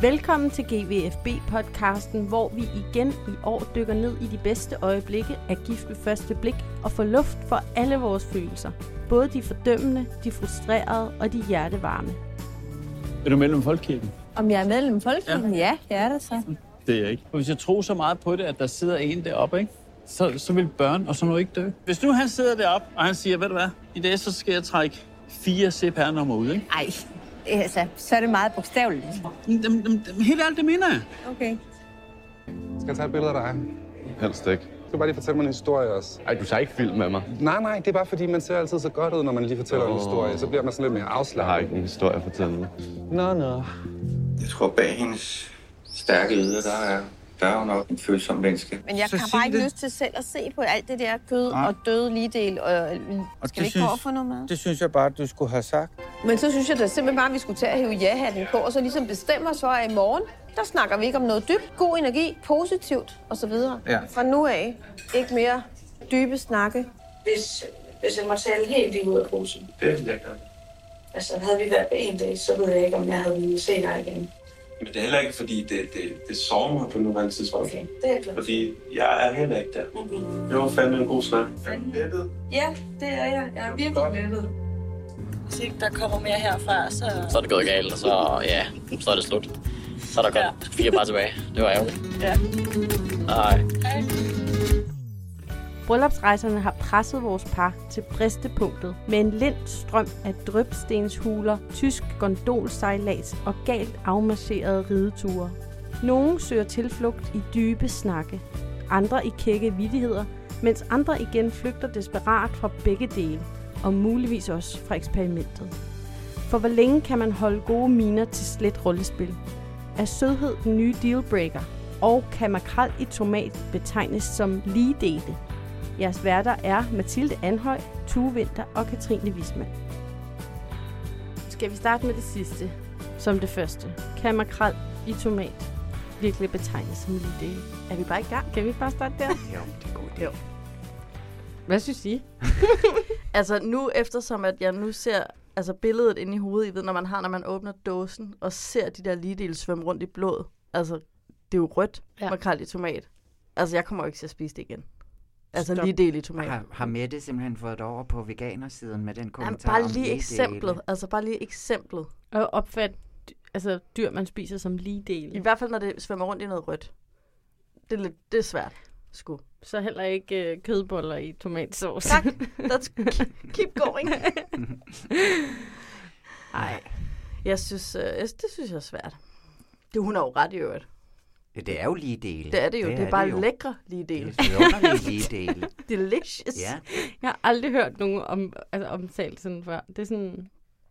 Velkommen til GVFB-podcasten, hvor vi igen i år dykker ned i de bedste øjeblikke af gift ved første blik og får luft for alle vores følelser. Både de fordømmende, de frustrerede og de hjertevarme. Er du medlem af Folkekirken? Om jeg er medlem af Folkekirken? Ja, ja jeg er der så. Det er jeg ikke. Hvis jeg tror så meget på det, at der sidder en deroppe, ikke? Så, så vil børn og sådan noget ikke dø. Hvis nu han sidder deroppe, og han siger, ved du hvad, i dag så skal jeg trække fire CPR-nummer ud, ikke? Ej, altså, så er det meget bogstaveligt. Dem, dem, dem, helt alt det mener jeg. Okay. Skal jeg tage et billede af dig? Helst ikke. Du kan bare lige fortælle mig en historie også. Ej, du tager ikke film med mig. Nej, nej, det er bare fordi, man ser altid så godt ud, når man lige fortæller oh. en historie. Så bliver man sådan lidt mere Jeg har afslappet. ikke en historie at fortælle. Nå, nå. Jeg tror, bag hendes stærke yder, der er, der er hun nok en følsom menneske. Men jeg Så har sig bare ikke det. lyst til selv at se på alt det der kød og døde ligedel. Og, og skal vi ikke synes... gå og få noget med? Det synes jeg bare, du skulle have sagt. Men så synes jeg da simpelthen bare, at vi skulle tage og hive ja-hatten på, og så ligesom bestemme os for, at i morgen, der snakker vi ikke om noget dybt. God energi, positivt osv. Ja. Fra nu af, ikke mere dybe snakke. hvis, hvis jeg måtte tale helt lige ud af posen. Det er lækkert. Altså, havde vi været på en dag, så ved jeg ikke, om jeg havde ville se dig igen. Men det er heller ikke, fordi det, det, det sover mig på nuværende tidspunkt. Okay, det er jeg glad. for. Fordi jeg er heller ikke der. Det var fandme en god snak. Jeg er lettet. Ja, det er jeg. Jeg er virkelig lettet. Hvis ikke der kommer mere herfra, så... så er det gået galt, og så, ja, så er det slut. Så er der godt fire par tilbage. Det var ærgerligt. Ja. Nej. Bryllupsrejserne har presset vores par til bristepunktet med en lind strøm af drøbstenshuler, tysk gondolsejlads og galt afmarcherede rideture. Nogle søger tilflugt i dybe snakke, andre i kække vidigheder, mens andre igen flygter desperat fra begge dele, og muligvis også fra eksperimentet. For hvor længe kan man holde gode miner til slet rollespil? Er sødhed den nye dealbreaker? Og kan makrel i tomat betegnes som ligedele? Jeres værter er Mathilde Anhøj, Tue Vinter og Katrine Wisman. Skal vi starte med det sidste? Som det første. Kan makrel i tomat virkelig betegnes som ligedele? Er vi bare i gang? Kan vi ikke bare starte der? Jo, det er godt. Hvad synes I? Altså nu, eftersom at jeg nu ser altså billedet inde i hovedet, I ved, når man har, når man åbner dåsen, og ser de der ligedele svømme rundt i blodet. Altså, det er jo rødt Ja. ja. makrel i tomat. Altså, jeg kommer jo ikke til at spise det igen. Altså, Stop. lige del i tomat. Har, har Mette simpelthen fået det over på veganersiden med den Jamen, kommentar bare om lige ligedele? eksemplet. Altså, bare lige eksemplet. Og opfat altså, dyr, man spiser som ligedele. I hvert fald, når det svømmer rundt i noget rødt. Det er, lidt, det er svært. Sku. Så heller ikke øh, kødboller i tomatsauce. Tak. Let's keep- keep going. Nej. Jeg synes, øh, jeg- det synes jeg er svært. Det, hun har jo ret i øvrigt. Ja, Det er jo ligedele. Det er det jo. Det er, bare jo. lækre lige del. Det er vidunderlige ligedele. Delicious. Ja. Jeg har aldrig hørt nogen om, altså, omtalt sådan før. Det er sådan,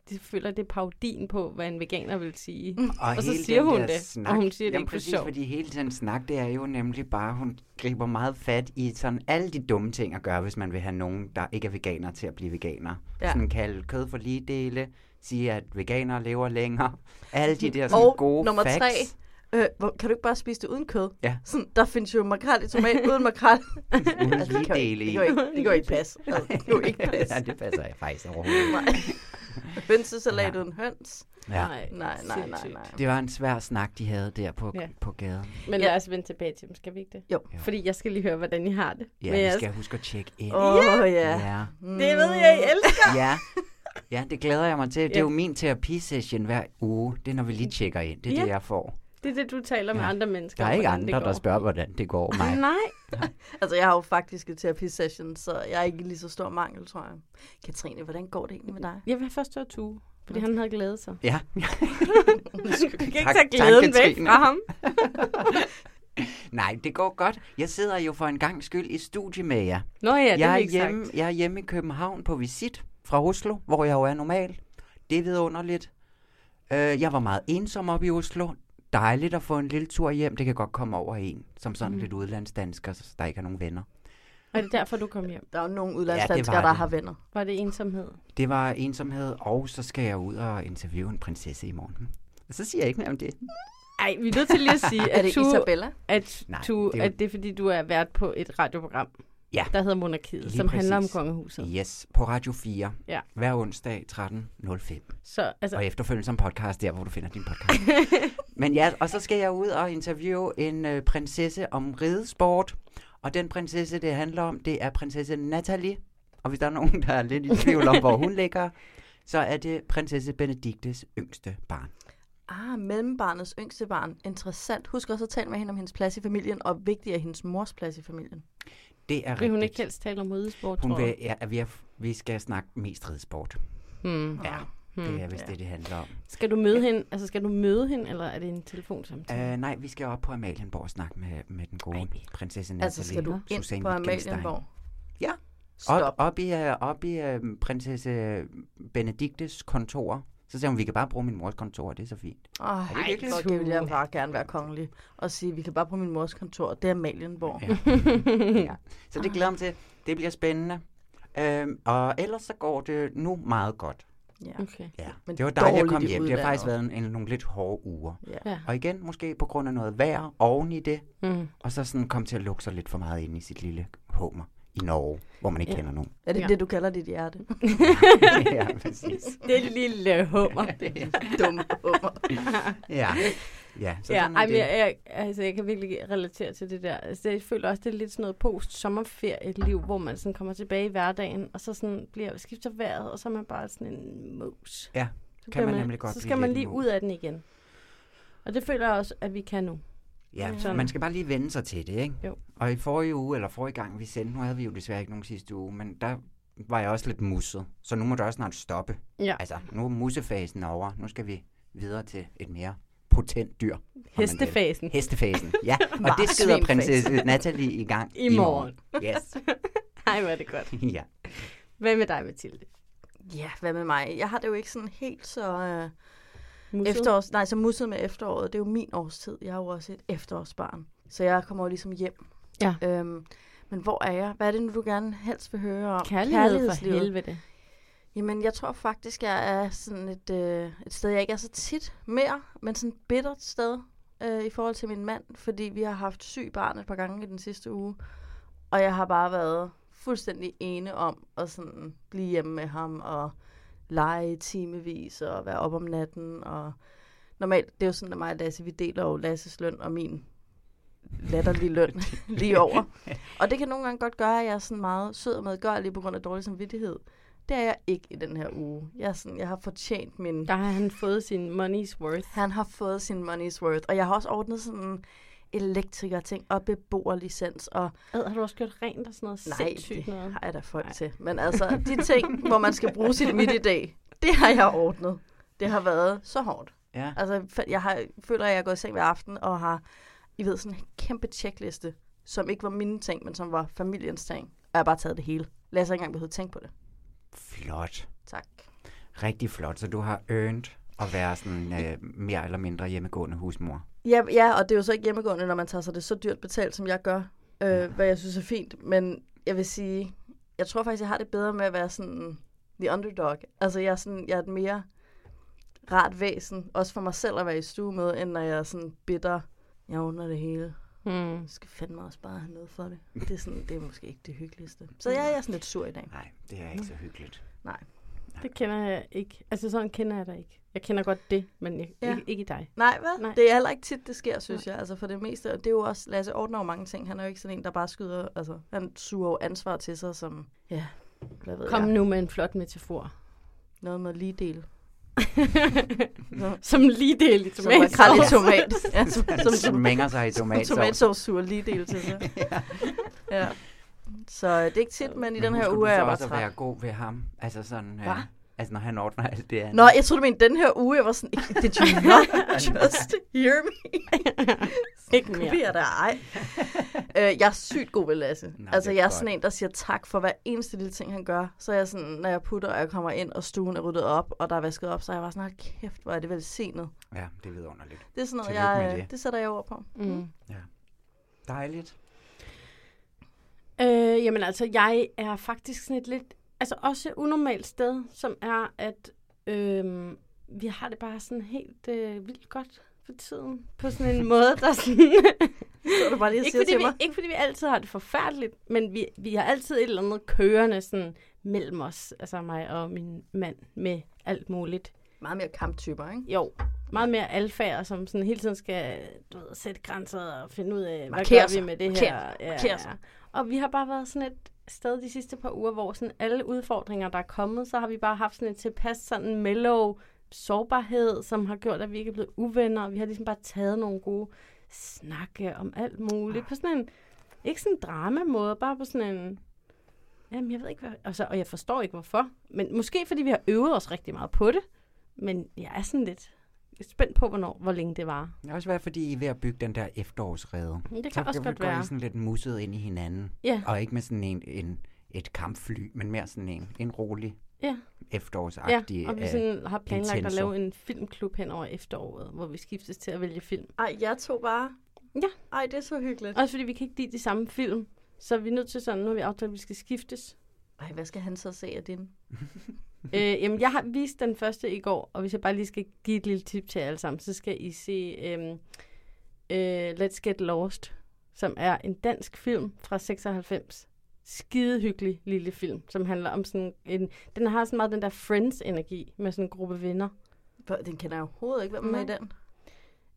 de føler, det er parodien på, hvad en veganer vil sige. Mm. Og, og så hele siger den hun der det, snak, og hun siger det jamen ikke for præcis, sjov. fordi hele den snak, det er jo nemlig bare, hun griber meget fat i sådan alle de dumme ting at gøre, hvis man vil have nogen, der ikke er veganer, til at blive veganer. Ja. Ja. Sådan kalde kød for lige dele, sige, at veganere lever længere. Alle de der sådan Og gode nummer facts. tre. Øh, hvor, kan du ikke bare spise det uden kød? Ja. Sådan, der findes jo makrel i tomat uden makrel. Uden Altså, det kan jo ligedele ikke- i. Det går ikke, det går ikke pas. Altså, det går ikke pas. ja, det passer jeg faktisk overhovedet. ikke. Hønsesalat Ja. uden høns. Ja. Nej, nej, nej, nej. Det var en svær snak, de havde der på, Ja. ja. på gaden. Men Ja. lad os vende tilbage til dem, skal vi ikke det? Jo. Jo. Fordi jeg skal lige høre, hvordan I har det. Ja, Men jeg- vi skal huske at tjekke ind. Åh, oh, ja. Ja. Det ved jeg, I elsker. ja. Ja, det glæder jeg mig til. Det Ja. er jo min terapisession hver uge. Det er, når vi lige tjekker ind. Det er Ja. det, jeg får. Det er det, du taler med Ja. andre mennesker Der er om, ikke hvordan det andre, går. der spørger, hvordan det går mig. Nej. Altså, jeg har jo faktisk et terapisession, så jeg er ikke i lige så stor mangel, tror jeg. Katrine, hvordan går det egentlig med dig? Jeg vil først høre Tue, fordi han havde glædet sig. Ja. Du kan ikke Tak- tage tak, glæden væk Katrine. fra ham. Nej, det går godt. Jeg sidder jo for en gang skyld i studie med jer. Nå ja, det jeg, er er ikke hjemme, sagt. jeg er hjemme i København på visit fra Oslo, hvor jeg jo er normal. Det er vidunderligt. Øh, jeg var meget ensom oppe i Oslo. Dejligt at få en lille tur hjem. Det kan godt komme over en, som sådan mm. lidt udlandsdansker, så der ikke er nogen venner. Og det er derfor, du kom hjem. Der er jo nogle Ja, det udlandsdanskere, var der det. har venner. Var det ensomhed? Det var ensomhed, og så skal jeg ud og interviewe en prinsesse i morgen. Og så siger jeg ikke mere om det. Ej, vi er nødt til lige at sige, Er at det Tue, Isabella? at, Nej, du, det er det jo- at det er fordi, du er vært på et radioprogram. Ja. der hedder Monarkiet, Lige som handler om præcis. kongehuset. Yes, på Radio 4. Ja. Hver onsdag 13.05. Så, altså- Og efterfølgende som podcast, der hvor du finder din podcast. Men ja, og så skal jeg ud og interviewe en øh, prinsesse om ridesport. Og den prinsesse, det handler om, det er prinsesse Natalie. Og hvis der er nogen, der er lidt i tvivl om, hvor hun ligger, så er det prinsesse Benediktes yngste barn. Ah, mellembarnets yngste barn. Interessant. Husk også at tale med hende om hendes plads i familien, og vigtigt er hendes mors plads i familien. Det er Vil hun rigtigt. ikke helst tale om ridesport, Hun tror vil, jeg? ja, vi, er, vi skal snakke mest ridesport. Hmm. Ja, Hmm. det er vist Ja. det, det handler om. Skal du møde hende, altså skal du møde hende, eller er det en telefonsamtale? Uh, nej, vi skal op på Amalienborg og snakke med, med den gode prinsesse Nathalie. Altså, skal du ind Susanne på Wittgenstein. Amalienborg? Ja. Stop. Op, op i, øh, op i øh, prinsesse Benediktes kontor. Så siger hun, vi kan bare bruge min mors kontor, det er så fint. Åh, Er det oh, virkelig det, det vil jeg bare gerne være kongelig og sige, vi kan bare bruge min mors kontor, det er Amalienborg. Ja. ja. Så det glæder jeg mig til. Det bliver spændende. Øhm, og ellers så går det nu meget godt. Ja. Okay. Ja. Men det var dejligt at dårligt komme i hjem. Det har faktisk været en, udlandet. en, nogle lidt hårde uger. Ja. Ja. Og igen, måske på grund af noget vejr oven i det. Mm. Og så sådan kom til at lukke sig lidt for meget ind i sit lille homer i Norge, hvor man ikke Ja. ja. kender nogen. Er det Ja. ja. det, du kalder dit hjerte? ja, præcis. Det lille hummer. Dumme hummer. Ja. Ja, så ja, sådan er ej, men det. jeg, jeg, altså, jeg kan virkelig relatere til det der. Altså, jeg føler også, det er lidt sådan noget post-sommerferie-liv, hvor man sådan kommer tilbage i hverdagen, og så sådan bliver skifter vejret, og så er man bare sådan en mos. Ja, Så kan bliver man nemlig godt Så blive skal man lidt en lige mus. ud af den igen. Og det føler jeg også, at vi kan nu. Ja, Sådan. man skal bare lige vende sig til det, ikke? Jo. Og i forrige uge, eller forrige gang vi sendte, nu havde vi jo desværre ikke nogen sidste uge, men der var jeg også lidt musset. Så nu må det også snart stoppe. Ja. Altså, nu er mussefasen over. Nu skal vi videre til et mere potent dyr. om man vil. Hestefasen. Hestefasen, ja. Og det Marsvinfasen. skider prinsesse Natalie i gang I morgen. Yes. Ej, hvor er det godt. ja. Hvad med dig, Mathilde? Ja, hvad med mig? Jeg har det jo ikke sådan helt så... Øh, Musset? efterårs, nej, så musset med efteråret. Det er jo min årstid. Jeg er jo også et efterårsbarn. Så jeg kommer jo ligesom hjem. Ja. Øhm, men hvor er jeg? Hvad er det nu, du gerne helst vil høre om? Kærlighed for Kærlighedslivet. helvede. Jamen, jeg tror faktisk, jeg er sådan et, øh, et sted, jeg ikke er så tit mere, men sådan et bittert sted øh, i forhold til min mand, fordi vi har haft syg barn et par gange i den sidste uge, og jeg har bare været fuldstændig ene om at sådan blive hjemme med ham og lege i timevis og være op om natten. Og normalt, det er jo sådan, at mig og Lasse, vi deler jo Lasses løn og min latterlige løn lige over. Og det kan nogle gange godt gøre, at jeg er sådan meget sød og medgørlig på grund af dårlig samvittighed. Det er jeg ikke i den her uge. Jeg, er sådan, jeg har fortjent min... Der har han fået sin money's worth. Han har fået sin money's worth. Og jeg har også ordnet sådan elektriker ting og beboerlicens. Og Ad, har du også gjort rent og sådan noget Nej, sindssygt det noget? har jeg da folk til. Men altså, de ting, hvor man skal bruge sit midt i dag, det har jeg ordnet. Det har været så hårdt. Ja. Altså, fa- jeg har, føler, at jeg er gået i seng hver aften og har, I ved, sådan en kæmpe checkliste, som ikke var mine ting, men som var familiens ting. Og jeg har bare taget det hele. Lad os ikke engang behøve tænke på det. Flot. Tak. Rigtig flot. Så du har earned at være sådan øh, mere eller mindre hjemmegående husmor. Ja, ja, og det er jo så ikke hjemmegående, når man tager sig det så dyrt betalt, som jeg gør, øh, ja. hvad jeg synes er fint. Men jeg vil sige, jeg tror faktisk, jeg har det bedre med at være sådan the underdog. Altså, jeg er, sådan, jeg er et mere rart væsen, også for mig selv at være i stue med, end når jeg er sådan bitter. Jeg under det hele. Mm. Hmm. Jeg skal fandme også bare have noget for det. Det er, sådan, det er måske ikke det hyggeligste. Så jeg, jeg er sådan lidt sur i dag. Nej, det er ikke så hyggeligt. Nej. Det kender jeg ikke. Altså, sådan kender jeg dig ikke. Jeg kender godt det, men jeg, ja. Ja. ikke, ikke dig. Nej, hvad? Nej. Nej. Det er heller ikke tit, det sker, synes jeg. Altså for det meste, og det er jo også, Lasse ordner jo mange ting. Han er jo ikke sådan en, der bare skyder, altså han suger jo ansvar til sig som, ja, hvad ved Kom jeg. nu med en flot metafor. Noget med lige del. Som lige del i Som tomatsovs. makrel i tomat. Smænger sig i som tomatsovs. tomatsovs suger lige del til sig. ja. ja. Så øh, det er ikke tit, men i den her husker uge du er så jeg bare også at være træt. god ved ham? Altså sådan, Hva? øh, altså når han ordner alt det andet. Nå, jeg troede, du mente den her uge. Jeg var sådan, "Ikke- did you not just hear me? Ikke mere. Kopier dig, ej. Øh, jeg er sygt god ved Lasse. Nå, Nå, altså, det er jeg er godt. sådan en, der siger tak for hver eneste lille ting, han gør. Så er jeg sådan, når jeg putter, og jeg kommer ind, og stuen er ryddet op, og der er vasket op, så er jeg bare sådan, "Hold kæft, hvor er det velsignet. Ja, det er vidunderligt. Det er sådan noget, Tillykke jeg, med det. det sætter jeg ord på. Mm. Ja. Dejligt. Øh, jamen altså, jeg er faktisk sådan et lidt, altså også et unormalt sted, som er, at øh, vi har det bare sådan helt øh, vildt godt for tiden. På sådan en måde, der sådan... Så du bare lige og ikke, siger fordi til vi, mig. ikke fordi vi altid har det forfærdeligt, men vi, vi har altid et eller andet kørende sådan, mellem os, altså mig og min mand, med alt muligt. Meget mere kamptyper, ikke? Jo, meget mere alfager, som sådan hele tiden skal du ved, sætte grænser og finde ud af, hvad Markere gør vi sig, med det markere, her. markere sig. Og vi har bare været sådan et sted de sidste par uger, hvor sådan alle udfordringer, der er kommet, så har vi bare haft sådan et tilpas sådan mellow sårbarhed, som har gjort, at vi ikke er blevet uvenner, og vi har ligesom bare taget nogle gode snakke om alt muligt. På sådan en, ikke sådan en drama-måde, bare på sådan en, jamen jeg ved ikke, hvad, og, så, og jeg forstår ikke hvorfor, men måske fordi vi har øvet os rigtig meget på det, men jeg er sådan lidt spændt på, hvornår, hvor længe det var. Det kan også være, fordi I er ved at bygge den der efterårsrede. Det kan så også godt går I være. sådan lidt musset ind i hinanden. Ja. Og ikke med sådan en, en, et kampfly, men mere sådan en, en rolig Ja. efterårsagtig og vi øh, sådan har planlagt at intenso. lave en filmklub hen over efteråret, hvor vi skiftes til at vælge film. Ej, jeg tog bare... Ja. Ej, det er så hyggeligt. Også fordi vi kan ikke lide de samme film, så vi er nødt til sådan, nu har vi aftalt, at vi skal skiftes. Ej, hvad skal han så se af din? øh, jamen, jeg har vist den første i går, og hvis jeg bare lige skal give et lille tip til jer alle sammen, så skal I se øhm, øh, Let's Get Lost, som er en dansk film fra 96. Skidehyggelig lille film, som handler om sådan en... Den har sådan meget den der Friends-energi med sådan en gruppe venner. Den kender jeg overhovedet ikke, hvem er med i Nej. den.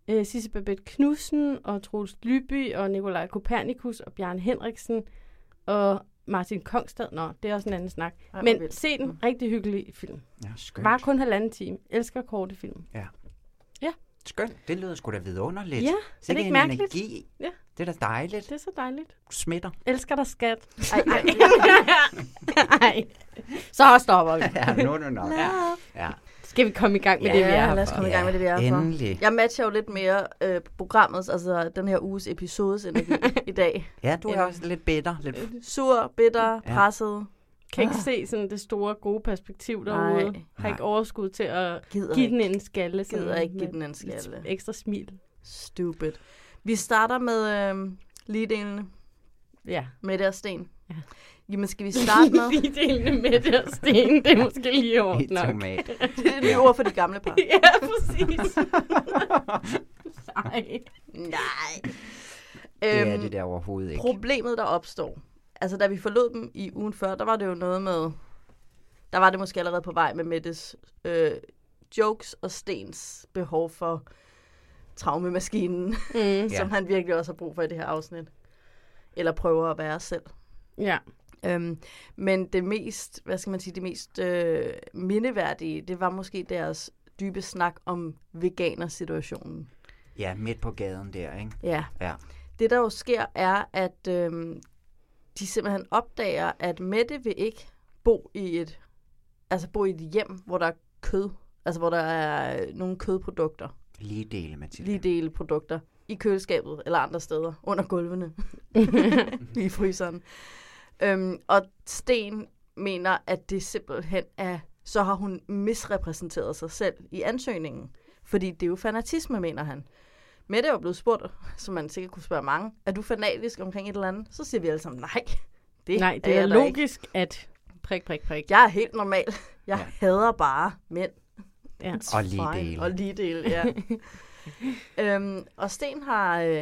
Øh, Sisse Babette Knudsen og Troels Lyby og Nikolaj Kopernikus og Bjørn Henriksen og Martin Kongstad. Nå, det er også en anden snak. Ej, Ej, hvor Men vildt. Mm. se den. Rigtig hyggelig film. Ja, skønt. Var kun halvanden time. Elsker korte film. Ja. Ja. Skønt. Det lyder sgu da vidunderligt. Ja, er det Sikke ikke en mærkeligt? Energi. Ja. Det er da dejligt. Det er så dejligt. Du smitter. Elsker dig, skat. Ej, ej. ej. Så stopper vi. Ja, nu er det nok. Love. Ja. Skal vi komme i gang med Ja, det, vi er her lad os for? komme i gang med det, vi er her for. Endelig. Jeg matcher jo lidt mere øh, programmets, altså den her uges episodes energi i dag. Ja, du er End også lidt bitter. Lidt... Øh, Sur, bitter, Ja. presset. Kan ikke se sådan det store, gode perspektiv Nej. derude. Har Nej. ikke overskud til at Gider give den ikke. en skalle. sådan Gider ikke give med den en lidt skalle. Ekstra smil. Stupid. Vi starter med øh, ligedelene. Ja. med og Sten. Ja. Jamen, skal vi starte med... Ligedelene Mette og Sten, det er måske lige hårdt Helt nok. tomat. Det er det nye ord for de gamle par. ja, præcis. Nej. Nej. Det er det der overhovedet ikke. Øhm, Problemet, der opstår, altså da vi forlod dem i ugen før, der var det jo noget med, der var det måske allerede på vej med Mettes øh, jokes og Stens behov for traumemaskinen, mm. Ja. som han virkelig også har brug for i det her afsnit. Eller prøver at være selv. Ja. Øhm, men det mest, hvad skal man sige, det mest øh, mindeværdige, det var måske deres dybe snak om veganersituationen. Ja, midt på gaden der, ikke? Ja. Ja. Det, der jo sker, er, at øhm, de simpelthen opdager, at Mette vil ikke bo i et, altså bo i et hjem, hvor der er kød, altså hvor der er øh, nogle kødprodukter, Lige dele, Mathilde. lige dele produkter, i køleskabet eller andre steder, under gulvene, i fryseren. Øhm, og Sten mener, at det simpelthen er, så har hun misrepræsenteret sig selv i ansøgningen. Fordi det er jo fanatisme, mener han. Mette er jo blevet spurgt, som man sikkert kunne spørge mange, er du fanatisk omkring et eller andet? Så siger vi alle sammen, nej. Det Nej, det er, jeg da ikke. logisk, at... Prik, prik, prik. Jeg er helt normal. Jeg ja. hader bare mænd. Ja. It's Og lige fine. dele. Og lige dele, ja. øhm, og Sten har... Øh,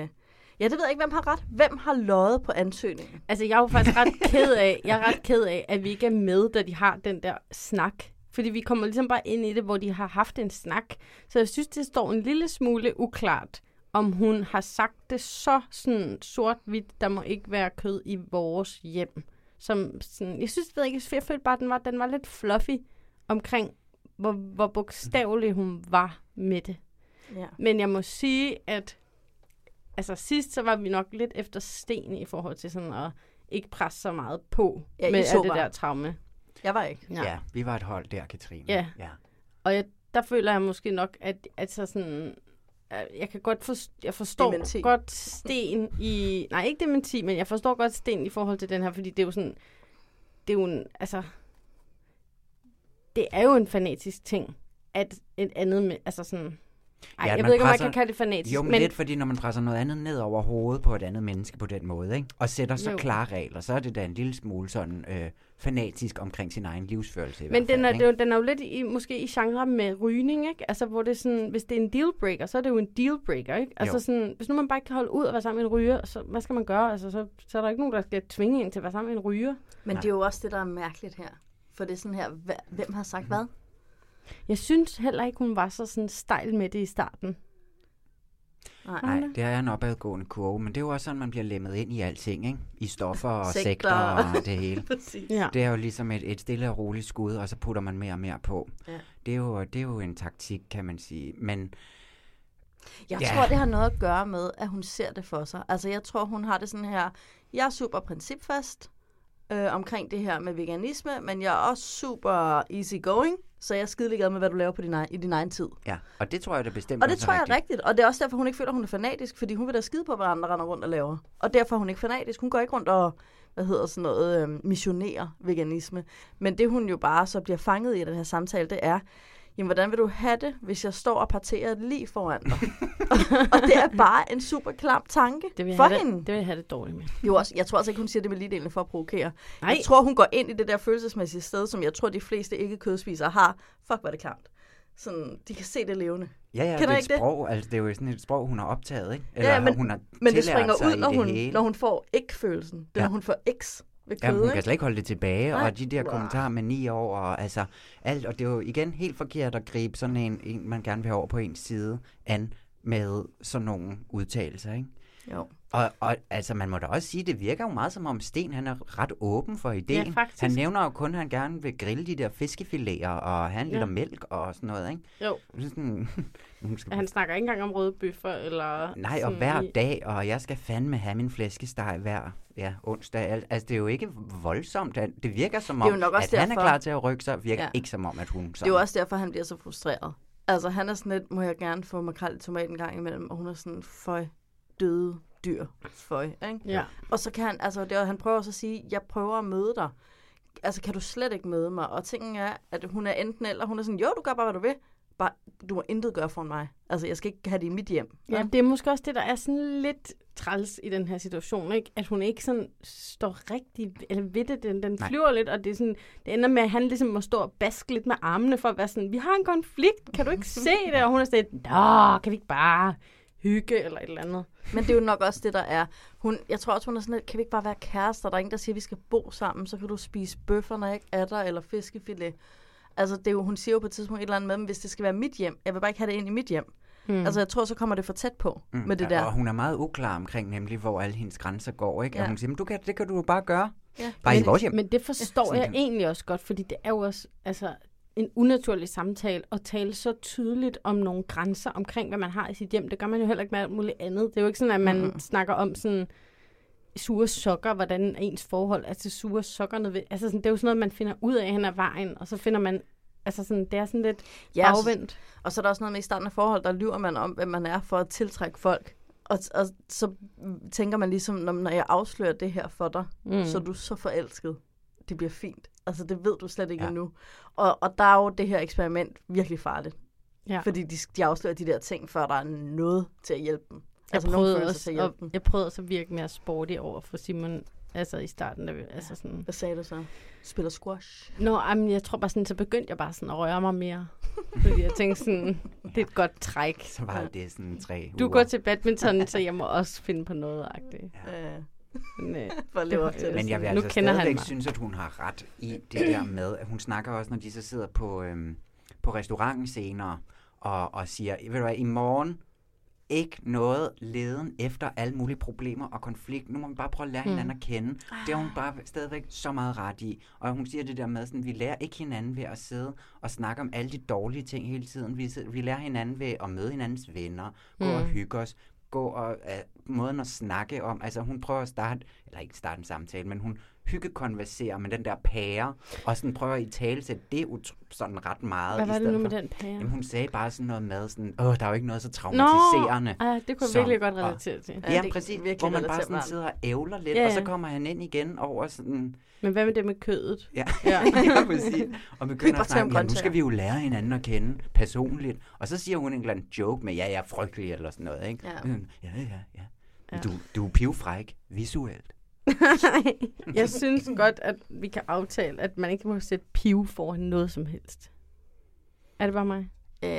ja, det ved jeg ikke, hvem har ret. Hvem har løjet på ansøgningen? Altså, jeg er jo faktisk ret ked af, jeg er ret ked af, at vi ikke er med, da de har den der snak. Fordi vi kommer ligesom bare ind i det, hvor de har haft en snak. Så jeg synes, det står en lille smule uklart, om hun har sagt det så sådan sort-hvidt, der må ikke være kød i vores hjem. Som sådan, jeg synes, ved jeg ikke, jeg følte bare, at den var, den var lidt fluffy omkring, hvor, hvor bogstavelig hun var med det. Ja. Men jeg må sige, at altså sidst, så var vi nok lidt efter sten i forhold til sådan at ikke presse så meget på Ja, I med så alt det bare. der traume. Jeg var ikke. Ja. vi var et hold der, Katrine. Ja. ja. Og jeg, der føler jeg måske nok, at altså sådan, at jeg kan godt forstå, jeg forstår Dementi. godt sten i, nej ikke dementi, men jeg forstår godt sten i forhold til den her, fordi det er jo sådan, det er jo en, altså, det er jo en fanatisk ting, at et andet, men- altså sådan, Ej, at jeg man ved ikke, om man kan kalde det fanatisk, Jo, men, men- men lidt, fordi når man presser noget andet ned over hovedet på et andet menneske på den måde, ikke? og sætter så Jo. jo. klare regler, så er det da en lille smule sådan øh, fanatisk omkring sin egen livsførelse. I Men hvert fald, den er, ikke? det er jo- den er jo lidt i, måske i genre med rygning, ikke? Altså, hvor det er sådan, hvis det er en dealbreaker, så er det jo en dealbreaker, ikke? Altså Jo. sådan, hvis nu man bare ikke kan holde ud at være sammen med en ryger, så hvad skal man gøre? Altså, så, så er der ikke nogen, der skal tvinge en til at være sammen med en ryger. Men det er jo også det, der er mærkeligt her. For det er sådan her, hva- hvem har sagt hvad? Jeg synes heller ikke, hun var så sådan stejl med det i starten. Nej. Nej, det er en opadgående kurve, men det er jo også sådan, man bliver lemmet ind i alting, ikke? I stoffer og Sekter. sekter, sekter og det hele. Præcis. Ja. Det er jo ligesom et, et stille og roligt skud, og så putter man mere og mere på. Ja. Det, er jo, det er jo en taktik, kan man sige. Men Jeg Ja. tror, det har noget at gøre med, at hun ser det for sig. Altså, jeg tror, hun har det sådan her, jeg er super principfast øh, omkring det her med veganisme, men jeg er også super easy going, så jeg er skidelig glad med, hvad du laver på din egen, i din egen tid. ja, og det tror jeg, det bestemt og det også tror jeg rigtigt. er rigtigt, og det er også derfor, hun ikke føler, hun er fanatisk, fordi hun vil da skide på, hvad andre render rundt og laver. Og derfor er hun ikke fanatisk. Hun går ikke rundt og hvad hedder sådan noget, øh, missionerer veganisme. Men det, hun jo bare så bliver fanget i i den her samtale, det er, jamen, hvordan vil du have det, hvis jeg står og parterer lige foran dig? og det er bare en super klam tanke det vil jeg for have det- hende. det vil jeg have det dårligt med. Jo, også, jeg tror altså ikke, hun siger det med ligedelene for at provokere. Nej. Jeg tror, hun går ind i det der følelsesmæssige sted, som jeg tror, de fleste ikke-kødspisere har. Fuck, hvor er det klamt. Sådan, de kan se det levende. Ja, ja, Kender det er I et ikke det? sprog, altså det er jo sådan et sprog, hun har optaget, ikke? Ja, ja, men, hun har men det tillært springer sig ud, i når det hun, hele. når hun får ikke-følelsen. Det er, Ja. når hun får X ved Ja, kød, hun ikke? kan slet ikke holde det tilbage, Nej. og de der Wow. kommentarer med ni år, og altså alt, og det er jo igen helt forkert at gribe sådan en, en man gerne vil have over på ens side, an med sådan nogle udtalelser, ikke? Jo. Og, og altså, man må da også sige, det virker jo meget som om Sten, han er ret åben for ideen. faktisk. han nævner jo kun, at han gerne vil grille de der fiskefiléer, og have en Ja. liter mælk og sådan noget, ikke? Jo. Det er Sådan, hun skal Han snakker ikke engang om røde bøffer, eller... Nej, og sådan hver i- dag, og jeg skal fandme have min flæskesteg hver ja, onsdag. Al- Altså, det er jo ikke voldsomt. Han- Det virker som Det er om, jo nok også at han er derfor. klar til at rykke sig, virker Ja. ja. ikke som om, at hun... Det er jo også derfor, han bliver så frustreret. Altså, han er sådan lidt, må jeg gerne få makrel i tomaten en gang imellem, og hun er sådan, føj, døde dyr, føj, ikke? Ja. Og så kan han, altså, det er, han prøver så at sige, jeg prøver at møde dig. Altså, kan du slet ikke møde mig? Og tingen er, at hun er enten eller, hun er sådan, jo, du gør bare, hvad du vil. Bare, du må intet gøre for mig. Altså, jeg skal ikke have det i mit hjem. Ja, det er måske også det, der er sådan lidt træls i den her situation, ikke? At hun ikke sådan står rigtig eller ved det, den, den Nej. flyver lidt, og det, er sådan, det ender med, at han ligesom må stå og baske lidt med armene for at være sådan, vi har en konflikt, kan du ikke se det? Og hun er sådan lidt, nå, kan vi ikke bare hygge eller et eller andet? Men det er jo nok også det, der er. Hun, jeg tror også, hun er sådan lidt, kan vi ikke bare være kærester? Der er ingen, der siger, at vi skal bo sammen, så kan du spise bøffer, når jeg ikke er der, eller fiskefilet. Altså, det er jo, hun siger jo på et tidspunkt et eller andet med, men hvis det skal være mit hjem, jeg vil bare ikke have det ind i mit hjem. Mm. Mm. Altså, jeg tror, så kommer det for tæt på mm. med det ja, der. Og hun er meget uklar omkring nemlig, hvor alle hendes grænser går, ikke? Ja. Ja. Og hun siger, "Men du kan, det kan du jo bare gøre. Ja. Bare i men, vores hjem. Men det forstår Sådan jeg kan- egentlig også godt, fordi det er jo også altså, en unaturlig samtale at tale så tydeligt om nogle grænser omkring, hvad man har i sit hjem. Det gør man jo heller ikke med alt muligt andet. Det er jo ikke sådan, at man mm. Mhm. snakker om sådan sure sokker, hvordan ens forhold er til sure sokker. nødvendigt. Altså sådan, det er jo sådan noget, man finder ud af hen ad vejen, og så finder man, altså sådan, det er sådan lidt Ja, og så- bagvendt. Og så er der også noget med i starten af forhold, der lyver man om, hvem man er for at tiltrække folk. Og, og så tænker man ligesom, når, når jeg afslører det her for dig, Mm. mm. så er du så forelsket. Det bliver fint. Altså, det ved du slet ikke ja. Ja. endnu. Og, og der er jo det her eksperiment virkelig farligt. Ja. Fordi de, de afslører de der ting, før der er noget til at hjælpe dem. Jeg, altså, prøvede følelser også, at at, hjælpe dem. jeg prøvede også at virke mere sporty over for Simon altså i starten. Da vi, altså sådan. Hvad sagde du så? Spiller squash? Nå, amen, jeg tror bare sådan, så begyndte jeg bare sådan at røre mig mere. Fordi jeg tænkte sådan, det er et godt træk. Så var det sådan tre Du uger. går til badminton, så jeg må også finde på noget agtigt. Ja. Men, øh, For at leve op til det. Men jeg vil nu altså kender han stadigvæk mig. synes, at hun har ret i det der med, at hun snakker også, når de så sidder på, øhm, på restauranten senere og, og siger, ved du hvad, i morgen ikke noget leden efter alle mulige problemer og konflikt. Nu må man bare prøve at lære Hmm. Mm. hinanden at kende. Det Ah. har hun bare stadigvæk så meget ret i. Og hun siger det der med, sådan, vi lærer ikke hinanden ved at sidde og snakke om alle de dårlige ting hele tiden. Vi, sidder- vi lærer hinanden ved at møde hinandens venner, gå mm. og Hmm. Mm. hygge hygge os, gå og uh, måden at snakke om, altså hun prøver at starte, eller ikke starte en samtale, men hun hyggekonversere med den der pære, og sådan prøver at i tale til det ut- sådan ret meget. Hvad i var det stedet nu med for- den pære? Jamen, hun sagde bare sådan noget med, sådan, åh, der er jo ikke noget så traumatiserende. Nå, ej, det kunne jeg som virkelig godt at- relatere til. Ja, Ja, det ja det kan præcis, jeg virkelig hvor man bare relatere sådan meget. sidder og ævler lidt, Ja, ja, ja. og så ja. kommer han ind igen over sådan, Men hvad med det med kødet? Ja, ja. ja præcis. Og begynder bare at tage om snakke, ja, nu skal grøntsager." vi jo lære hinanden at kende personligt. Og så siger hun en eller anden joke med, ja, jeg er frygtelig eller sådan noget, ikke? Ja. Sådan, Ja, ja, ja. Ja. ja. Du, du er pivfræk visuelt. Jeg synes godt, at vi kan aftale, at man ikke må sætte piv foran noget som helst. Er det bare mig? Øh,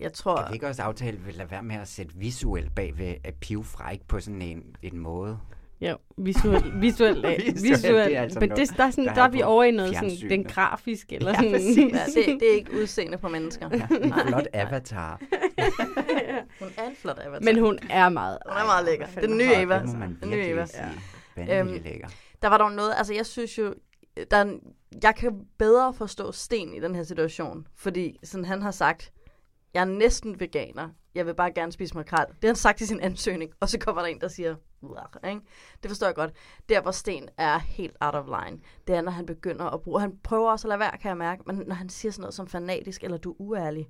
jeg tror... Kan vi ikke også aftale, at vi lader være med at sætte visuelt bag ved at pivfræk på sådan en, en måde? Ja, visuelt. Visuelt. øh, Visuelt, det er visuelt. altså Men noget, det, der, er sådan, der der, er er vi på over i noget sådan, fjernsynet. den grafiske. Eller Ja, sådan. præcis. Ja, det, det er ikke udseende på mennesker. Ja. En flot avatar. Hun er en flot avatar. Men hun er meget... Altså. Hun er meget lækker. Ej, Den nye hvor Eva. fanden må man Den nye virkelig Eva. sige. Ja. Vanvittigt lækker. der var dog noget, altså jeg synes jo, der er en, jeg kan bedre forstå Sten i den her situation, fordi sådan, han har sagt, jeg er næsten veganer, jeg vil bare gerne spise makrel. Det har han sagt i sin ansøgning, og så kommer der en, der siger, "Uah," ikke? det forstår jeg godt. Der, hvor Sten er helt out of line, det er, når han begynder at bruge, han prøver også at lade være, kan jeg mærke, men når han siger sådan noget som fanatisk, eller du er uærlig,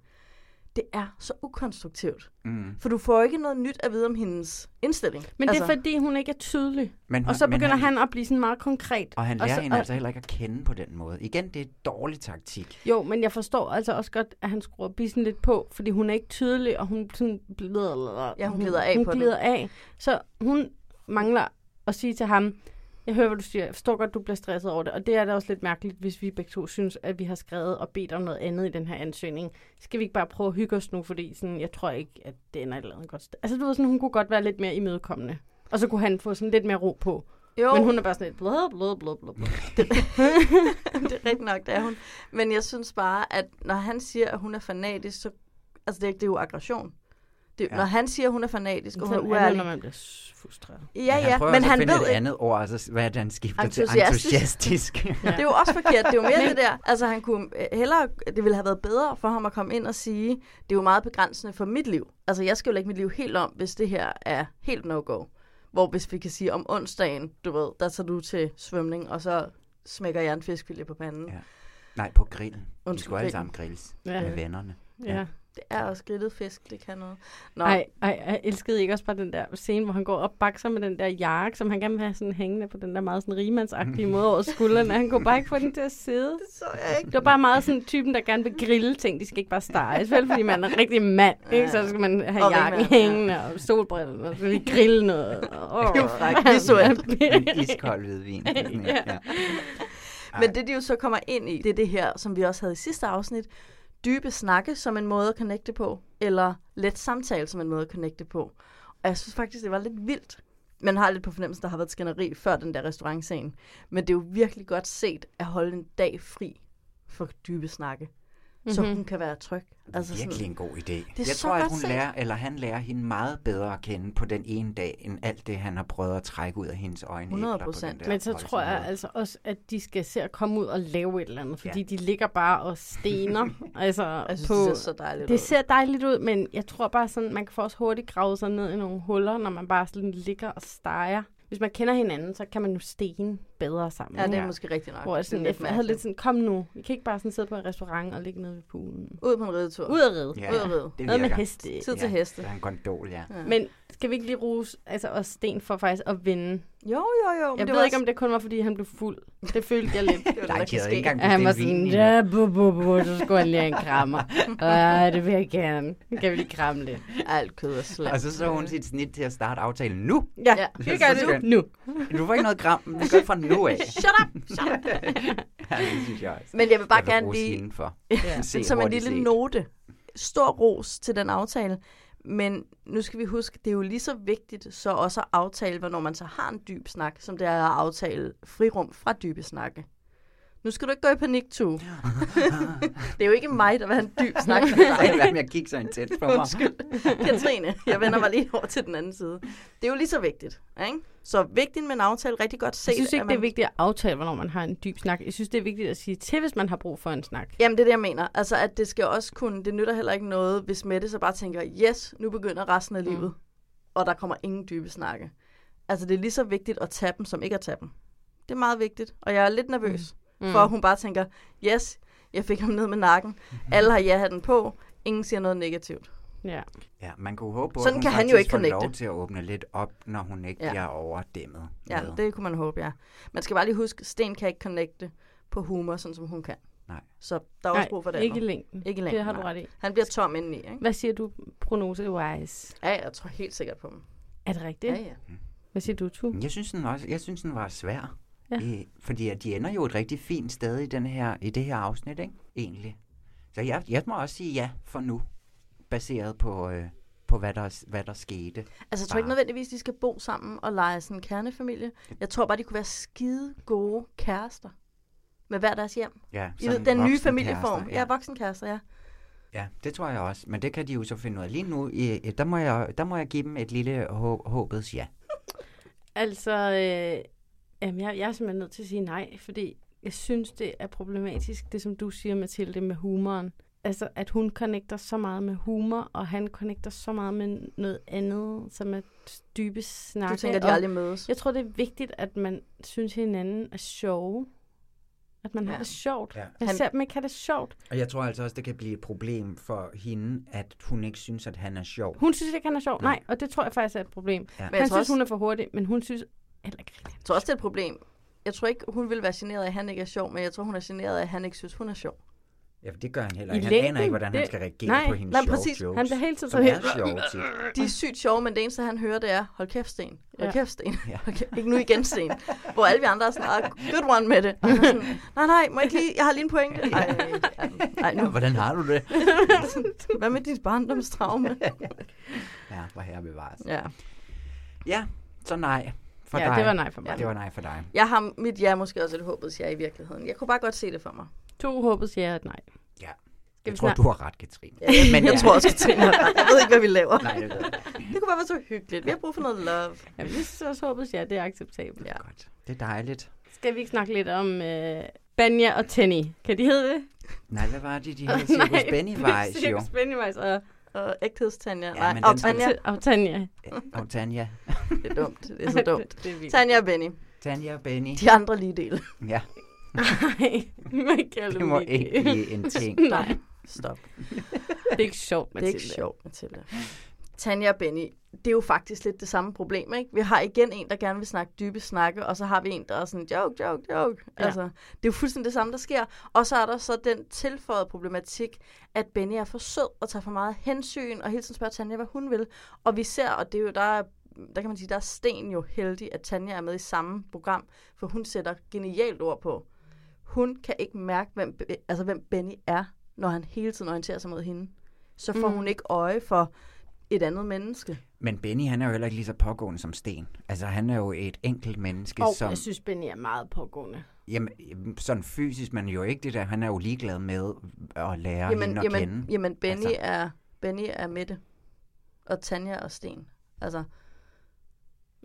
det er så ukonstruktivt. Mm. For du får ikke noget nyt at vide om hendes indstilling. Men det er, fordi hun ikke er tydelig. Men og hun- så men begynder han- han at blive sådan meget konkret. Og han så- lærer hende altså heller ikke at kende på den måde. Igen, det er dårlig taktik. Jo, men jeg forstår altså også godt, at han skruer bissen lidt på, fordi hun er ikke tydelig, og hun sådan glider, Ja, hun glider af hun på den. glider af. Så hun mangler at sige til ham, jeg hører, hvad du siger. Jeg forstår godt, du bliver stresset over det. Og det er da også lidt mærkeligt, hvis vi begge to synes, at vi har skrevet og bedt om noget andet i den her ansøgning. Skal vi ikke bare prøve at hygge os nu, fordi sådan, jeg tror ikke, at det ender et eller andet godt sted. Altså, du ved, sådan, hun kunne godt være lidt mere imødekommende. Og så kunne han få sådan lidt mere ro på. Jo. Men hun er bare sådan lidt blad, blad, blad, blad, blad. det er rigtigt nok, det er hun. Men jeg synes bare, at når han siger, at hun er fanatisk, så... Altså, det er, det er jo aggression. Det, ja. Ja. Når han siger, at hun er fanatisk, og hun er Sådan er det, uærlig... når man bliver s- frustreret. Ja, han ja, prøver men altså han at finde ved et ikke... andet ord, altså, hvad er det, han skifter Entusiastisk. til entusiastisk. Ja. Det er jo også forkert. Det er jo mere det der. Altså, han kunne øh, hellere, det ville have været bedre for ham at komme ind og sige, det er jo meget begrænsende for mit liv. Altså, jeg skal jo lægge mit liv helt om, hvis det her er helt no-go. Hvor hvis vi kan sige, om onsdagen, du ved, der tager du til svømning, og så smækker jeg en fiskfilet på panden. Ja. Nej, på grillen. Undskyld, Undskyld, De skulle alle grillen. sammen grilles Ja. ja. med vennerne. Ja. Det er også grillet fisk, det kan noget. Nå, Nej, ej, jeg elskede I ikke også bare den der scene, hvor han går op bakser med den der jakke, som han gerne vil have sådan hængende på den der meget sådan rigemandsagtige måde over skuldrene. Han kunne bare ikke få den til at sidde. Det så jeg ikke. Det var bare meget sådan typen, der gerne vil grille ting. De skal ikke bare steges, vel? Fordi man er en rigtig mand, ikke? Så skal man have Og jakken ringmand, ja. hængende og solbrillerne, og så lige grille noget. Og, Det er jo frækt, visuelt. En iskold hvidvin. Sådan en, Ja. ja. Men det, de jo så kommer ind i, det er det her, som vi også havde i sidste afsnit. Dybe snakke som en måde at connecte på, eller let samtale som en måde at connecte på. Og jeg synes faktisk, det var lidt vildt. Man har lidt på fornemmelsen, der har været et skænderi før den der restaurantscene. Men det er jo virkelig godt set at holde en dag fri for dybe snakke. Mm-hmm. Så Mhm. hun kan være tryg. Altså virkelig en god idé. Det er jeg så tror, godt at hun set. lærer, eller han lærer hende meget bedre at kende på den ene dag, end alt det, han har prøvet at trække ud af hendes øjne. 100%. Men så tror jeg altså også, at de skal se at komme ud og lave et eller andet, fordi ja. de Ja. ligger bare og stener. altså, Jeg synes, på, det ser så dejligt det ud. ser dejligt ud, men jeg tror bare sådan, man kan få også hurtigt grave sig ned i nogle huller, når man bare sådan ligger og steger. Hvis man kender hinanden, så kan man jo stene bedre sammen. Ja, det er ikke? måske rigtigt nok. Hvor Det er jeg, sådan, lidt jeg havde lidt mærkeligt. sådan, kom nu, vi kan ikke bare sådan sidde på en restaurant og ligge nede ved poolen. Ud på en ridetur. Ud at ride. Ja, Ud at ride. det Noget med virker. heste. Tid til heste. Der er en gondol, ja. Ja. Men skal vi ikke lige rose altså også Sten for faktisk at vinde? Jo, jo, jo. men Jeg det ved var ikke, også- om det kun var, fordi han blev fuld. Det følte jeg lidt. var det, Nej, der de kunne havde ikke ske. engang At han var bestilt sådan, vin ja, bu, bu, bu, så skulle han lige have en krammer. Ja, det vil jeg gerne. Nu Kan vi lige kramme lidt. Alt kød og slap. Altså, Og så så hun sit snit til at starte aftalen nu. Ja, ja. vi Så gør Altså, det skønt. nu. Du får ikke noget gram, men vi gør det fra nu af. Shut up! Shut up! Ja, det synes jeg også. Men jeg vil bare vil gerne rose lige- hende for. Ja. Se, Som en hurtigt lille set. note. Stor ros til den aftale. Men nu skal vi huske, det er jo lige så vigtigt så også at aftale, hvornår man så har en dyb snak, som det er at aftale frirum fra dybe snakke. Nu skal du ikke gå i panik, Tue. det er jo ikke mig, der vil have en dyb snak med dig. Ej, Lad mig at kigge så intens på mig. Undskyld. Katrine, jeg vender mig lige over til den anden side. Det er jo lige så vigtigt, ikke? Så vigtigt med en aftale, rigtig godt set. Jeg synes at ikke, man... det er vigtigt at aftale, hvornår man har en dyb snak. Jeg synes, det er vigtigt at sige til, hvis man har brug for en snak. Jamen, det er det, jeg mener. Altså, at det skal også kunne... Det nytter heller ikke noget, hvis Mette så bare tænker, yes, nu begynder resten Mm. af livet, og der kommer ingen dybe snakke. Altså, det er lige så vigtigt at tage dem, som ikke at tage dem. Det er meget vigtigt. Og jeg er lidt nervøs, mm. for at hun bare tænker, yes, jeg fik ham ned med nakken. Alle har ja-hatten på. Ingen siger noget negativt. Ja. Ja, man kunne håbe på, Sådan at hun kan han jo faktisk ikke får lov connecte. til at åbne lidt op, når hun ikke Ja. ja. bliver overdæmmet. Ja, med- det kunne man håbe, ja. Man skal bare lige huske, Sten kan ikke connecte på humor, sådan som hun kan. Nej. Så der er Nej, også brug for det ikke andet. i længden. Ikke Det i længden, har du nej. ret i. Han bliver tom indeni, ikke? Hvad siger du prognose-wise? Ja, jeg tror helt sikkert på dem. Er det rigtigt? Ja, ja. Hvad siger du, Tu? Jeg synes, den også, jeg synes, den var svær. Ja. Ja. Øh, fordi at de ender jo et rigtig fint sted i, den her, i det her afsnit, ikke? egentlig. Så jeg, jeg må også sige ja for nu, baseret på, øh, på hvad, der, hvad der skete. Altså, jeg tror ikke Bare- nødvendigvis, de skal bo sammen og lege sådan en kernefamilie. Jeg tror bare, de kunne være skide gode kærester. Med hver deres hjem. Ja, I ved, sådan den nye voksenkærester, familieform. Ja, ja. voksenkærester, ja. Ja, det tror jeg også. Men det kan de jo så finde ud af lige nu. Øh, der, må jeg, der må jeg give dem et lille hå- håbets ja. Altså, øh, jamen, jeg, jeg er simpelthen nødt til at sige nej, fordi jeg synes, det er problematisk, det som du siger, Mathilde, med humoren. Altså, at hun connecter så meget med humor, og han connecter så meget med noget andet, som er dybe snakke. tænker, de og aldrig mødes? Jeg tror, det er vigtigt, at man synes, hinanden er sjove. At man ja. har Ja. det sjovt. Ja. Ja. Jeg Han- ser dem ikke have det sjovt. Og jeg tror altså også, det kan blive et problem for hende, at hun ikke synes, at han er sjov. Hun synes ikke, han er sjov. Nej, og det tror jeg faktisk er et problem. Ja. Ja. Men jeg Han tror synes, også- hun er for hurtig, men hun synes heller ikke rigtigt. Jeg tror også, det er et problem. Jeg tror ikke, hun ville være generet af, at han ikke er sjov, men jeg tror, hun er generet af, at han ikke synes, hun er sjov. Ja, for det gør han heller I ikke. Han længden, aner ikke, hvordan han det- skal reagere nej, på hendes nej, sjove præcis. jokes. Han bliver hele tiden som så er helt- sjove tit. De er sygt sjove, men det eneste, han hører, det er, hold kæft, Sten. Hold Ja. kæft, Sten. Ja. Hold kæft. Ikke nu igen, Sten. Hvor alle vi andre er sådan, ah, good one med det. Og han er sådan, nej, nej, må jeg ikke lige, jeg har lige en pointe. Ej, ej, ej, nu. Hvordan har du det? Hvad med dit barndomstraume? Ja, hvor herre bevares. Ja. ja, så nej for Ja, dig. det var nej for mig. Det var nej for dig. Jeg har mit ja måske også et håbet ja i virkeligheden. Jeg kunne bare godt se det for mig. To håbet siger jeg nej. Ja. vi Jeg tror, snart- du har ret, Katrine. Ja, jeg, Men jeg ja. tror også, Katrine har ret. Jeg ved ikke, hvad vi laver. Nej, det ved jeg Det kunne bare være så hyggeligt. Vi har brug for noget love. Jamen, jeg synes også håbet siger, det er acceptabelt. Ja. Godt. Det er dejligt. Skal vi ikke snakke lidt om øh, Banja og Tenny? Kan de hedde det? Nej, hvad var det, de hed? Cirkus Bennywise, jo. Cirkus Bennywise og, Og ægthedstanja. Ja, Nej, men og den skal- Tanja. og Tanja. Og Tanja. Det er dumt. Det er så dumt. det, det er vildt. Tanja og Benny. Tanja og Benny. De andre lige dele. Ja, Nej, man kan det må ikke. ikke blive en ting. Nej, Stop. det er ikke sjovt, Det er Mathilde. ikke sjovt, Mathilde. Tanja og Benny, det er jo faktisk lidt det samme problem, ikke? Vi har igen en, der gerne vil snakke dybe snakke, og så har vi en, der er sådan, joke, joke, joke. Ja. Ja. Altså, det er jo fuldstændig det samme, der sker. Og så er der så den tilføjede problematik, at Benny er for sød og tager for meget hensyn, og hele tiden spørger Tanja, hvad hun vil. Og vi ser, og det er jo, der er der kan man sige, der er Sten jo heldig, at Tanja er med i samme program, for hun sætter genialt ord på. Hun kan ikke mærke, hvem, Be- altså, hvem Benny er, når han hele tiden orienterer sig mod hende. Så får mm. hun ikke øje for et andet menneske. Men Benny, han er jo heller ikke lige så pågående som Sten. Altså, han er jo et enkelt menneske, Og som... jeg synes, Benny er meget pågående. Jamen, jamen, sådan fysisk, men jo ikke det der. Han er jo ligeglad med at lære jamen, Jamen, hende at jamen, jamen, kende. jamen Benny, altså. Altså. er, Benny er Mette, og Tanja og Sten. Altså,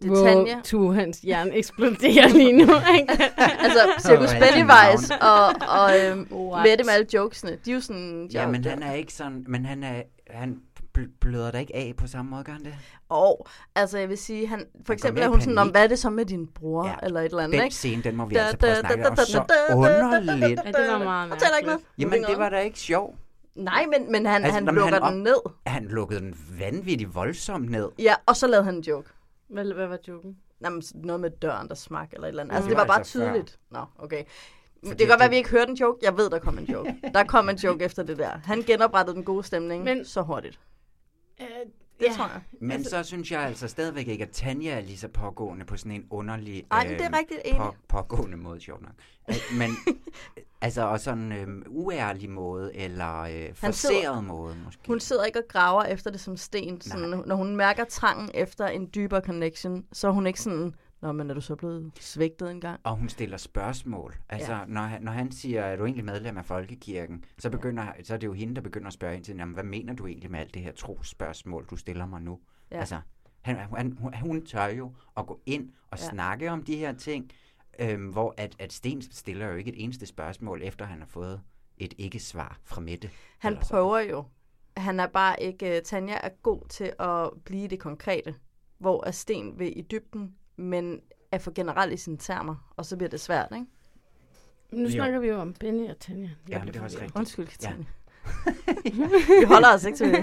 det er Hvor Tanja. Tu, hans hjerne eksploderer lige nu. Ikke? Altså, Circus Alright. Bennyvice og, og øhm, What? Mette med alle jokesene, de er jo sådan... Ja, men joke. han er ikke sådan... Men han er... Han bl- bløder da ikke af på samme måde, gør han det? Og altså, jeg vil sige, han, for Han eksempel kommer er i hun sådan, om, panik." hvad er det så med din bror, ja. Ja, eller et eller andet, Den ikke? scene, den må vi Da, altså prøve at da, snakke da, om. da, Så da, da, da, underligt. Ja, det var meget Og taler ikke med. Jamen, det var da ikke sjovt. Nej, men, men han, altså, Altså, han når man- lukker han den op- ned. Han lukkede den vanvittigt voldsomt ned. Ja, og så lavede han en joke. Hvad, hvad var joken? Nej, men noget med døren, der smak, eller et eller andet. Altså, Det det var var bare altså før. tydeligt. Nå, okay. det Fordi kan godt være, at det- vi ikke hørte en joke. Jeg ved, der kom en joke. Der kom en joke efter det der. Han genoprettede den gode stemning men, Men- så hurtigt. Uh, Det ja. tror jeg. Men så synes jeg altså stadigvæk ikke, at Tanja er lige så pågående på sådan en underlig... Ej, men det er rigtigt, enig. pågående måde, sjovt nok. Al- Men, altså, og sådan øhm, uærlig måde, eller øh, sidder- forseret måde, måske. Hun sidder ikke og graver efter det som sten. Sådan, når hun mærker trangen efter en dybere connection, så er hun ikke sådan, Nå, men er du så blevet svigtet engang? Og hun stiller spørgsmål. Altså, Ja. ja. når, han- når han siger, er du egentlig medlem af Folkekirken, så, begynder, så er det jo hende, der begynder at spørge ind til, "Jamen, hvad mener du egentlig med alt det her trosspørgsmål, du stiller mig nu? Ja. Ja. Altså, han, han, hun, hun tør jo at gå ind og Ja. ja. snakke om de her ting, øhm, hvor at, at Sten stiller jo ikke et eneste spørgsmål, efter han har fået et ikke-svar fra Mette. Han eller sådan. prøver jo. Han er bare ikke... øh, Tanja er god til at blive i det konkrete, hvor er Sten ved i dybden, men er for generelt i sine termer, og så bliver det svært, ikke? Nu Jo. snakker vi jo om Benny og Tanja. Jeg Jamen, blev det er også forvirret. rigtigt. Undskyld, Katrine. Vi holder os ikke til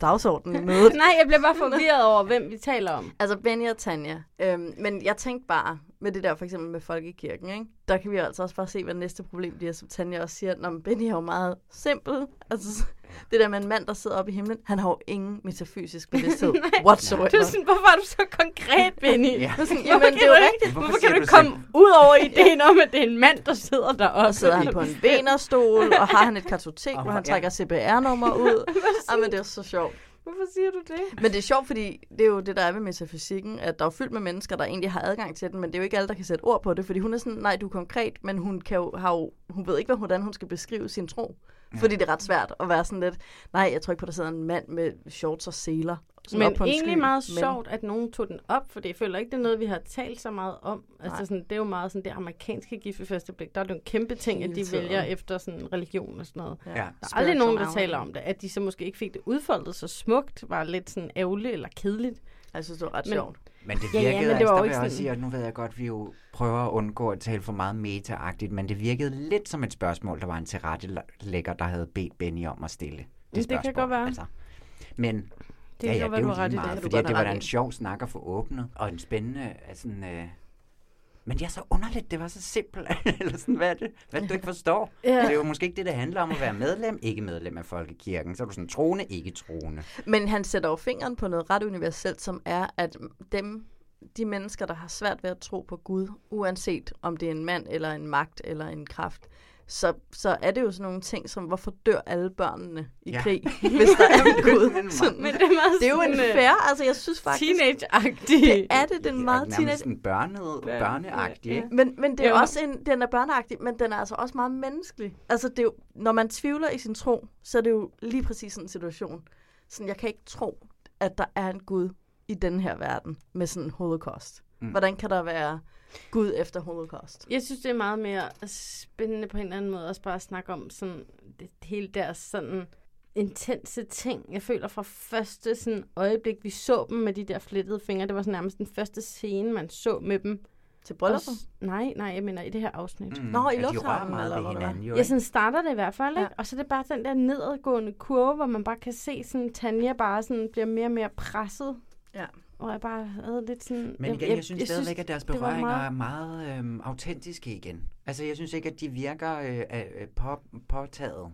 dagsordenen. Mødet. Nej, jeg bliver bare forvirret over, hvem vi taler om. Altså Benny og Tanja. Øhm, men jeg tænkte bare med det der for eksempel med folkekirken, ikke? der kan vi jo altså også bare se, hvad næste problem bliver, som Tanja også siger. Nå, men Benny er jo meget simpel. Altså, det der med en mand, der sidder oppe i himlen, han har jo ingen metafysisk bevidsthed whatsoever. Du er sådan, hvorfor er du så konkret, Benny? Ja. Du er Sådan, Hvorfor Jamen, kan det er du jo ikke- rigtigt. Hvorfor Hvorfor kan siger du du ikke komme ud over ideen om, at det er en mand, der sidder deroppe? Og sidder han på en venerstol, og har han et kartotek, hvor han ja. trækker CPR-nummer ud. Jamen, det er så sjovt. Hvorfor siger du det? Men det er sjovt, fordi det er jo det, der er ved metafysikken, at der er fyldt med mennesker, der egentlig har adgang til den, men det er jo ikke alle, der kan sætte ord på det, fordi hun er sådan, nej, du er konkret, men hun, kan jo, har jo, hun ved ikke, hvordan hun skal beskrive sin tro. Mm. Fordi det er ret svært at være sådan lidt, nej, jeg tror ikke på, der sidder en mand med shorts og seler. sådan op på Men en egentlig sky, meget men- sjovt, at nogen tog den op, for jeg føler ikke, det er noget, vi har talt så meget om. Altså, Nej. sådan, det er jo meget sådan det amerikanske gift ved første blik. Der er det jo en kæmpe ting, at Hele de tiden. vælger efter sådan religion og sådan noget. Ja. Der er aldrig Spiritual nogen, der hour. taler om det. At de så måske ikke fik det udfoldet så smukt, var lidt sådan ærgerligt eller kedeligt. Jeg synes, det var ret sjovt. Men det virkede ja, ja, men det var altså, der vil jeg også sige, at nu ved jeg godt, at vi jo prøver at undgå at tale for meget meta-agtigt, men det virkede lidt som et spørgsmål, der var en tilrettelægger, der havde bedt Benny om at stille det det spørgsmål. kan godt være. Altså. Men kan det ja, ja, godt det være, er du jo har ret i lige det. Det kan du meget, fordi godt det have var da ret en i. sjov snak at få åbnet, og en spændende, altså, øh, men det er så underligt, det var så simpelt, eller sådan, hvad er det, hvad er det, du ikke forstår? Ja. Ja. Det er jo måske ikke det, det handler om at være medlem, ikke medlem af Folkekirken, så er du sådan troende, ikke troende. Men han sætter jo fingeren på noget ret universelt, som er, at dem, de mennesker, der har svært ved at tro på Gud, uanset om det er en mand, eller en magt, eller en kraft, så, så er det jo sådan nogle ting som, hvorfor dør alle børnene i ja. Ja. krig, hvis der er en Gud? Sådan. Men det er meget det er jo en sådan, øh, fair, altså jeg synes faktisk... teenage-agtig. Det er det, den er meget Nærmest teenage... sådan børnet, børneagtig, ikke? Men, men det er Jo. også en, den er børneagtig, men den er altså også meget menneskelig. Altså, det er jo, når man tvivler i sin tro, så er det jo lige præcis sådan en situation. Sådan, jeg kan ikke tro, at der er en Gud i den her verden med sådan en holocaust. Mm. Mm. Hvordan kan der være Gud efter holocaust? Jeg synes, det er meget mere spændende på en eller anden måde, også bare at snakke om sådan, det, hele deres sådan intense ting. Jeg føler fra første sådan, øjeblik, vi så dem med de der flettede fingre, det var sådan nærmest den første scene, man så med dem. Til brylluppet? brylluppet? Nej, nej, jeg mener i det her afsnit. Mm, Nå, i at de lufthavnen, rører meget eller ved hvor det var. hinanden, jo, Ja, ikke? sådan starter det i hvert fald, ikke? Ja. Og så er det bare den der nedadgående kurve, hvor man bare kan se sådan, Tanja bare sådan bliver mere og mere presset. Ja. Og jeg bare havde lidt sådan... Men igen, jeg, jeg synes jeg stadigvæk, at deres det var berøringer meget... er meget øhm, autentiske igen. Altså, jeg synes ikke, at de virker øh, øh, på, påtaget.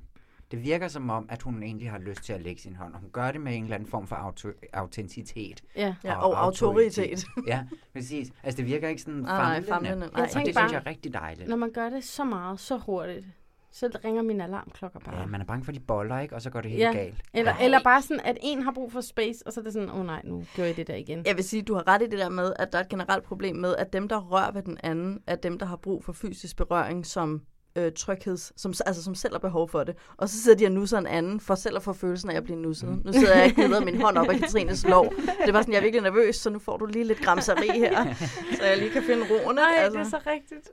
Det virker som om, at hun egentlig har lyst til at lægge sin hånd, og hun gør det med en eller anden form for auto- autenticitet. Ja. Ja, og autoritet. ja, præcis. Altså, det virker ikke sådan Nej, nej, famlende. famlende, nej. Og det Jeg tænker synes jeg bare- er rigtig dejligt. Når man gør det så meget, så hurtigt, så ringer min alarmklokker bare. Ja, man er bange for, at de boller, ikke? Og så går det helt galt. Eller, Ej. eller bare sådan, at en har brug for space, og så er det sådan, åh oh, nej, nu gjorde jeg det der igen. Jeg vil sige, du har ret i det der med, at der er et generelt problem med, at dem, der rører ved den anden, er dem, der har brug for fysisk berøring som øh, trygheds, som, altså som selv har behov for det. Og så sidder de og nusser en anden, for selv at få følelsen af at blive nusset. Mm. Nu sidder jeg og gnider min hånd op af Katrines lov. Det var sådan, jeg er virkelig nervøs, så nu får du lige lidt gramseri her, så jeg lige kan finde roen. Nej, ikke? altså. det er så rigtigt.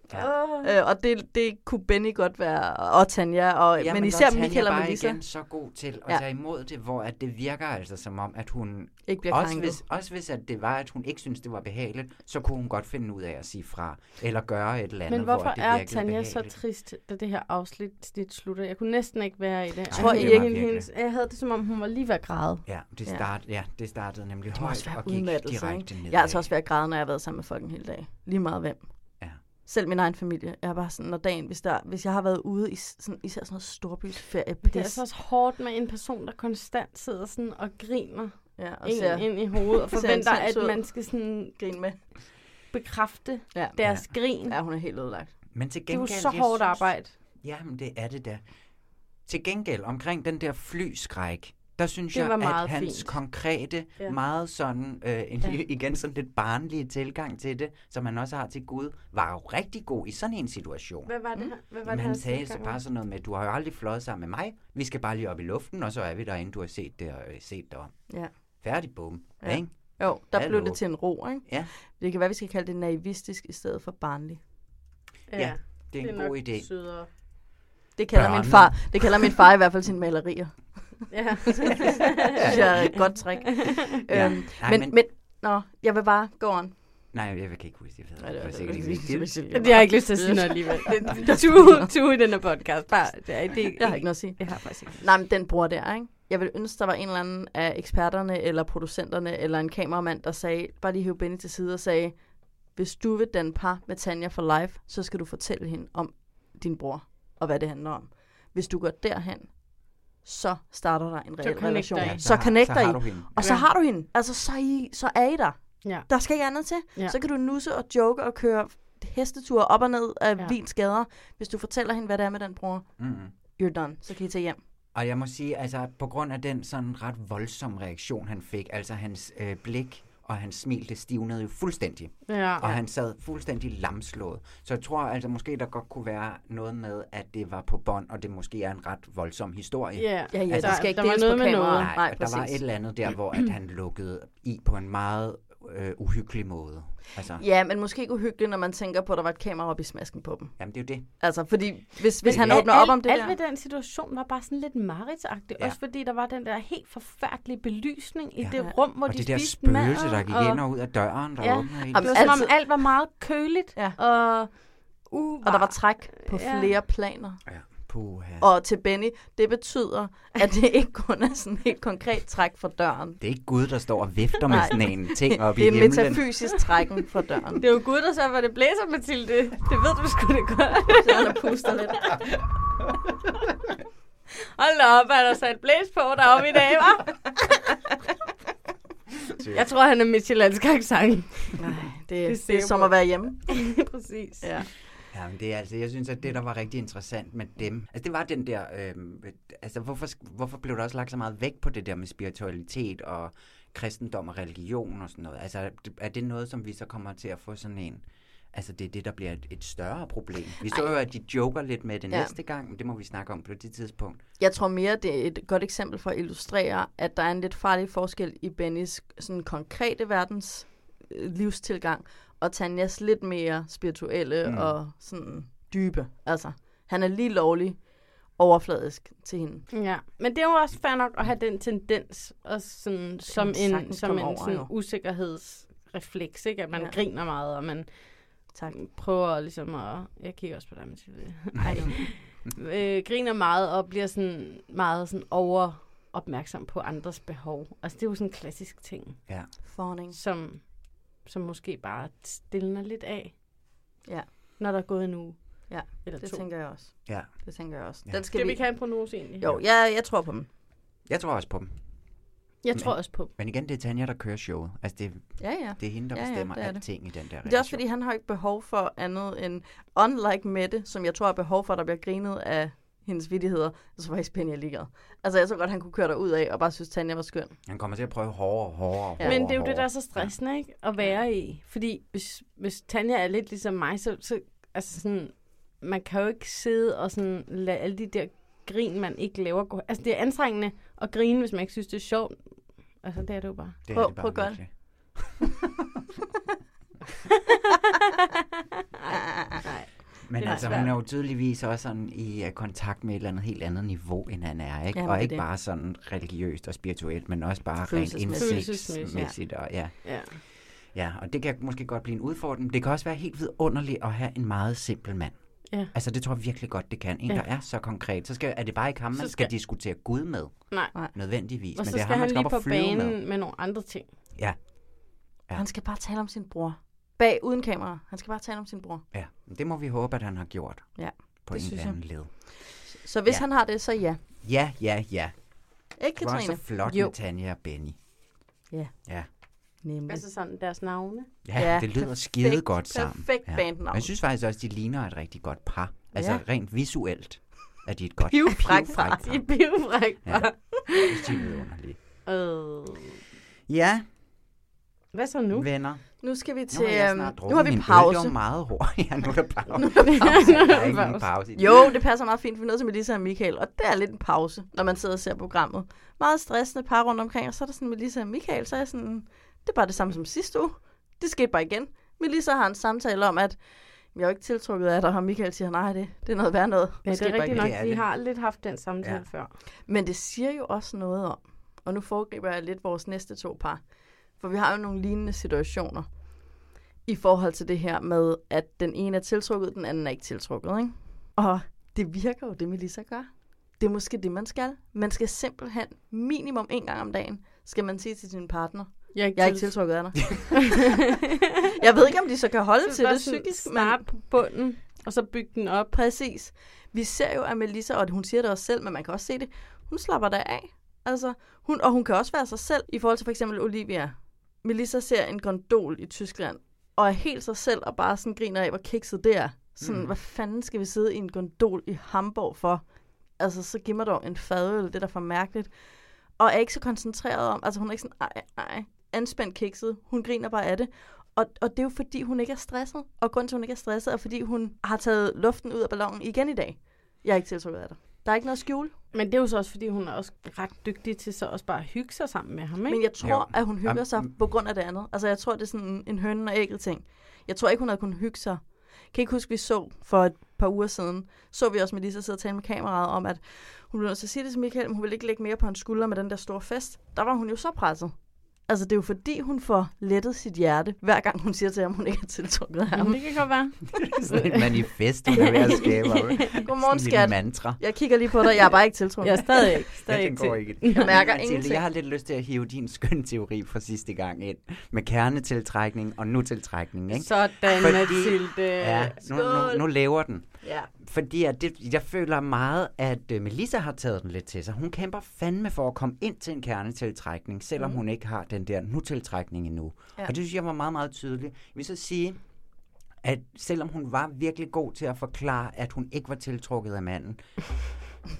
Ja. Øh, og det, det kunne Benny godt være, og Tanja, og, ja, men, men der især er Tanja Michael og bare Melissa. Igen, så god til at Ja. ja. tage imod det, hvor at det virker altså som om, at hun... Ikke bliver også krænket. hvis, også hvis at det var, at hun ikke synes det var behageligt, så kunne hun godt finde ud af at sige fra, eller gøre et eller andet, Men hvorfor hvor det er virkede Tanja behageligt. så trist, da det her afsnit snit slutter? Jeg kunne næsten ikke være i det. Jeg tror I ikke? Hendes, jeg havde det, som om hun var lige ved at græde. Ja, det, start, ja. ja, det startede nemlig Det må også højt være og gik udmattelse. direkte ikke? ned. Jeg har altså også været græde, når jeg har været sammen med folk en hel dag. Lige meget hvem. Ja. Selv min egen familie. Jeg er bare sådan, når dagen, hvis, der, hvis jeg har været ude i s- sådan, især sådan noget storbysferie, Det er altså også hårdt med en person, der konstant sidder sådan og griner Ja, og en ser- ind i hovedet, og ser forventer, at intens ud. man skal sådan grine med. bekræfte ja. deres ja. grin. Ja, hun er helt ødelagt. Men til Det er jo gengæld, så jeg hårdt synes- arbejde. Jamen, det er det der. Til gengæld, omkring den der flyskræk, der synes Det jeg, var at meget hans fint. konkrete, Ja. ja. meget sådan, øh, en, Ja. ja. igen sådan lidt barnlige tilgang til det, som han også har til Gud, var jo rigtig god i sådan en situation. Hvad var det her? Hvad var Mm. Jamen, det han her sagde så tilgang? bare sådan noget med, du har jo aldrig fløjet sammen med mig, vi skal bare lige op i luften, og så er vi derinde, du har set det og øh, set dig om. Ja. Færdig, bum. Ja. Ikke? Jo, der Hallo. blev det til en ro, ikke? Ja. Det kan være, vi skal kalde det naivistisk i stedet for barnlig. Ja, det er det er en god nok idé. Sødere. Det kalder, min Børnet. far, det kalder min far i hvert fald sine malerier. Ja. det synes jeg er et godt trick. Ja. Øhm, Nej, men, men, men- men, nå, jeg vil bare gå on. Nej, jeg, jeg kan ikke huske det. Jeg ved Nej, det var- faktisk det var altså ikke, lige det er Cecilie. vigtigt. Det har jeg ikke lyst til at sige noget alligevel. Det- Du, du i den her podcast. Bare, det, er, det, Jeg har ikke noget at sige. Jeg har faktisk ikke. Nej, men den bruger der, ikke? Jeg ville ønske, der var en eller anden af eksperterne, eller producenterne, eller en kameramand, der sagde, bare lige hæve Benny til side og sagde, hvis du vil den par med Tanja for live, så skal du fortælle hende om din bror, og hvad det handler om. Hvis du går derhen, så starter der en reel connecter relation. I. Ja, så så har- connecter så har I. du hende. Og så Ja. har du hende. Altså, så er, I, så er I der. Ja. Der skal ikke andet til. Ja. Ja. Så kan du nusse og joke og køre hesteture op og ned af ja. Vins gader, hvis du fortæller hende, hvad det er med den bror. Mhm. You're done. Så kan I tage hjem. Og jeg må sige, altså på grund af den sådan ret voldsomme reaktion, han fik, altså hans øh, blik og hans smil, det stivnede jo fuldstændig. Ja. Og han sad fuldstændig lamslået. Så jeg tror altså måske, der godt kunne være noget med, at det var på bånd, og det måske er en ret voldsom historie. Ja, ja, Altså, der skal ikke der var deles noget på med kamera. noget. Nej, Nej, og der var præcis. et eller andet der, hvor at han lukkede i på en meget øh, uhyggelig måde. Altså, Ja, men måske ikke uhyggeligt, når man tænker på, at der var et kamera oppe i smasken på dem. Jamen, det er jo det. Altså, fordi hvis, hvis Men han alt- åbner op om det alt der... Alt ved den situation var bare sådan lidt mareridsagtigt. Ja. Ja. Også fordi der var den der helt forfærdelige belysning i ja. det Ja. rum, hvor og de det der spiste spøgelse, maden, der gik og... ind og ud af døren, der Ja. åbnede Jamen, hele det var som om altid- alt var meget køligt. Ja. Og, uh, Og der var træk på Ja. flere planer. Ja, puha. Og til Benny, det betyder, at det ikke kun er sådan et helt konkret træk fra døren. Det er ikke Gud, der står og vifter med Nej. sådan en ting op i Det er en himlen. metafysisk trækken fra døren. Det er jo Gud, der så, hvor det blæser, Mathilde. Det ved du sgu det godt. Så der puster lidt. Hold da op, han har sat blæs på deroppe i dag, hva'? Jeg tror, han er midtjyllandsk accent. Nej, det, Det det, ser det er som ud. at være hjemme. Præcis. Ja. Ja, men det er altså, jeg synes, at det, der var rigtig interessant med dem, altså det var den der, øh, altså hvorfor, sk- hvorfor blev der også lagt så meget vægt på det der med spiritualitet og kristendom og religion og sådan noget? Altså er det- er det noget, som vi så kommer til at få sådan en, altså det er det, der bliver et, et større problem? Vi så jo, at de joker lidt med det Ja. ja. næste gang, men det må vi snakke om på det tidspunkt. Jeg tror mere, det er et godt eksempel for at illustrere, at der er en lidt farlig forskel i Bennys sådan konkrete verdens øh, livstilgang, og Tanjas lidt mere spirituelle Mm. mm. og sådan dybe. Altså, han er lige lovlig overfladisk til hende. Ja, men det er jo også fair nok at have den tendens og sådan, som man en, sagtens som en komme over, over, sådan jo. usikkerhedsrefleks, ikke? At man ja. Ja. griner meget, og man tak. prøver ligesom at... Jeg kigger også på dig, Mathilde. Ej. øh, griner meget og bliver sådan meget sådan over opmærksom på andres behov. Altså, det er jo sådan en klassisk ting, Ja. Fawning. som, som måske bare stiller lidt af, Ja. når der er gået en uge. Ja, Eller det to. tænker jeg også. Ja. Det tænker jeg også. Ja. Den Skal, vi ikke have en prognose egentlig? Jo, jeg, jeg tror på dem. Jeg tror også på dem. Jeg Men- tror også på dem. Men igen, det er Tanja, der kører showet. Altså det, Ja, ja. det er hende, der Ja, ja, bestemmer det er det. alting i den der Det er også fordi, han har ikke behov for andet end, unlike Mette, som jeg tror er behov for, at der bliver grinet af hendes vidtigheder, så var faktisk Benny er ligeglad. Altså, jeg så godt, han kunne køre derud af og bare synes, Tanja var skøn. Han kommer til at prøve hårdere og hårdere og Ja. hårdere. Men det er jo det, der er så hårdere. stressende, ikke? At være i. Fordi hvis, hvis Tanja er lidt ligesom mig, så, så altså sådan, man kan jo ikke sidde og sådan lade alle de der grin, man ikke laver, gå. Altså, det er anstrengende at grine, hvis man ikke synes, det er sjovt. Altså, det er det jo bare. Det er Prøv- det bare prøv at gøre det. virkelig. Nej. Men Det er altså, svært. hun er jo tydeligvis også sådan i øh, kontakt med et eller andet helt andet niveau, end han er, ikke? Ja, Ja, men det og er ikke det. bare sådan religiøst og spirituelt, men også bare rent Følelsesmæssigt. indsigtsmæssigt. Og, ja. Ja. ja, og det kan måske godt blive en udfordring. Det kan også være helt vidunderligt at have en meget simpel mand. Ja. Altså, det tror jeg virkelig godt, det kan. En, Ja. ja. der er så konkret. Så skal, er det bare ikke ham, man Så skal, skal- skal diskutere Gud med. Nej. Nødvendigvis. Og men så det er skal ham, man han skal lige op på og flyve banen med. med. med nogle andre ting. Ja. Ja. Han skal bare tale om sin bror. Bag, uden kamera. Han skal bare tale om sin bror. ja, det må vi håbe, at han har gjort Ja, på det en synes eller jeg. anden led. Så hvis Ja. ja. han har det, så ja. Ja, ja, ja. Ikke, Det var så Katrine? flot Jo. med Tanja og Benny. Ja. Ja. Nemlig. Altså sådan deres navne. Ja, ja, det lyder skide godt sammen. perfekt ja. bandnavn. Og Jeg synes faktisk også, de ligner et rigtig godt par. Altså Ja. rent visuelt er de et godt Pivfræk pivfrækt par. par. De er pivfræk Ja. par. Jeg synes, de er vidunderlige. Øh. Ja, Hvad så nu? venner. Nu skal vi til... Nu har jeg øhm, snart nu har drukket vi min øl. Det pause. var meget hurtigt. Ja, nu er der pause. Nu er der pause. Der er ikke nogen pause i det. Jo, det passer meget fint. Vi er nødt til Melissa og Michael, og det er lidt en pause, når man sidder og ser programmet. Meget stressende par rundt omkring, og så er der sådan Melissa og Michael, så er jeg sådan, det er bare det samme som sidste uge. Det skete bare igen. Melissa har en samtale om, at jeg er jo ikke tiltrukket af dig, og Michael siger, nej, det, det er noget værd noget. Ja, det skete er bare rigtigt igen." nok. Vi har lidt haft den samtale Ja. før. Men det siger jo også noget om, og nu foregriber jeg lidt vores næste to par, for vi har jo nogle lignende situationer, i forhold til det her med, at den ene er tiltrukket, den anden er ikke tiltrukket. Ikke? Og det virker jo, det Melissa gør. Det er måske det, man skal. Man skal simpelthen minimum en gang om dagen, skal man sige til sin partner, Jeg er ikke jeg er ikke til- tiltrukket af dig. jeg ved ikke, om de så kan holde Så til bare det sådan psykisk. starte på bunden, og så bygge den op. Præcis. Vi ser jo, at Melissa, og hun siger det også selv, men man kan også se det, hun slapper der af. Altså, hun, og hun kan også være sig selv i forhold til for eksempel Olivia. Melissa ser en gondol i Tyskland, og er helt sig selv og bare sådan griner af, hvor kikset det er. Sådan, Mm. mm. hvad fanden skal vi sidde i en gondol i Hamburg for? Altså, så giv mig dog en fadøl, det er da for mærkeligt. Og er ikke så koncentreret om, altså hun er ikke sådan, ej, ej, anspændt kikset. Hun griner bare af det. Og, og det er jo fordi, hun ikke er stresset. Og grunden til, at hun ikke er stresset, er fordi, hun har taget luften ud af ballonen igen i dag. Jeg er ikke tiltrukket af dig. Der er ikke noget skjul. Men det er jo så også, fordi hun er også ret dygtig til så også bare at hygge sig sammen med ham, ikke? Men jeg tror, Jo. jo. at hun hygger Am- sig mm. på grund af det andet. Altså, jeg tror, det er sådan en hønen og ægget ting. Jeg tror ikke, hun havde kunnet hygge sig. Kan ikke huske, vi så for et par uger siden, så vi også Melissa sidde og tale med kameraet om, at hun blev nødt til at sige det til Michael, men hun ville ikke lægge mere på hans skulder med den der store fest. Der var hun jo så presset. Altså, det er jo fordi, hun får lettet sit hjerte, hver gang hun siger til ham, hun ikke er tiltrukket af ham. Det kan godt være. Sådan et manifest, hun er ved at skabe. og- Godmorgen, Sådan en lille skat. mantra. Jeg kigger lige på dig. Jeg er bare ikke tiltrukket. Jeg er stadig ikke. Ja, den går ikke. Jeg mærker Mathilde, ingenting. Jeg har lidt lyst til at hive din skøn teori fra sidste gang ind. Med kernetiltrækning og nu-tiltrækning. Ikke? Sådan, Mathilde. øh, Ja, nu, nu, nu Skål. lever den. Ja. Fordi at det, jeg føler meget, at øh, Melissa har taget den lidt til sig. Hun kæmper fandme for at komme ind til en kernetiltrækning, selvom Mhm. mm. hun ikke har den der nu-tiltrækning endnu. Ja. Ja. Og det synes jeg var meget, meget tydeligt. Jeg vil så sige, at selvom hun var virkelig god til at forklare, at hun ikke var tiltrukket af manden,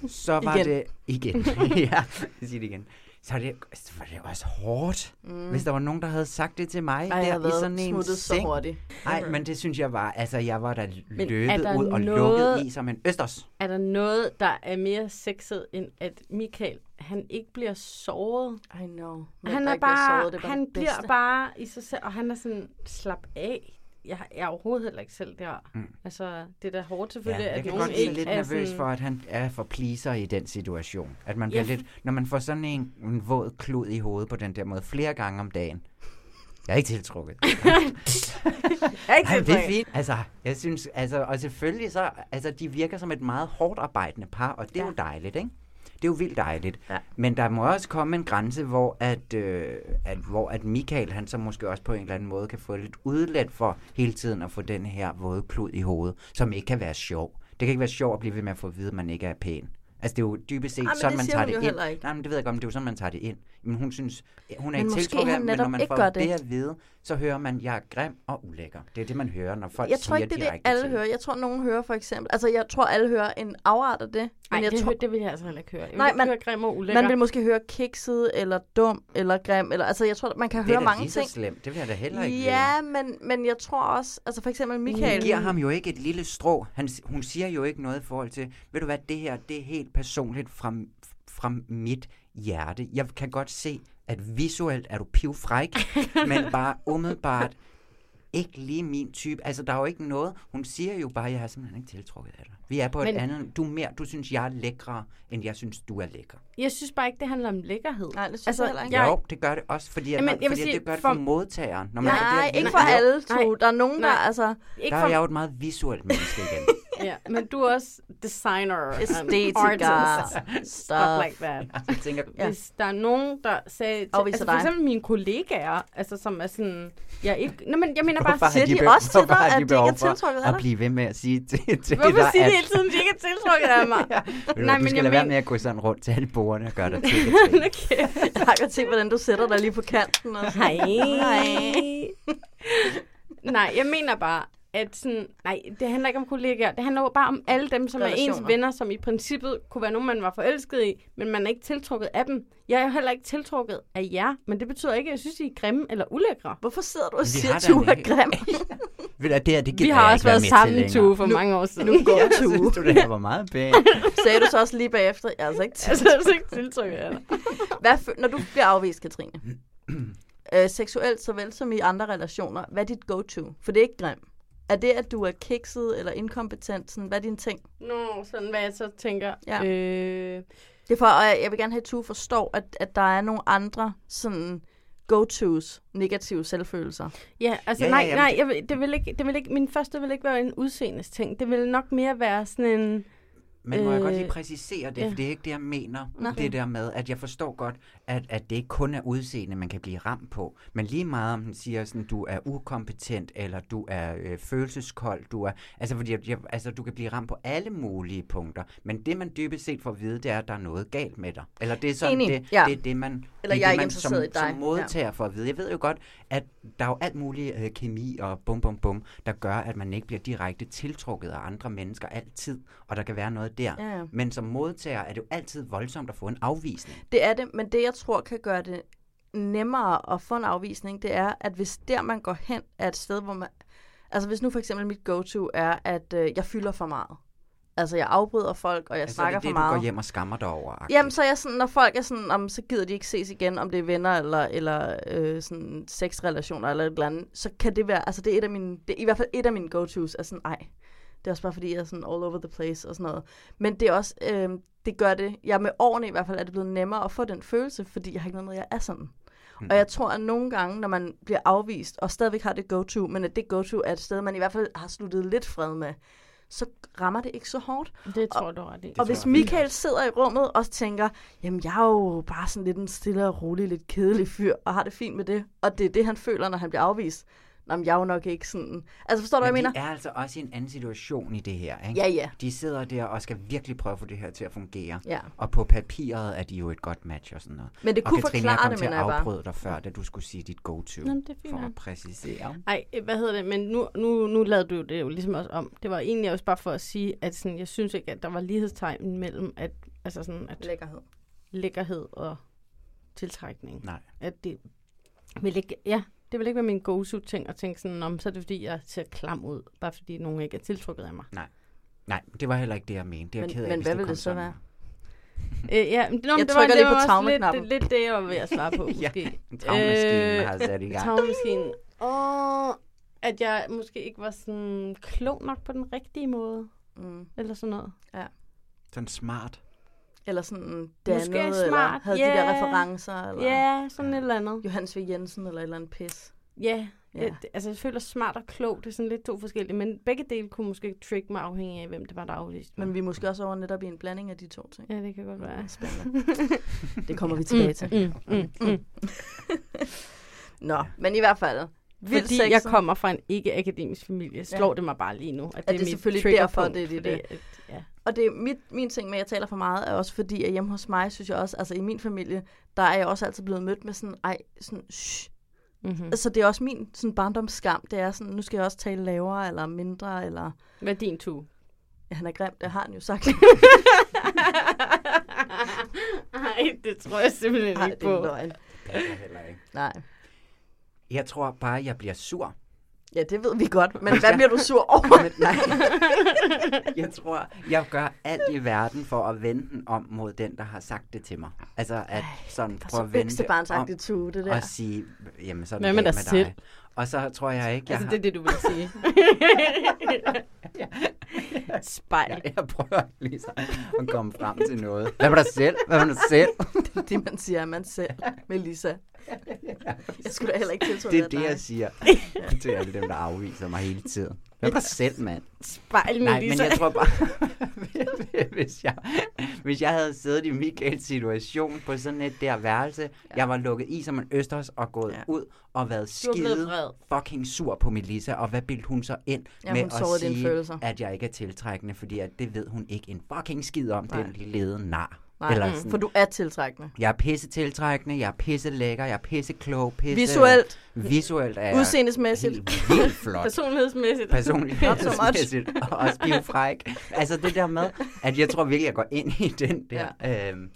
så var Igen. det... Igen. ja, jeg siger det igen. Så var det, så var det også hårdt, Mm. mm. hvis der var nogen, der havde sagt det til mig Ej, jeg havde der i været sådan en smuttet så seng. hurtigt. Nej, men det synes jeg var... Altså, jeg var da er løbet der ud og noget- lukket i som en østers. Er der noget, der er mere sexet, end at Michael, han ikke bliver såret? I know. Men Han, der er ikke bliver bare, såret, det er bare han det bliver bedste. bare i sig selv, og han er sådan, slap af. Jeg, jeg er overhovedet heller ikke selv der. Mm. Mm. Altså, det er da hårdt Ja, selvfølgelig, jeg at kan nogen godt ikke blive lidt er nervøs sådan, for, at han er for pleaser i den situation. At man Ja, bliver for- lidt, når man får sådan en, en våd klud i hovedet på den der måde flere gange om dagen. Jeg er ikke tiltrukket. Jeg er ikke Nej, men det er tiltrukket. fint. Altså, jeg synes, altså, og selvfølgelig så, altså, de virker som et meget hårdt arbejdende par, og det er ja. jo dejligt, ikke? Det er jo vildt dejligt. Ja. Men der må også komme en grænse, hvor at, øh, at, hvor at Michael, han så måske også på en eller anden måde, kan få lidt udlet for hele tiden at få den her våde klud i hovedet, som ikke kan være sjov. Det kan ikke være sjov at blive ved med at få at vide, at man ikke er pæn. Altså det er jo dybest set Ej, Ah, men sådan, det man siger tager hun jo det heller ind. ikke. Nej, men det ved jeg godt, men det er jo sådan, man tager det ind. Men hun synes, hun er Men ikke måske tiltrukket af, han men netop når man ikke får gør det. det. det at vide, så hører man, jeg er grim og ulækker. Det er det, man hører, når folk Jeg tror siger ikke, det er det, direkte alle til. hører. Jeg tror, nogen hører for eksempel... Altså, jeg tror, alle hører en afart af det. Men Ej, jeg det, tror, hø- det vil jeg altså heller ikke høre. Jeg vil Nej, ikke man- høre grim og ulækker. man vil måske høre kikset, eller dum, eller grim. Eller, altså, jeg tror, man kan Det er høre da mange lige så ting. slemt. Det vil jeg da heller ikke Ja, men, men jeg tror også... Altså, for eksempel Michael. Michael... Hun giver ham jo ikke et lille strå. Han, s- hun siger jo ikke noget i forhold til, ved du hvad, det her, det er helt personligt fra, fra mit hjerte. Jeg kan godt se, at visuelt er du pivfræk, men bare umiddelbart ikke lige min type. Altså, der er jo ikke noget. Hun siger jo bare, jeg har simpelthen ikke tiltrukket af dig. Vi er på men, Men- et andet. Du, er mere, du synes, jeg er lækre, end jeg synes, du er lækker. Jeg synes bare ikke, det handler om lækkerhed. Nej, det synes altså, jeg heller ikke. Jeg... Jo, det gør det også, fordi, at Jamen, man, jeg vil fordi at sige, det gør det for- for, modtageren. Når man får det Nej, at ikke vide. for alle to. Der er nogen, der... Nej. Altså, Ikke Der for er jeg jo et meget visuelt menneske igen. Ja, men du er også designer. and Æstetiker, artist, Stuff stuff. like that. Altså, Jeg tænker, Ja. Hvis der er nogen, der sagde... Til, Afviser altså for dig. eksempel mine kollegaer, altså, som er sådan... Jeg er ikke, nej, men jeg mener bare... Hvorfor har siger de behov- også til hvorfor dig, har at de ikke er behov for tiltrukket af at dig? blive ved med at sige til, til Hvorfor dig, siger de at, hele tiden, de ikke er tiltrukket af mig? Ved du, nej, du skal lade være med at gå sådan rundt til alle bordene og gøre dig til det. jeg har godt tænkt, hvordan du sætter dig lige på kanten. Og sådan. Hej. Hej. Nej, jeg mener bare, at sådan, nej, det handler ikke om kollegaer. Det handler jo bare om alle dem, som er ens Relationer. venner, som i princippet kunne være nogen, man var forelsket i, men man er ikke tiltrukket af dem. Jeg er jo heller ikke tiltrukket af jer, men det betyder ikke, at jeg synes, I er grimme eller ulækre. Hvorfor sidder du og Vi siger, har at da du en er hel- grim? Ved du, det her, det gider Vi har jeg også ikke været være med sammen, til Tue, for mange år siden. Nu går Jeg du. synes, du det her var meget pænt. Sagde du så også lige bagefter, jeg er altså ikke Altså, tiltrukket. jeg er altså ikke tiltrykket af dig. Hvad fø- når du bliver afvist, Katrine? øh, seksuelt såvel som i andre relationer, hvad er dit go-to? For det er ikke grim. Er det, at du er kikset eller inkompetent? Sådan, hvad er dine ting? Nå, sådan hvad jeg så tænker. Ja. Øh, Det er for, og jeg- jeg vil gerne have, at du forstår, at, at der er nogle andre sådan go-tos, negative selvfølelser. Ja, altså ja, nej, nej, jeg, vil- det vil ikke, det vil ikke, min første vil ikke være en udseendes ting. Det vil nok mere være sådan en... Men må jeg godt lige øh, præcisere det, ja. for det er ikke det, jeg mener. Nå. Det der med, at jeg forstår godt, at, at det ikke kun er udseende, man kan blive ramt på. Men lige meget om den siger, sådan, du er ukompetent, eller du er øh, følelseskold, du er... Altså, fordi, jeg- jeg, altså, du kan blive ramt på alle mulige punkter. Men det, man dybest set får at vide, det er, at der er noget galt med dig. Eller det er sådan, Enig, det, ja. det er det, man... Eller det jeg er det, ikke man som, interesseret i dig. Som Ja. modtager for at vide. Jeg ved jo godt, at der er jo alt muligt øh, kemi og bum bum bum, der gør, at man ikke bliver direkte tiltrukket af andre mennesker altid, og der kan være noget der. Ja, ja. Men som modtager er det jo altid voldsomt at få en afvisning. Det er det, men det jeg tror kan gøre det nemmere at få en afvisning, det er, at hvis der man går hen er et sted, hvor man... Altså hvis nu for eksempel mit go-to er, at øh, jeg fylder for meget. Altså jeg afbryder folk, og jeg Altså, snakker det er det, for meget. du går hjem og skammer dig over. Jamen, så er jeg sådan, når folk er sådan, om, så gider de ikke ses igen, om det er venner eller, eller øh, sådan sexrelationer eller et eller andet, så kan det være, altså det er, et af mine, det er i hvert fald et af mine go-tos, er sådan, ej, det er også bare fordi, jeg er sådan all over the place og sådan noget. Men det er også, øh, det gør det, jeg med årene i hvert fald, er det blevet nemmere at få den følelse, fordi jeg har ikke noget med, at jeg er sådan. Mm. Og jeg tror, at nogle gange, når man bliver afvist, og stadigvæk har det go-to, men at det go-to er et sted, man i hvert fald har sluttet lidt fred med, så rammer det ikke så hårdt. Det tror og, du ret i. Det Og tror hvis jeg. Michael sidder i rummet og tænker, jamen jeg er jo bare sådan lidt en stille og rolig, lidt kedelig fyr, og har det fint med det, og det er det, han føler, når han bliver afvist. Nå, men jeg er jo nok ikke sådan... Altså forstår du, hvad jeg Men mener? de er altså også i en anden situation i det her. Ikke? Ja, ja. De sidder der og skal virkelig prøve at få det her til at fungere. Ja. Og på papiret er de jo et godt match og sådan noget. Men det og kunne Katrine, forklare jeg kom det, til at mener jeg bare. afbryde dig før, da du skulle sige dit go-to. Nå, men det er fint for nok. at præcisere. Ej, øh, hvad hedder det? Men nu, nu, nu lavede du det jo ligesom også om. Det var egentlig også bare for at sige, at sådan, jeg synes ikke, at der var lighedstegn mellem at, altså sådan, at lækkerhed. lækkerhed og tiltrækning. Nej. At det vil ikke, ja, det vil ikke være min go ting at tænke sådan, om så er det fordi, jeg ser klam ud, bare fordi nogen ikke er tiltrukket af mig. Nej. Nej, det var heller ikke det, jeg mente. Det er Men- jeg ked af, men hvis hvad det vil kom det så sådan. være? Øh, ja, men det, nå, men Jeg det var, trykker det lige på var også lidt, traumeknappen. det, lidt det, jeg var ved at svare på, måske. en traumemaskine har sat i gang. Traumemaskinen. Åh, at jeg måske ikke var sådan klog nok på den rigtige måde. Mm. Eller sådan noget. Ja. Sådan smart. Eller sådan Måske dannet, eller smart, havde ja. de der referencer, eller... Ja, sådan et eller andet. Johannes V. Jensen, eller et eller andet pis. Ja, Ja. ja. Jeg, det- altså jeg føler smart og klog, det er sådan lidt to forskellige, men begge dele kunne måske trigge mig afhængig af, hvem det var, der afviste mig. Men Mm, vi er måske også over netop i en blanding af de to ting. Ja, det kan godt være. Spændende. Det kommer vi Mm, tilbage til. mm, mm, mm. Nå, ja. men i hvert fald. Vildt Fordi sexet. jeg kommer fra en ikke-akademisk familie, slår Ja. ja. det mig bare lige nu. At det det er mit selvfølgelig triggerpunkt, derfor, det er det, fordi det. at- Ja. Og det er mit, min ting med, at jeg taler for meget, er også fordi, at hjemme hos mig, synes jeg også, altså i min familie, der er jeg også altid blevet mødt med sådan, ej, sådan, shh. Mm-hmm. Altså det er også min sådan barndomsskam, det er sådan, nu skal jeg også tale lavere, eller mindre, eller... Hvad er din to? Ja, han er grim, det har han jo sagt. Nej, det tror jeg simpelthen Ej, ikke det er på. løgn. Nej. Jeg tror bare, jeg bliver sur. Ja, det ved vi godt, men hvad bliver du sur over? Men nej. Jeg tror, jeg gør alt i verden for at vende den om mod den, der har sagt det til mig. Altså at sådan prøve at vende det om yngstebarnsagtigt tue, det der. og sige, jamen så er det Hvad med galt dig med selv? dig. Og så tror jeg ikke, jeg Altså, har... det er det, du vil sige. Spejl. Jeg, jeg prøver ligesom at komme frem til noget. Hvad med dig selv? Hvad med dig selv? Det er det, man siger, at man selv. Melissa. Jeg skulle da heller ikke tiltro Det er det, jeg siger til alle dem, der afviser mig hele tiden. Hvad med dig selv, mand? Spejl, Nej, men Melissa. jeg tror bare, hvis jeg, hvis jeg havde siddet i Michaels situation på sådan et der værelse, ja. jeg var lukket i som en østers og gået ja. ud og været Du var blevet skide vred. fucking sur på Melissa, og hvad bildte hun så ind Ja, med hun sårede at dine sige, følelser. at jeg ikke er tiltrækkende, fordi at det ved hun ikke en fucking skid om, Nej. den lede nar. Nej, Eller mm, for du er tiltrækkende. Jeg er pisse tiltrækkende, jeg er pisse lækker, jeg er pisse klog, pisse... Visuelt. Visuelt er jeg Udseendesmæssigt. helt vildt flot Personlighedsmæssigt. personlighedsmæssigt og også blive fræk. Altså det der med, at jeg tror virkelig, jeg går ind i den der ja. øhm,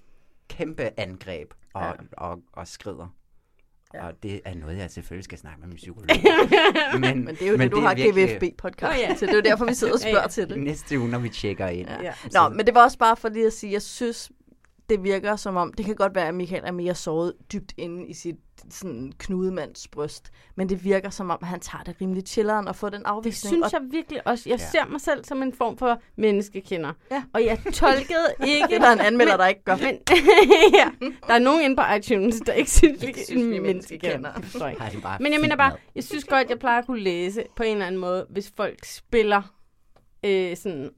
kæmpe angreb og, ja. og, og, og skrider. Ja. Og det er noget, jeg selvfølgelig skal snakke med min psykolog. om. men, Men det er jo men det, du har GVFB-podcast Åh, oh, ja. ja. til. Det er jo derfor, vi sidder og Ja, ja. spørger til det. Næste uge, når vi tjekker ind. Ja. Nå, men det var også bare for lige at sige, jeg synes, det virker som om, det kan godt være, at Michael er mere såret dybt inde i sit sådan, knudemands bryst, men det virker som om, at han tager det rimelig chilleren og får den afvisning. synes og jeg virkelig også. Jeg ser mig selv som en form for menneskekender. Ja. Og jeg tolkede ikke... Det er der en anmelder, der ikke gør. Men, ja, der er nogen inde på iTunes, der ikke synes, det er en menneskekender. Det forstår jeg ikke. Har de bare Men jeg fint mener bare, med. jeg synes godt, jeg plejer at kunne læse på en eller anden måde, hvis folk spiller øh, sådan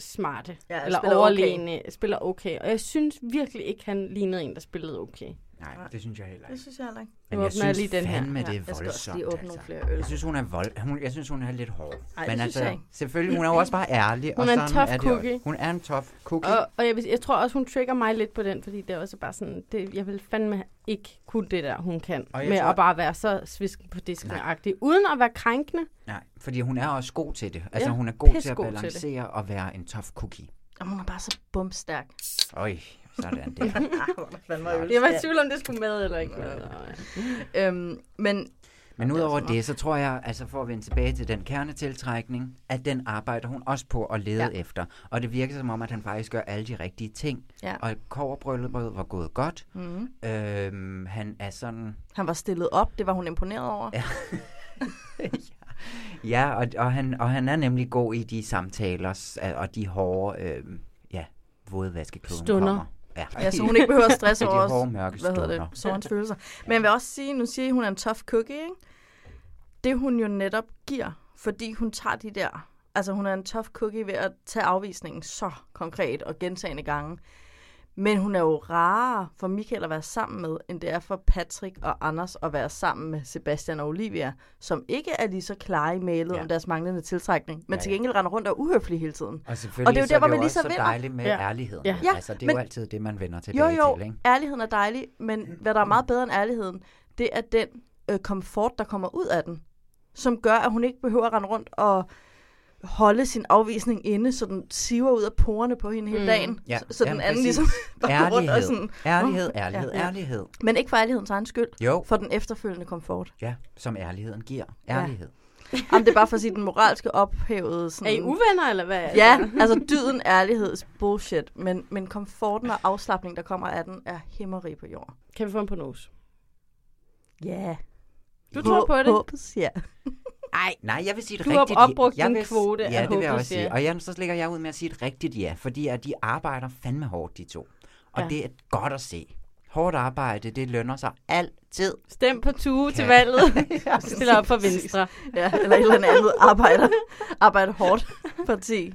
smarte Ja, eller spiller okay. overlegne, spiller okay. Og jeg synes virkelig ikke, han lignede en, der spillede okay. Nej, det synes jeg heller Det synes jeg heller ikke. Men Nu jeg åbner jeg synes lige den her. fandme, Ja, det er jeg skal voldsomt. også lige åbne nogle flere altså. øl. Jeg synes, hun er vold. Hun, jeg synes, hun er lidt hård. Ej, det synes altså, jeg ikke. selvfølgelig, hun er jo også bare ærlig. Hun og er en sådan tough det også. cookie. Hun er en tough cookie. Og, og jeg, vil- jeg tror også, hun trigger mig lidt på den, fordi det er også bare sådan, det, jeg vil fandme ikke kunne det der, hun kan. Og Med jeg tror- at bare være så svisken på disken uden at være krænkende. Nej, fordi hun er også god til det. Altså, Ja, hun er god til at pissegod til det. balancere og være en tough cookie. Og hun er bare så bumstærk. Øj, sådan der. Jeg var i tvivl om, det skulle med eller ikke. øhm, men Men udover det, så tror jeg, altså for at vende tilbage til den kernetiltrækning, at den arbejder hun også på at lede ja. efter. Og det virker som om, at han faktisk gør alle de rigtige ting. Ja. Og koverbrylluppet var gået godt. Mhm. Øhm, han er sådan... han var stillet op, det var hun imponeret over. Ja. Ja, og, og, han, og han er nemlig god i de samtaler s- og de hårde, øh, ja, våde vaskekloden Stunder. Kommer. Ja, så hun ikke behøver at stresse Ja, over de hårde, mørke hvad hedder stunder. det, sorgens følelser. Men jeg vil også sige, nu siger I, hun er en tough cookie, ikke? Det hun jo netop giver, fordi hun tager de der, altså hun er en tough cookie ved at tage afvisningen så konkret og gentagende gange. Men hun er jo rarere for Michael at være sammen med, end det er for Patrick og Anders at være sammen med Sebastian og Olivia, som ikke er lige så klare i mailet ja. om deres manglende tiltrækning, men ja, Ja, ja. ja. til gengæld render rundt og er uhøflige hele tiden. Og selvfølgelig så er det jo også så ligesom vinder. dejligt med ja. ærligheden. Ja. Altså, det er jo altid det, man vender tilbage Jo, jo, til, ikke? ærligheden er dejlig, men hvad der er meget bedre end ærligheden, det er den øh, komfort, der kommer ud af den, som gør, at hun ikke behøver at rende rundt og holde sin afvisning inde, så den siver ud af porerne på hende hele Mm. dagen. Ja, Så, så den jamen, anden præcis. ligesom bare går rundt og Ærlighed, sådan... ærlighed, "Åh, ærlighed, ærlighed." Men ikke for ærlighedens egen skyld. Jo. For den efterfølgende komfort. Ja, som ærligheden giver. Ærlighed. Jamen, det er bare for at sige, den moralske ophævede... Sådan, Er I uvenner, eller hvad? Ja, altså dyden ærligheds bullshit, men, men komforten og afslappning, der kommer af den, er himmeri på jorden. Kan vi få en på nos? Ja. Du tror på det? Håbes, ja. Ej, Nej, jeg vil sige et Du har rigtigt opbrugt jeg din vil, kvote ja, af det vil jeg håbløs, også sige. ja. Og jeg, så lægger jeg ud med at sige et rigtigt ja, fordi at de arbejder fandme hårdt, de to. Ja. Og ja. det er godt at se. Hårdt arbejde, det lønner sig altid. Stem på Tue til Ja. valget. ja, Stiller op for Venstre. ja, eller et eller andet arbejder, arbejder hårdt parti.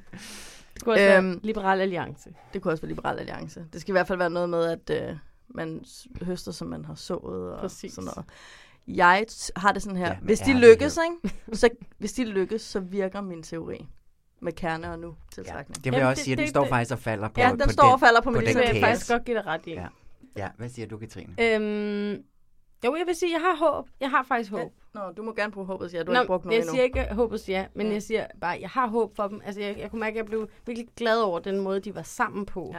Det kunne også være Liberal Alliance. Det kunne også være Liberal Alliance. Det skal i hvert fald være noget med, at øh, man s- høster, som man har sået og Præcis. sådan noget. Jeg t- har det sådan her. Ja, Ja, med hvis de ærlighed. lykkes, ikke? Så, hvis de lykkes, så virker min teori med kerne og nu tiltrækning. det vil jeg Jamen, også det- sige, at den det- står det- faktisk og falder på- Ja, den på står den- og falder på, på min den teori. kage. Jeg vil faktisk godt give dig ret i. Ja. ja, hvad siger du, Katrine? Øhm, jo, jeg vil sige, jeg har håb. Jeg har faktisk håb. Nå, du må gerne bruge håbet, ja. Du har ikke brugt noget jeg endnu. siger ikke håbet ja, men jeg siger bare, jeg har håb for dem. Altså, jeg, jeg kunne mærke, at jeg blev virkelig glad over den måde, de var sammen på.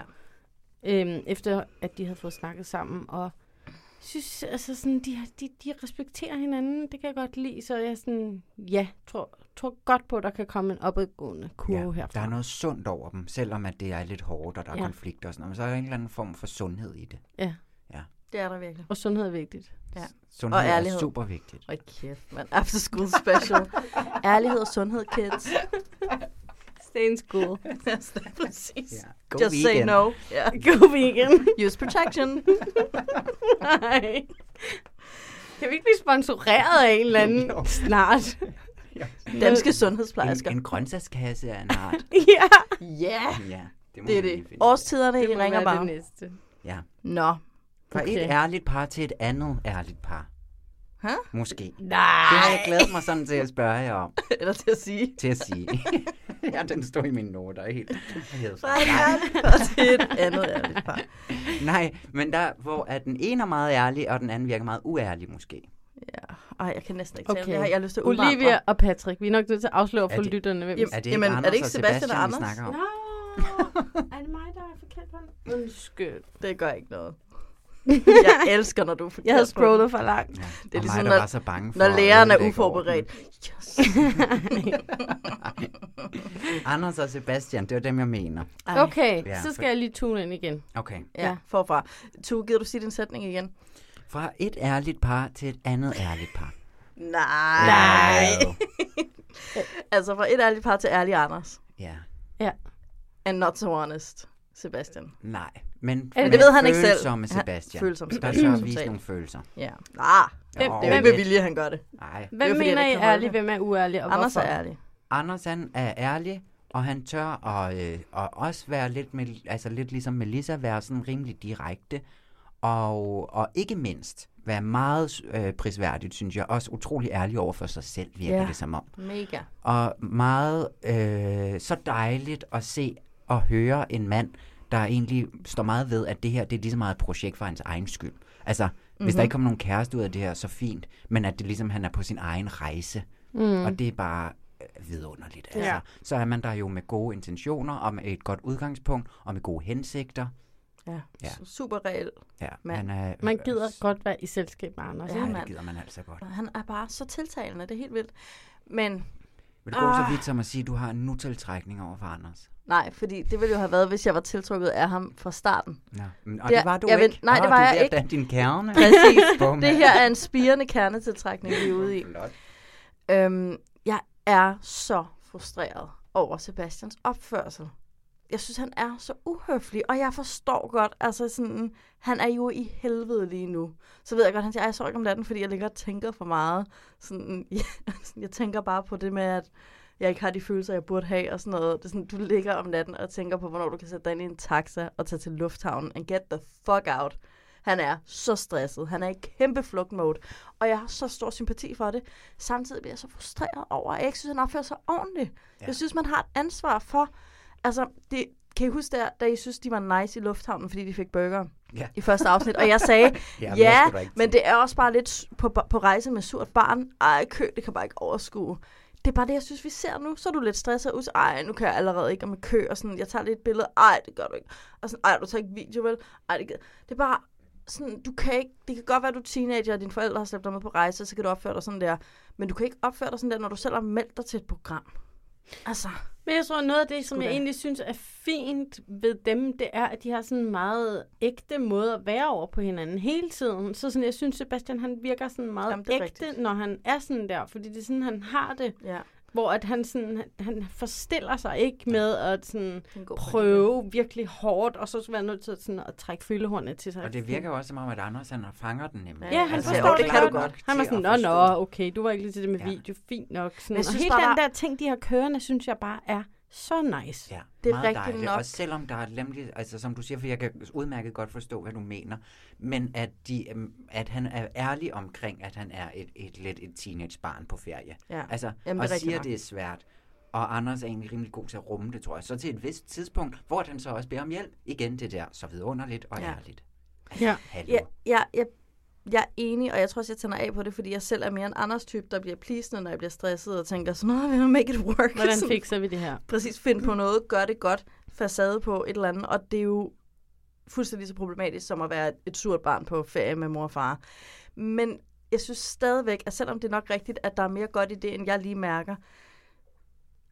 Ja. Øhm, efter at de havde fået snakket sammen. Og synes, altså sådan, de, har- de, de respekterer hinanden. Det kan jeg godt lide. Så jeg sådan, ja, tror, tror godt på, at der kan komme en opadgående kurve ja. her. Der er noget sundt over dem, selvom at det er lidt hårdt, og der er Ja. ja. konflikter og sådan noget. Men så er der en eller anden form for sundhed i det. Ja. Ja. Det er der virkelig. Og sundhed er vigtigt. Ja. Sundhed er super vigtigt. Og kæft, man. After school special. ærlighed og sundhed, kids. Stay in school. Præcis. Ja. God Just say weekend. no. Ja. God weekend. Use protection. Nej. Kan vi ikke blive sponsoreret af en eller anden snart? Danske sundhedsplejersker. En, en grøntsagskasse er en art. Ja. Ja. ja, det må Det er man lige det. finde. Årstiderne, Det I må ringer være det bare. næste. Ja. Nå. Fra Okay. et ærligt par til et andet ærligt par. Hæ? Måske. Nej. Det har jeg glædet mig sådan til at spørge jer om. Eller til at sige. Til at sige. ja, den står i mine noter helt. Fra et ærligt par til et andet ærligt par. Nej, men der, hvor er den ene er meget ærlig, og den anden virker meget uærlig måske. Ej, jeg kan næsten ikke tale om Okay. det her. Jeg har lyst til at Olivia udvandre. og Patrick. Vi er nok nødt til at afsløre Er for det- lytterne, hvem vi- Jamen, er det ikke Jamen, er det Anders ikke og Sebastian Sebastian, og vi Anders? snakker om? Nå, er det mig, der er forkert på den? Undskyld. Det gør ikke noget. jeg elsker, når du er forkert Jeg havde på scrollet den. for langt. Det og mig, der var så bange ligesom for når at læreren er ødelægge uforberedt. Yes. Anders og Sebastian, det var dem, jeg mener. Ej. Okay, så skal jeg lige tune ind igen. Okay. Ja, forfra. Tu, gider du sige din sætning igen? Fra et ærligt par til et andet ærligt par. Nej. Nej. altså fra et ærligt par til ærlig Anders. Ja. Ja. And not so honest, Sebastian. Nej. Men, Er det- men det ved han ikke selv. følsomme Han- Sebastian. følsom Der Sebastian, så som vise sagt. nogle følelser. Ja. Ah, det, Nå. det er ikke med vilje, han gør det. Nej. Det er Hvem jo fordi, mener han I ikke er kan holde ærlig, det. hvem er uærlig? Og Anders er hvorfor? ærlig. Anders han er ærlig, og han tør at, øh, at også være lidt, med, altså lidt ligesom Melissa, være sådan rimelig direkte. Og, og ikke mindst være meget øh, prisværdigt, synes jeg. Også utrolig ærlig over for sig selv, virker Ja. det som om. Mega. Og meget øh, så dejligt at se og høre en mand, der egentlig står meget ved, at det her det er lige så meget et projekt for hans egen skyld. Altså, mm-hmm. hvis der Mhm. ikke kommer nogen kæreste ud af det her, så fint. Men at det ligesom, han er på sin egen rejse. Mhm. Og det er bare øh, vidunderligt. Altså. Ja. Så er man der jo med gode intentioner, og med et godt udgangspunkt, og med gode hensigter. Ja. Ja. ja. Super reelt. Ja, mand. han er, øh, Man gider godt være i selskab med Anders. Ja, ikke? mand. det gider man altså godt. Han er bare så tiltalende, det er helt vildt. Men... Vil du gå så Ah. vidt som at sige, at du har en nutiltrækning over for Anders? Nej, fordi det ville jo have været, hvis jeg var tiltrukket af ham fra starten. Ja. Men- og det var du ikke. nej, Ah, det var du er jeg ved at ikke. danne din kerne. Præcis. Bum. det her er en spirende kernetiltrækning, vi er ude i. Øhm, jeg er så frustreret over Sebastians opførsel. Jeg synes, han er så uhøflig, og jeg forstår godt, altså sådan, han er jo i helvede lige nu. Så ved jeg godt, han siger, "Ej, jeg sover ikke om natten, fordi jeg ligger og tænker for meget. Sådan, ja, sådan, jeg tænker bare på det med, at jeg ikke har de følelser, jeg burde have, og sådan noget. Det er sådan, du ligger om natten og tænker på, hvornår du kan sætte dig ind i en taxa og tage til lufthavnen, and get the fuck out. Han er så stresset. Han er i kæmpe flugt mode. Og jeg har så stor sympati for det. Samtidig bliver jeg så frustreret over, at jeg ikke synes, han opfører sig ordentligt. Ja. Jeg synes, man har et ansvar for... Altså, det, kan I huske, der, da I synes, de var nice i lufthavnen, fordi de fik burger Ja. i første afsnit? Og jeg sagde, Ja, ja, men jeg ja skulle da ikke men det er også bare lidt s- på, på rejse med surt barn. Ej, kø, det kan bare ikke overskue. Det er bare det, jeg synes, vi ser nu. Så er du lidt stresset ud. Ej, nu kan jeg allerede ikke, og med kø, og sådan, jeg tager lidt et billede. Ej, det gør du ikke. Og sådan, ej, du tager ikke video, vel? Ej, det, gider- det er bare sådan, du kan ikke, det kan godt være, at du er teenager, og dine forældre har slæbt dig med på rejse, så kan du opføre dig sådan der. Men du kan ikke opføre dig sådan der, når du selv har meldt dig til et program. Altså, Men jeg tror, noget af det, som Skulle jeg da. egentlig synes er fint ved dem, det er, at de har sådan en meget ægte måde at være over på hinanden hele tiden. Så sådan, jeg synes, Sebastian han virker sådan meget Jamen, Jamen, det er ægte, rigtigt. når han er sådan der. Fordi det er sådan, han har det. Ja. Hvor at han, sådan, han- han forstiller sig ikke med at sådan en god pointe. prøve virkelig hårdt, og så skal være nødt til sådan at trække fyldehornet til sig. Og det virker jo også som om, at Anders han fanger den nemlig. Ja, han Altså, forstår jo, det, kan godt. du godt. Han var til sådan, at nå, forstå. nå, okay, du var ikke lige til det med ja. video, fint nok. Sådan. Men jeg og synes hele bare, den der- der ting, de har kørende, synes jeg bare er så nice. Ja, Det er meget rigtigt dejligt. nok. Og selvom der er et lemligt, altså som du siger, for jeg kan udmærket godt forstå, hvad du mener, men at, de, øhm, at han er ærlig omkring, at han er et, et lidt et teenagebarn på ferie. Ja. Altså, Jamen, og det er rigtigt siger, nok. det er svært. Og Anders er egentlig rimelig god til at rumme det, tror jeg. Så til et vist tidspunkt, hvor han så også beder om hjælp. Igen det der, så vidunderligt og Ja. ja. ærligt. Altså, Ja. Hallo. jeg, jeg, jeg, jeg er enig, og jeg tror også, jeg tænder af på det, fordi jeg selv er mere en Anders type, der bliver pleasende, når jeg bliver stresset og tænker sådan, "Nå, we'll make it work. Hvordan Sådan, fikser vi det her? Præcis, find på noget, gør det godt, facade på et eller andet, og det er jo fuldstændig så problematisk som at være et surt barn på ferie med mor og far. Men jeg synes stadigvæk, at selvom det er nok rigtigt, at der er mere godt i det, end jeg lige mærker,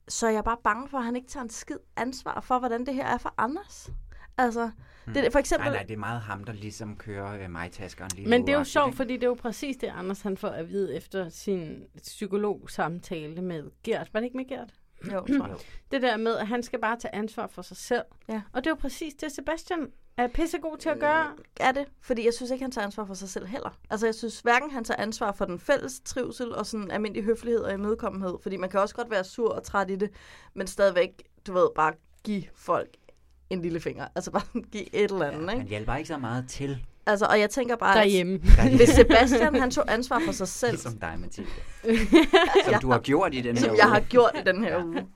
så er jeg bare bange for, at han ikke tager en skid ansvar for, hvordan det her er for Anders. Altså, Hmm. Mm. det, for eksempel... Nej, nej, det er meget ham, der ligesom kører øh, mig-taskeren lige Men nu, det er jo agtigt, sjovt, ikke? fordi det er jo præcis det, Anders han får at vide efter sin psykologsamtale med Gert. Var det ikke med Gert? Jo, tror jeg. Det der med, at han skal bare tage ansvar for sig selv. Ja. Og det er jo præcis det, Sebastian er pissegod til at gøre. er det, fordi jeg synes ikke, han tager ansvar for sig selv heller. Altså, jeg synes hverken, han tager ansvar for den fælles trivsel og sådan almindelig høflighed og imødekommenhed, fordi man kan også godt være sur og træt i det, men stadigvæk, du ved, bare give folk en lille finger. Altså bare sådan give et eller andet, Han ikke? hjælper ikke så meget til, Altså, og jeg tænker bare... at Derhjemme. Hvis Sebastian, han tog ansvar for sig selv, ligesom dig, Mathilde. Som du har gjort i den her som uge. jeg har gjort i den her uge.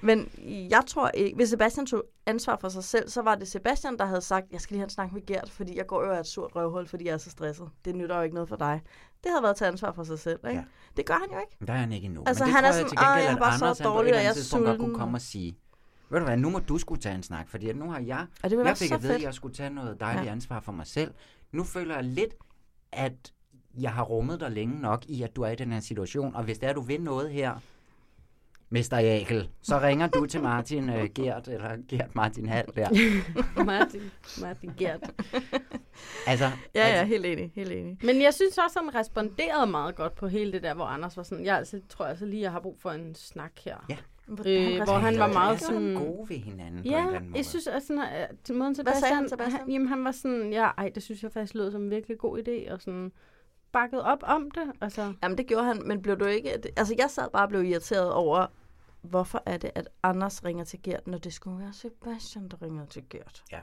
Men jeg tror ikke, hvis Sebastian tog ansvar for sig selv, så var det Sebastian, der havde sagt, jeg skal lige have en snak med Gert, fordi jeg går jo af et surt røvhul, fordi jeg er så stresset. Det nytter jo ikke noget for dig. Det havde været at tage ansvar for sig selv, ikke? Ja. Ja. Det gør han jo ikke. Men Der er han ikke endnu. Altså, Men det han tror er jeg sådan, til "Åh, gengæld, jeg er at bare så Anders han på et dårlig, og eller jeg er andet tidspunkt godt kunne sulten." komme og sige, ved du hvad, nu må du skulle tage en snak, fordi at nu har jeg, Og det ville være jeg fik så at vide, at fedt. jeg skulle tage noget dejligt Ja. ja. ansvar for mig selv. Nu føler jeg lidt, at jeg har rummet dig længe nok i, at du er i den her situation, og hvis det er, at du vil noget her, Mester Jakel, så ringer du til Martin øh, Gert, eller Gert Martin Hall der. Martin, Martin Gert. Altså, Ja, ja, helt enig, helt enig. Men jeg synes også, han responderede meget godt på hele det der, hvor Anders var sådan, jeg altså, tror altså lige, jeg har brug for en snak her. Ja. Øh, hvor altså, han var meget sådan... gode ved hinanden på en eller Ja, anden måde. jeg synes, at sådan, at øh, til måden Hvad sagde Sebastian, han, Sebastian? Han, jamen, han var sådan, ja, ej, det synes jeg faktisk lød som en virkelig god idé, og sådan bakket op om det. Altså. Jamen, det gjorde han, men blev du ikke... Altså, jeg sad bare og blev irriteret over, hvorfor er det, at Anders ringer til Gert, når det skulle være Sebastian, der ringer til Gert. Ja.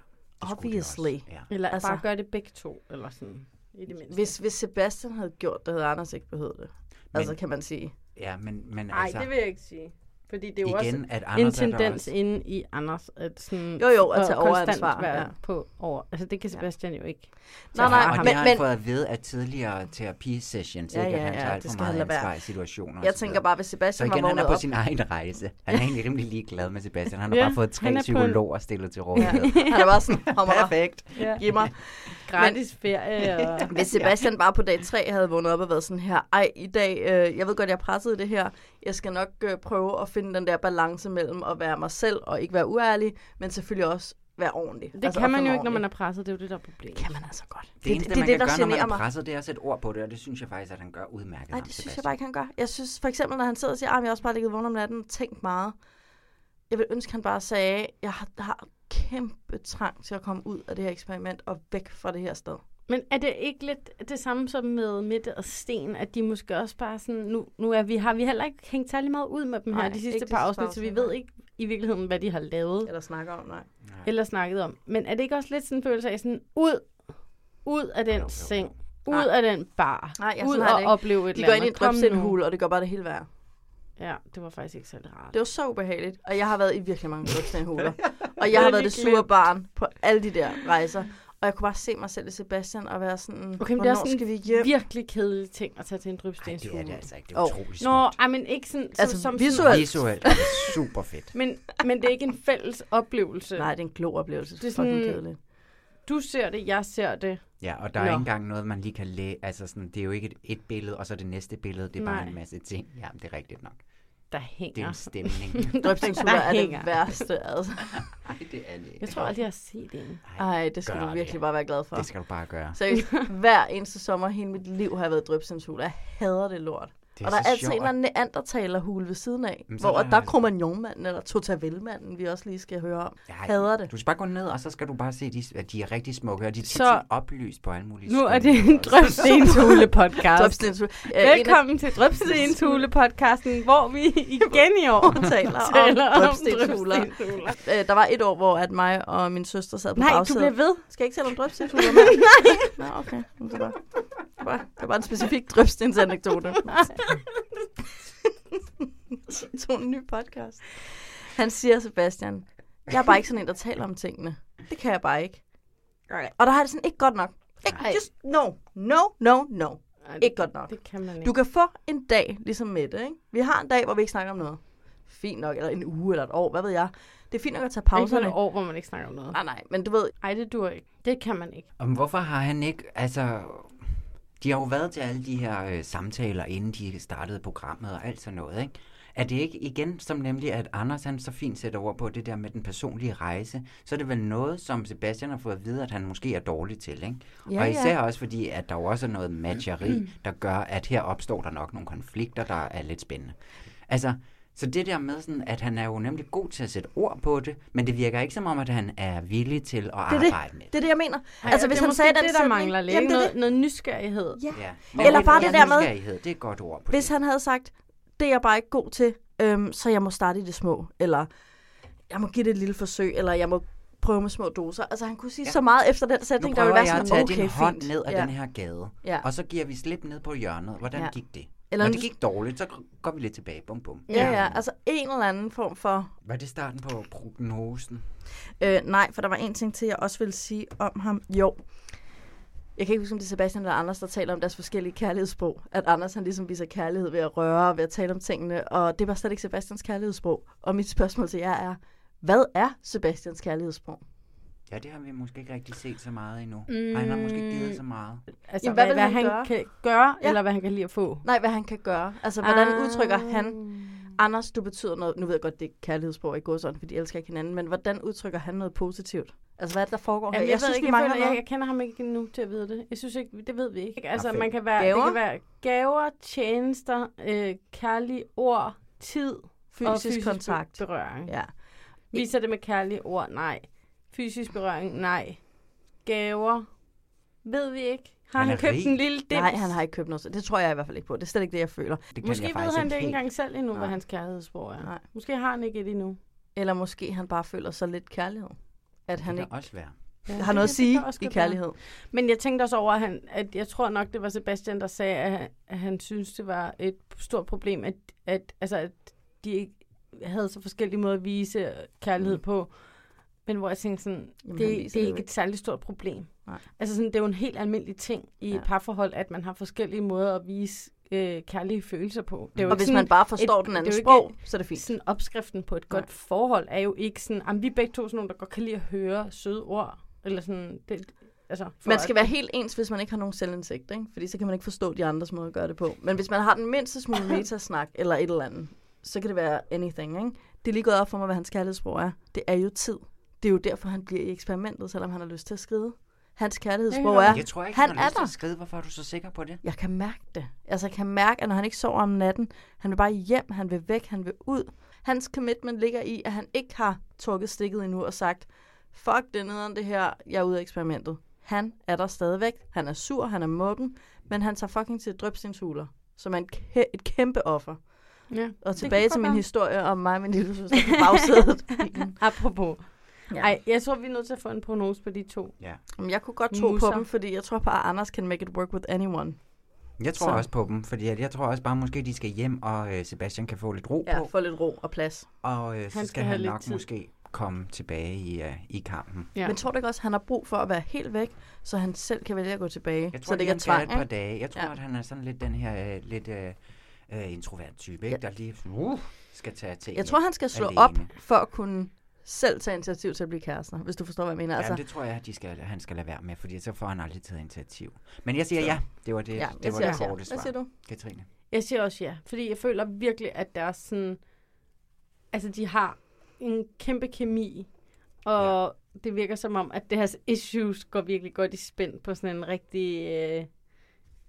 Obviously. Ja. Eller altså, Altså- bare gør det begge to, eller sådan. I det mindste. Hvis, hvis Sebastian havde gjort det, havde Anders ikke behøvet det. Altså, kan man sige. Ja, men, men Nej, altså... det vil jeg ikke sige. Fordi det er jo Igen, også at Anders er en der tendens også. inde i Anders, at sådan... Jo, jo, at og konstant tage overansvar, Være ja. på over. Altså, det kan Sebastian jo ikke. Nej, nej, og det har men- han men- fået at vide af tidligere terapisessions, Ja, ikke? at ja, han ja, tager alt det for skal han meget lade være. ansvar i situationer. og Jeg så videre. tænker bare, hvis Sebastian så igen, var han er vågnet på op- sin egen rejse. Han er egentlig rimelig ligeglad med Sebastian. Han har Ja, bare fået tre han er på en- psykologer stillet til rådighed. Han er bare sådan, hammer Perfekt. Ja. Giv mig. Gratis ferie og- Hvis Sebastian bare på dag 3 havde vågnet op og været sådan her, ej, i dag, øh, jeg ved godt, jeg er presset i det her, jeg skal nok øh, prøve at finde den der balance mellem at være mig selv og ikke være uærlig, men selvfølgelig også være ordentlig. Det altså, kan opføre man jo mig ikke, når man er ordentligt. presset. Det er jo det, der er problemet. Det kan man altså godt. Det eneste, det, man det, kan der gøre, når man generer er mig. presset, det er at sætte ord på det, og det synes jeg faktisk, at han gør udmærket. Nej, ham, det synes jeg Sebastian. bare ikke, han gør. Jeg synes for eksempel, når han sidder og siger, at jeg har også bare ligget vågen om natten og tænkt meget. Jeg vil ønske, han bare sagde, at jeg har, har kæmpe trang til at komme ud af det her eksperiment og væk fra det her sted. Men er det ikke lidt det samme som med Mette og Sten, at de måske også bare sådan, nu, nu er vi, har vi heller ikke hængt særlig meget ud med dem her Nej, de sidste ikke de par sidste par afsnit, så vi afsnit, ved ikke i virkeligheden, hvad de har lavet. Eller snakker om, nej. Eller snakket om. Men er det ikke også lidt sådan en følelse af sådan, ud, ud af den seng, ud Nej. af den bar, Nej, jeg ud sådan har det og ikke. opleve et De eller går ind i en andet. Kom nu. drømsindhul, og det gør bare det hele værre. Ja, det var faktisk ikke særlig rart. Det var så ubehageligt, og jeg har været i virkelig mange drømsindhuler. og jeg har været det sure barn på alle de der rejser. Og jeg kunne bare se mig selv i Sebastian og være sådan, Okay, men det er "Hvornår også skal en vi hjem? virkelig kedelig ting at tage til en drøbstenshule. det er det altså ikke. Det er Åh. utroligt Nå, ej, men ikke sådan, Altså, som, som visuelt. Visuelt er det super fedt. Men, men det er ikke en fælles oplevelse. Nej, det er en klog oplevelse. Det er Fucking sådan, kedeligt. du ser det, jeg ser det. Ja, og der er Nå. ikke engang noget, man lige kan læse. Altså, sådan, det er jo ikke et, et billede, og så det næste billede. Det er bare Nej. en masse ting. Ja, det er rigtigt nok. Der hænger. Det er en stemning. Drøbsindhuler er hænger. det værste, altså. Nej, det er det ikke. Jeg tror aldrig, jeg har set en. Ej, det skal Gør du virkelig det. bare være glad for. Det skal du bare gøre. Seriøst, hver eneste sommer hele mit liv har jeg været i drøbsindshul. Jeg hader det lort. Det er og der er så altid sjovt. en eller anden neandertalerhule ved siden af, Jamen, så hvor er der- der er Kromagnonmanden eller Totavelmanden, vi også lige skal høre om. Jeg hader det. Du skal bare gå ned, og så skal du bare se, at de, at de er rigtig smukke, og de er tit Så- så... oplyst på alle mulige Nu er skønne det en måder. drøbstenshule-podcast. Drøbstenshule. Øh, en af- Velkommen til Drøbstenshule-podcasten, hvor vi igen i år taler om drøbstenshuler. Øh, Der var et år, hvor at mig og min søster sad på Nej, du bagsædet. bliver ved. Skal jeg ikke tale om drøbstenshuler med? Nej. Nå, okay. Men Det var, det var, det var en specifik drøbstensanekdote. to en ny podcast. Han siger, Sebastian, jeg er bare ikke sådan en, der taler om tingene. Det kan jeg bare ikke. Og der har jeg det sådan, ikke godt nok. Ikke, just no, no, no, no. Ikke godt nok. Det kan man ikke. Du kan få en dag, ligesom Mette, ikke? Vi har en dag, hvor vi ikke snakker om noget. Fint nok, eller en uge, eller et år, hvad ved jeg. Det er fint nok at tage pauserne. Ikke år, hvor man ikke snakker om noget. Nej, nej, men du ved... Nej, det dur ikke. Det kan man ikke. Om hvorfor har han ikke, altså... De har jo været til alle de her øh, samtaler, inden de startede programmet og alt sådan noget, ikke? Er det ikke igen, som nemlig, at Anders han så fint sætter over på det der med den personlige rejse, så er det vel noget, som Sebastian har fået at vide, at han måske er dårlig til, ikke? Ja, ja. og Mm. især også fordi, at der jo også er noget matcheri, der gør, at her opstår der nok nogle konflikter, der er lidt spændende. Altså, så det der med sådan, at han er jo nemlig god til at sætte ord på det, men det virker ikke som om, at han er villig til at Det er arbejde det, med det er det, jeg mener. Ej, altså, og det hvis er han måske sagde det, den der sætning, mangler lidt. Jamen, det er noget, det. noget nysgerrighed. Ja. Ja. Eller bare det der med- Nysgerrighed, det er et godt ord på Hvis det. han havde sagt, det er jeg bare ikke god til, øhm, så jeg må starte i det små, eller jeg må give det et lille forsøg, eller jeg må prøve med små doser. Altså, han kunne sige ja. så meget efter den Nu sætning, der prøver ville være jeg at sådan, tage okay, din hånd fint. ned af ja. den her gade, Ja. og så giver vi slip ned på hjørnet. Hvordan Ja. gik det? Eller Eller Når nu- det gik dårligt, så går vi lidt tilbage. Bum, bum. Ja, ja, altså en eller anden form for Var det starten på prognosen? Øh, nej, for der var en ting til, jeg også ville sige om ham. Jo, jeg kan ikke huske, om det er Sebastian eller Anders, der taler om deres forskellige kærlighedssprog. At Anders han ligesom viser kærlighed ved at røre og ved at tale om tingene. Og det var slet ikke Sebastians kærlighedssprog. Og mit spørgsmål til jer er, hvad er Sebastians kærlighedssprog? Ja, det har vi måske ikke rigtig set så meget endnu. Mm. han har måske ikke givet så meget. Altså, Jamen, hvad, hvad, han, kan gøre, ja. eller hvad han kan lide at få. Nej, hvad han kan gøre. Altså, hvordan Ah. udtrykker han? Anders, du betyder noget. Nu ved jeg godt, det er kærlighedsbrug i godsøjne, fordi de elsker ikke hinanden, men hvordan udtrykker han noget positivt? Altså, hvad er det, der foregår her? Jamen, jeg, jeg, synes, ikke, vi jeg, mangler føler, jeg, noget. jeg kender ham ikke nu til at vide det. Jeg synes ikke, det ved vi ikke. Altså, Perfekt. man kan være, Gaver? det kan være gaver, tjenester, øh, kærlige ord, tid og Fysisk fysisk kontakt. berøring. Ja. Viser det med kærlige ord? Nej. Fysisk berøring? Nej. Gaver? Ved vi ikke. Har han, er han købt rig. en lille dims? Nej, han har ikke købt noget. Det tror jeg i hvert fald ikke på. Det er slet ikke det, jeg føler. Det Måske ved han det ikke engang selv endnu, Nej. hvad hans kærlighedsbrug er. Nej. Måske har han ikke et endnu. Eller måske han bare føler så lidt kærlighed. At han kan ikke også være. har noget at sige i kærlighed. Men jeg tænkte også over, at, han, at jeg tror nok, det var Sebastian, der sagde, at, han- at han synes, det var et stort problem, at, at, altså, at de ikke havde så forskellige måder at vise kærlighed mm. på. Men hvor jeg tænkte sådan, Jamen, det, han det, viser er det jo ikke ikke. et særligt stort problem. Nej. Altså sådan, det er jo en helt almindelig ting i ja. et parforhold, at man har forskellige måder at vise øh, kærlige følelser på. Det er jo Og ikke hvis sådan man bare forstår den det er andens jo ikke sprog, så er det fint. Sådan opskriften på et godt Nej. forhold er jo ikke sådan, at vi er begge to sådan nogle, der godt kan lide at høre søde ord. Eller sådan, det, altså, for Man skal at- være helt ens, hvis man ikke har nogen selvindsigt, ikke? fordi så kan man ikke forstå de andres måde at gøre det på. Men hvis man har den mindste smule metasnak eller et eller andet, så kan det være anything. Ikke? Det er lige gået op for mig, hvad hans kærlighedsbrug er. Det er jo tid. Det er jo derfor, han bliver i eksperimentet, selvom han har lyst til at skride. Hans kærlighedsbrug er, Jeg tror ikke, han han er har lyst til der. at skride. Hvorfor er du så sikker på det? Jeg kan mærke det. Altså, jeg kan mærke, at når han ikke sover om natten, han vil bare hjem, han vil væk, han vil ud. Hans commitment ligger i, at han ikke har trukket stikket endnu og sagt, fuck det er nederen det her, jeg er ude af eksperimentet. Han er der stadigvæk, han er sur, han er muggen, men han tager fucking til drøbsindshuler, som er en kæ- et kæmpe offer. Ja, og tilbage til min historie. historie om mig og min lille søster på bagsædet. Apropos. Ja. Ej, jeg tror, vi er nødt til at få en prognose på de to. Ja. Jamen, jeg kunne godt tro Musser. på dem, fordi jeg tror bare, at Anders can make it work with anyone. Jeg tror Så. så. også på dem, fordi at jeg tror også bare, måske de skal hjem, og øh, Sebastian kan få lidt ro Ja, på. få lidt ro og plads. Og øh, så Han skal, skal skal have han lidt nok tid. måske komme tilbage i, øh, i kampen. Ja. Men tror du ikke også, at han har brug for at være helt væk, så han selv kan vælge at gå tilbage? Jeg så tror, det det ikke er han skal have tvang, et ikke? par dage. Jeg tror, ja. at han er sådan lidt den her øh, lidt øh, øh, introvert type, ikke? der lige uh, skal tage ting. Jeg tror, han skal slå op for at kunne selv tage initiativ til at blive kærester, hvis du forstår, hvad jeg mener. Altså. Altså, Jamen, det tror jeg, at de skal, han skal lade være med, fordi så får han aldrig taget initiativ. Men jeg siger ja. Det var det, Ja, ja, jeg det, var siger det også ja. korte Hvad svar. Altså, siger du? Katrine. Jeg siger også ja, fordi jeg føler virkelig, at der er sådan... Altså, de har en kæmpe kemi, og ja. det virker som om, at deres issues går virkelig godt i spænd på sådan en rigtig øh,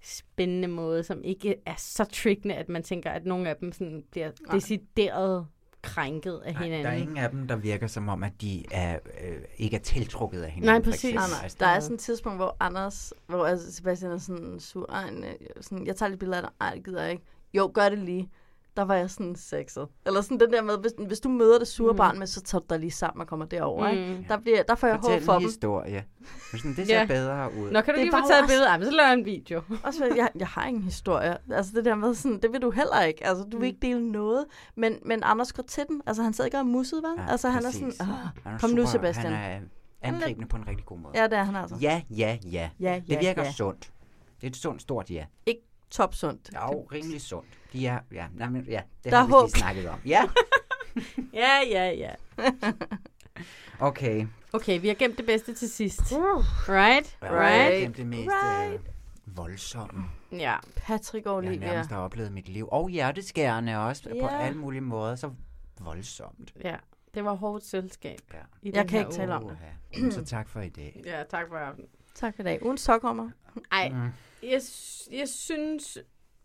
spændende måde, som ikke er så triggende, at man tænker, at nogle af dem sådan bliver Nej. decideret krænket af hinanden. Der er ingen af dem, der virker som om, at de er, øh, ikke er tiltrukket af hinanden. Nej, for præcis. eksempel. Anders, der er sådan et tidspunkt, hvor Anders, hvor altså Sebastian er sådan sur, ej, nej, sådan, jeg tager lidt billeder af dig, ej, det gider jeg ikke. Jo, gør det lige. Der var jeg sådan sexet. Eller sådan den der med, hvis, hvis du møder det sure Mm. mm. barn med, så tager du dig lige sammen og kommer derover. Mm. Mm. Ikke? Der, bliver, der får jeg Fortæl håb for en dem. historie. Men Sådan, det ser Ja. ja. bedre ud. Nå, kan du Det er lige få bare taget et også- billede af ham, så laver jeg en video. Også fordi jeg, jeg har ingen historie. Altså det der med sådan, det vil du heller ikke. Altså Mm. du vil ikke dele noget. Men, men Anders går til den. Altså han sad ikke og mussede, vel? Ja, altså han er præcis. sådan, Han er kom nu super- Sebastian. Han er angribende på en rigtig god måde. Ja, det er han altså. Ja, ja, ja. Ja, ja, det virker ja. sundt. Det er et sundt, stort ja. Ikke topsundt. Jo, rimelig sundt. De er, ja, nej, men, ja, det Der har er vi lige håb. snakket om. Ja, ja, ja, ja. okay. Okay, vi har gemt det bedste til sidst. Right? Ja, Right? Det er det mest right. øh, voldsomme, Ja. Patrick jeg Olivia. nærmest har oplevet i mit liv. Og hjerteskærende også, på Ja. alle mulige måder. Så voldsomt. Ja, det var hårdt selskab. Ja. I Jeg den kan her ikke tale om det. Uha. Så tak for i dag. Ja, tak for aften. Tak for i dag. Ugen Stockholmer. Ej, Mm. jeg, s- jeg synes,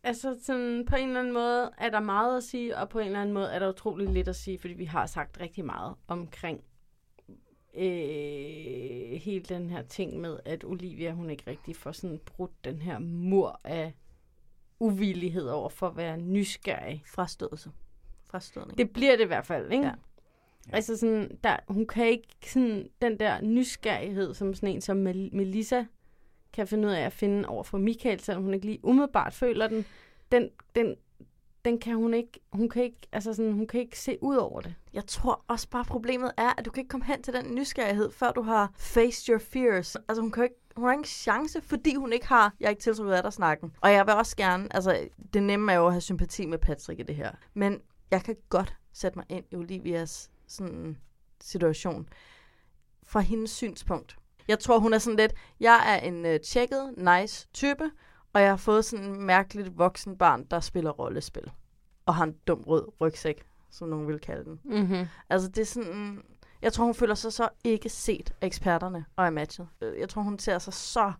altså sådan, på en eller anden måde er der meget at sige, og på en eller anden måde er der utrolig lidt at sige, fordi vi har sagt rigtig meget omkring øh, hele den her ting med, at Olivia, hun ikke rigtig får sådan brudt den her mur af uvillighed over for at være nysgerrig. Frastødelse. Frastødning. Det bliver det i hvert fald, ikke? Ja. Altså sådan, der, hun kan ikke sådan, den der nysgerrighed, som sådan en som Mel- Melissa kan finde ud af at finde over for Michael, selvom hun ikke lige umiddelbart føler den, den, den, den kan hun ikke, hun kan ikke, altså sådan, hun kan ikke se ud over det. Jeg tror også bare, problemet er, at du kan ikke komme hen til den nysgerrighed, før du har faced your fears. Altså, hun, kan jo ikke, hun har ingen chance, fordi hun ikke har, jeg er ikke tiltrukket af dig snakken. Og jeg vil også gerne, altså, det nemme er jo at have sympati med Patrick i det her. Men jeg kan godt sætte mig ind i Olivias sådan, situation fra hendes synspunkt. Jeg tror, hun er sådan lidt, jeg er en øh, tjekket, nice type, og jeg har fået sådan en mærkeligt voksen barn, der spiller rollespil. og har en dum rød rygsæk, som nogen vil kalde den. Mhm. Altså det er sådan, jeg tror hun føler sig så ikke set af eksperterne og af matchet. Øh, Jeg tror hun ser sig så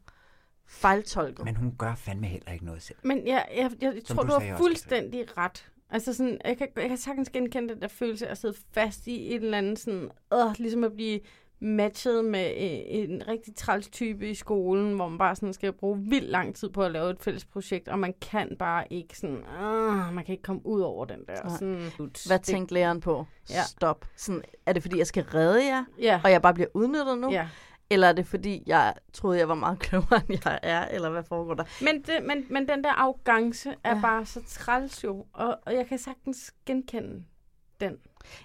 fejltolket. Men hun gør fandme heller ikke noget selv. Men jeg, jeg, jeg, jeg Som tror, du du, du sagde har også, fuldstændig ret. Altså sådan, jeg kan, jeg kan sagtens genkende den der følelse af at sidde fast i et eller andet sådan, øh, ligesom at blive matchet med øh, en rigtig træls type i skolen, hvor man bare sådan skal bruge vildt lang tid på at lave et fælles projekt, og man kan bare ikke sådan, øh, man kan ikke komme ud over den der. Nej. Sådan, Hvad det- tænkte læreren på? Ja. Ja. Stop. Sådan, er det fordi, jeg skal redde jer, Ja. og jeg bare bliver udnyttet nu? Ja. Eller er det fordi, jeg troede, jeg var meget klogere, end jeg er? Eller hvad foregår der? Men, det, men, men den der arrogance er ja. bare så træls jo, og, og jeg kan sagtens genkende den.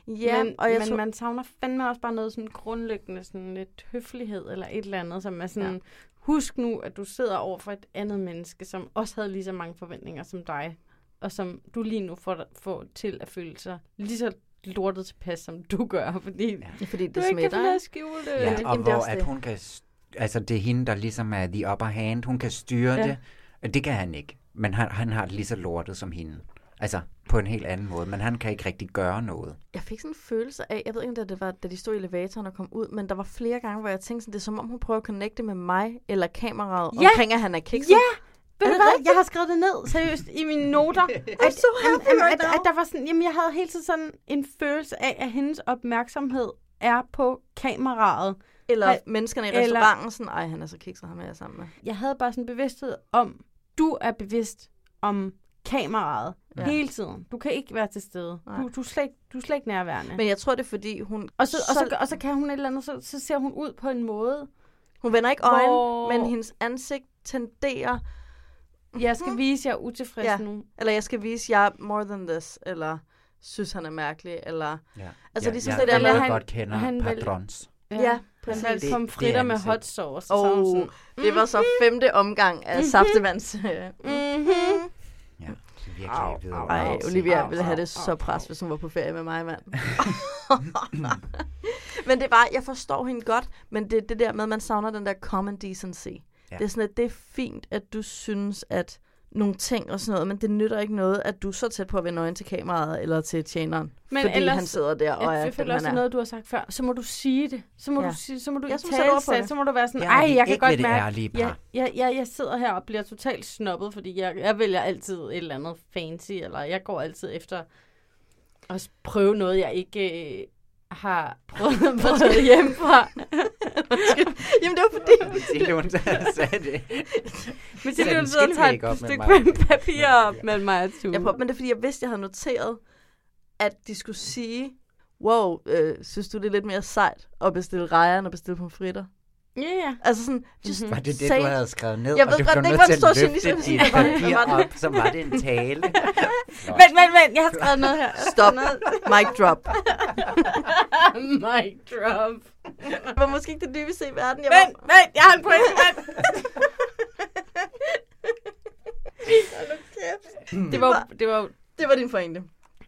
Ja, men, og jeg men tror- man savner fandme også bare noget sådan grundlæggende, sådan lidt høflighed eller et eller andet, som er sådan, ja. Ja. husk nu, at du sidder over for et andet menneske, som også havde lige så mange forventninger som dig, og som du lige nu får, får til at føle sig lige så lortet tilpas, som du gør, fordi, ja. fordi det du ikke kan smitter, finde ud af at ikke? skjule det. Ja, og Øh, Jamen, det er hvor også at det. hun kan, s- altså det er hende, der ligesom er the upper hand, hun kan styre Ja. ja. det, og det kan han ikke. Men han, han har det lige så lortet som hende. Altså på en helt anden måde, men han kan ikke rigtig gøre noget. Jeg fik sådan en følelse af, jeg ved ikke, om det- det var, da de stod i elevatoren og kom ud, men der var flere gange, hvor jeg tænkte sådan, det er som om, hun prøver at connecte med mig eller kameraet Ja. ja. omkring, at han er kikset. Ja! Ved du hvad? Jeg har skrevet det ned, seriøst, i mine noter. I'm so happy at, right at, at, der var sådan, jamen, jeg havde hele tiden sådan en følelse af, at hendes opmærksomhed er på kameraet. Eller Ej, menneskerne i eller- restauranten, sådan, ej, han er så kikset, ham er jeg sammen med. Jeg havde bare sådan en bevidsthed om, du er bevidst om kameraet ja. Ja. hele tiden. Du kan ikke være til stede. Nej. Du, du, er slet, ikke- du er slet ikke nærværende. Men jeg tror, det er, fordi hun... og, så, og, så, og så kan hun et eller andet, så, så ser hun ud på en måde. Hun vender ikke øjnene, hvor- men hendes ansigt tenderer... Jeg Mhm. skal vise, jeg er utilfreds nu. Eller jeg skal vise, jeg er more than this, eller synes, han er mærkelig, eller... Ja. Altså Ja, ligesom jeg det der ved med... godt, kender padrons. Ja, ja Han præcis. valgte Det- pomfritter det er med ansigt. hot sauce. Og Og oh. sådan, det var så femte omgang af Mhm. saftevands... mm-hmm. Virkelig au, Ej, Olivia ville have det så pres, hvis hun var på ferie med mig, mand. men det var, jeg forstår hende godt, men det er det der med, at man savner den der common decency. Ja. Ja. Det er sådan, at det er fint, at du synes, at nogle ting og sådan noget, men det nytter ikke noget, at du er så tæt på at vende øjen til kameraet eller til tjeneren, men fordi ellers, han sidder der og jeg er, føler den, også han er. noget, du har sagt før. Så må du sige det. Så må Ja. du sige, så må du Ja, ja, så må du sætte ord på så, det. så må du være sådan, Jeg er ej, det jeg kan ikke godt ved det mærke, ærlige par." jeg, jeg, jeg, jeg sidder her og bliver totalt snobbet, fordi jeg, jeg vælger altid et eller andet fancy, eller jeg går altid efter at s- prøve noget, jeg ikke øh, har prøvet, prøvet hjemmefra. Jamen, det var fordi... Mathilde, hun sagde det. Men Sæt det er en sidder og tager skilvæg op et med stykke mig. papir op med mig og Tue. Jeg prøver, men det er, fordi jeg vidste, jeg havde noteret, at de skulle sige, wow, øh, synes du, det er lidt mere sejt at bestille rejer, end at bestille pomfritter? Ja, ja. Mhm. Altså sådan, just Var det det, say du it. havde skrevet ned? Jeg og ved du godt, blev det ikke nødt var en til at stor løfte journalist, dit men hvad var det? papir Hvad var det? op, så var det en tale. Vent, vent, vent, jeg har skrevet noget her. Stop. Mic drop. Mic drop. Det var måske ikke det dybeste i verden. Jeg Vent, var... vent, jeg har en pointe, vent. Det var, det var, det var din pointe.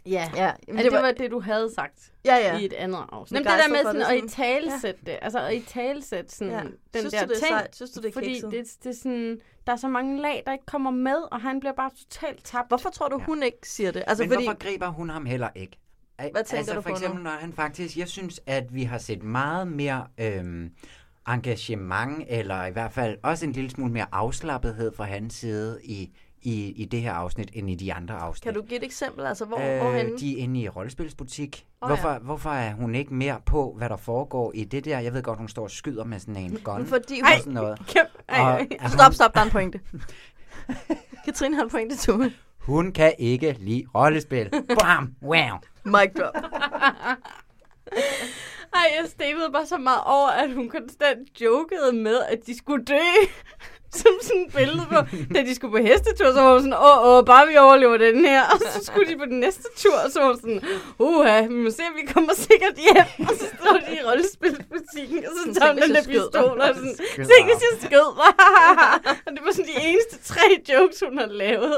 Ja. ja Jamen, det, det var det, du havde sagt Ja, ja. i et andet afsnit. Begejstret Jamen, det der med for sådan, det, at i sådan. talesæt det. Altså, at i talesæt sådan, Ja. den Synes du, der det er ting. sejt? Synes du, det er fordi kikset? det, det er sådan, der er så mange lag, der ikke kommer med, og han bliver bare totalt tabt. Hvorfor tror du, hun ikke siger det? Altså, Men fordi... hvorfor griber hun ham heller ikke? Hvad tænker altså, du for på nu? eksempel, når han faktisk... Jeg synes, at vi har set meget mere øhm, engagement, eller i hvert fald også en lille smule mere afslappethed fra hans side i, i, i det her afsnit, end i de andre afsnit. Kan du give et eksempel? Altså, hvor, øh, Øh, hvorhenne? de er inde i rollespilsbutik. Åh, ja. Oh, hvorfor, ja. hvorfor er hun ikke mere på, hvad der foregår i det der? Jeg ved godt, hun står og skyder med sådan en gun. Fordi hun... og sådan noget. Og Ej, at Stop, stop, der er en pointe. Katrine har en pointe, Tue. Hun, hun kan ikke lide rollespil. Bam! Wow! Mic drop. Ej, jeg stemmede bare så meget over, at hun konstant jokede med, at de skulle dø. Som sådan et billede på, da de skulle på hestetur, så var hun sådan, åh, åh, bare vi overlever den her. Og så skulle de på den næste tur, og så var hun sådan, uha, vi må se, om vi kommer sikkert hjem. Og så stod de i rollespilsbutikken, og så Sådan, tager hun "Tænk, den der hvis jeg skød pistol, dig." og sådan, Skød tænk, dig hvis jeg skød mig. og det var sådan de eneste tre jokes, hun har lavet.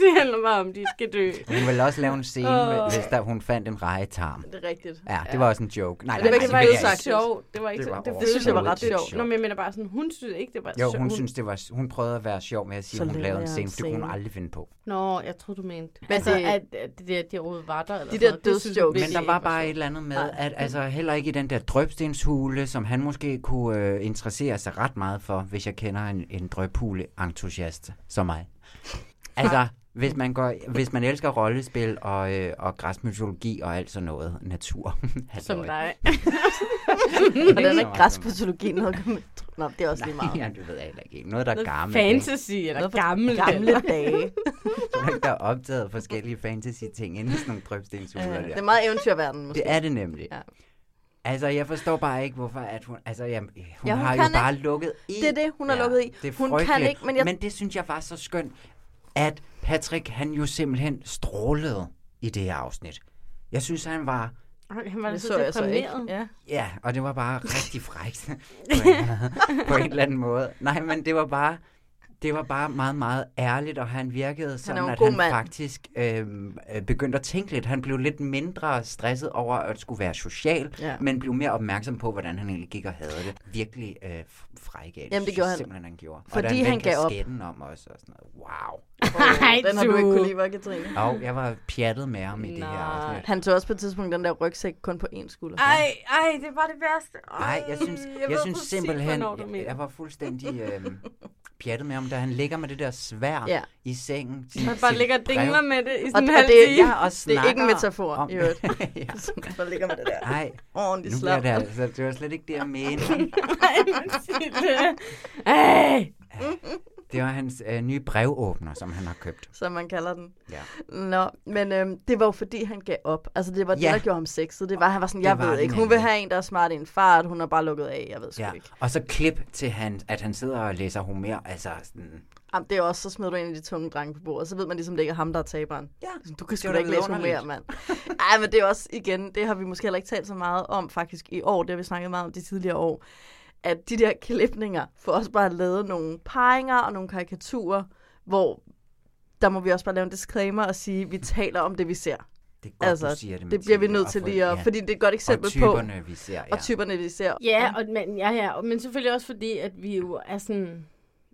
Det handler bare om, at de skal dø. Hun ville også lave en scene, Åh. oh. hvis der, hun fandt en rejetarm. Det er rigtigt. Ja, det var også en joke. Nej, Men nej, det var nej, ikke vil jeg så ikke. sjovt. sjovt. Det var ikke Det det var var så, det, overhovedet det synes jeg var ikke ret sjovt. sjovt. Nå, men jeg mener bare sådan, hun synes ikke, det var Jo, sjovt. hun synes, det var, hun prøvede at være sjov med at sige, Så at hun laver lavede en jeg en scene, for det kunne hun scene. aldrig finde på. Nå, jeg troede, du mente. Men altså, det- at, at det der, de overhovedet var der. Eller De sådan der noget. Det synes jeg dødsjokes. virkelig Men der var ikke bare et sjovt. eller andet med, Nej. at altså, heller ikke i den der drøbstenshule, som han måske kunne øh, interessere sig ret meget for, hvis jeg kender en, en drøbhule-entusiast som mig. Altså, hvis man, går, hvis man elsker rollespil og, øh, og græsmytologi og alt sådan noget, natur. Som Halløj. dig. og der er ikke græspatologien noget at komme Nå, det er også lige meget. Ja, det ved jeg heller ikke. Noget, der er Noget gammelt. Fantasy eller Noget for gammel. Gamle dage. ikke? Tror du ikke, der er opdaget forskellige fantasy-ting inde i sådan nogle drøbstenshuler Ja, der? det er meget eventyrverden, måske. Det er det nemlig. Ja. Altså, jeg forstår bare ikke, hvorfor at hun... Altså, jamen, hun, Ja, ja, hun hun har jo kan bare ikke. lukket i. Det er det, hun har lukket i. Det er Hun kan frygteligt. ikke, men jeg- men det synes jeg var så skønt, at Patrick, han jo simpelthen strålede i det her afsnit. Jeg synes, han var... Ej, Han var Det så, så jeg så ikke. deprimeret. Ja. Ja, og det var bare rigtig frækt på, en, på en eller anden måde. Nej, men det var bare... Det var bare meget, meget ærligt, og han virkede sådan, jo en at god han mand. faktisk øh, øh, begyndte at tænke lidt. Han blev lidt mindre stresset over at skulle være social, Ja. ja. men blev mere opmærksom på, hvordan han egentlig gik og havde det. Virkelig øh, f- frække. Jamen, det synes gjorde jeg han. Simpelthen, han gjorde. Fordi og da han vendte gav op. kasketten om også, og sådan noget. Wow. Ej, den har du ikke du. kunne lide, var Katrine? Og jeg var pjattet med ham i det her afsnit. Han tog også på et tidspunkt den der rygsæk kun på én skulder. Ej, ej, det var det værste. Nej, jeg synes, jeg, jeg ved synes præcis, simpelthen, hvornår du mener. jeg, jeg var fuldstændig øh, pjattet med ham, da han ligger med det der svær Ja. ja. i sengen. Til, Han bare til ligger og brev. dingler med det i Og, sådan en og halv det, time. Ja, og det er ikke en snakker metafor, om- i øvrigt. ja. Der ligger med det der. Nej, Ordentlig nu bliver slap. det altså, det var slet ikke det, jeg mente. Nej, men sig det. Ej. Det var hans øh, nye brevåbner, som han har købt. som man kalder den. Ja. Nå, men øhm, det var jo fordi, han gav op. Altså, det var det, Ja. der gjorde ham sexet. Det var, han var sådan, Det jeg var ved det ikke. Hun nemlig. vil have en, der er smart i en fart. Hun har bare lukket af, jeg ved sgu Ja. ikke. Og så klip til, han, at han sidder og læser Homer. Altså, sådan, Jamen, det er også, så smider du en af de tunge drenge på bordet, så ved man ligesom, det ikke er ham, der er taberen. Ja, Sådan, Du kan det sgu var da da ikke læse noget mere, mand. Ej, men det er også, igen, det har vi måske heller ikke talt så meget om faktisk i år, det har vi snakket meget om de tidligere år, at de der klipninger får også bare lavet nogle peginger og nogle karikaturer, hvor der må vi også bare lave en disclaimer og sige, at vi taler om det, vi ser. det er godt, altså, du siger det, det bliver vi nødt til lige at... Ja. Fordi det er et godt eksempel og på... typerne, vi ser. Ja. Og typerne, vi ser. Ja, og, men, ja, ja, og- men selvfølgelig også fordi, at vi jo er sådan...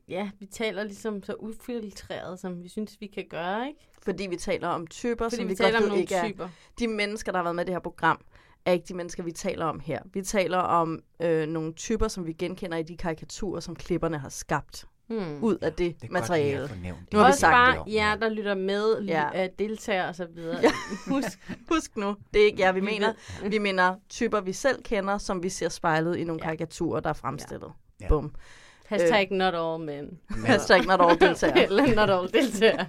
Ja, vi taler ligesom så ufiltreret, som vi synes, vi kan gøre, ikke? Fordi vi taler om typer, Fordi som vi, vi, taler godt om ved nogle ikke er... typer. de mennesker, der har været med i det her program, er ikke de mennesker, vi taler om her. Vi taler om øh, nogle typer, som vi genkender i de karikaturer, som klipperne har skabt Hmm. ud af det, det er materiale. Godt, lige at få nævnt Nu har vi Også sagt det bare jer, der lytter med, Ja. ja. deltager og så videre. Ja. Husk, husk nu, det er ikke jer, vi mener. ved. Vi mener typer, vi selv kender, som vi ser spejlet i nogle Ja. karikaturer, der er fremstillet. Ja. Bum. Hashtag not all men. Hashtag not all deltager. Eller not all deltager.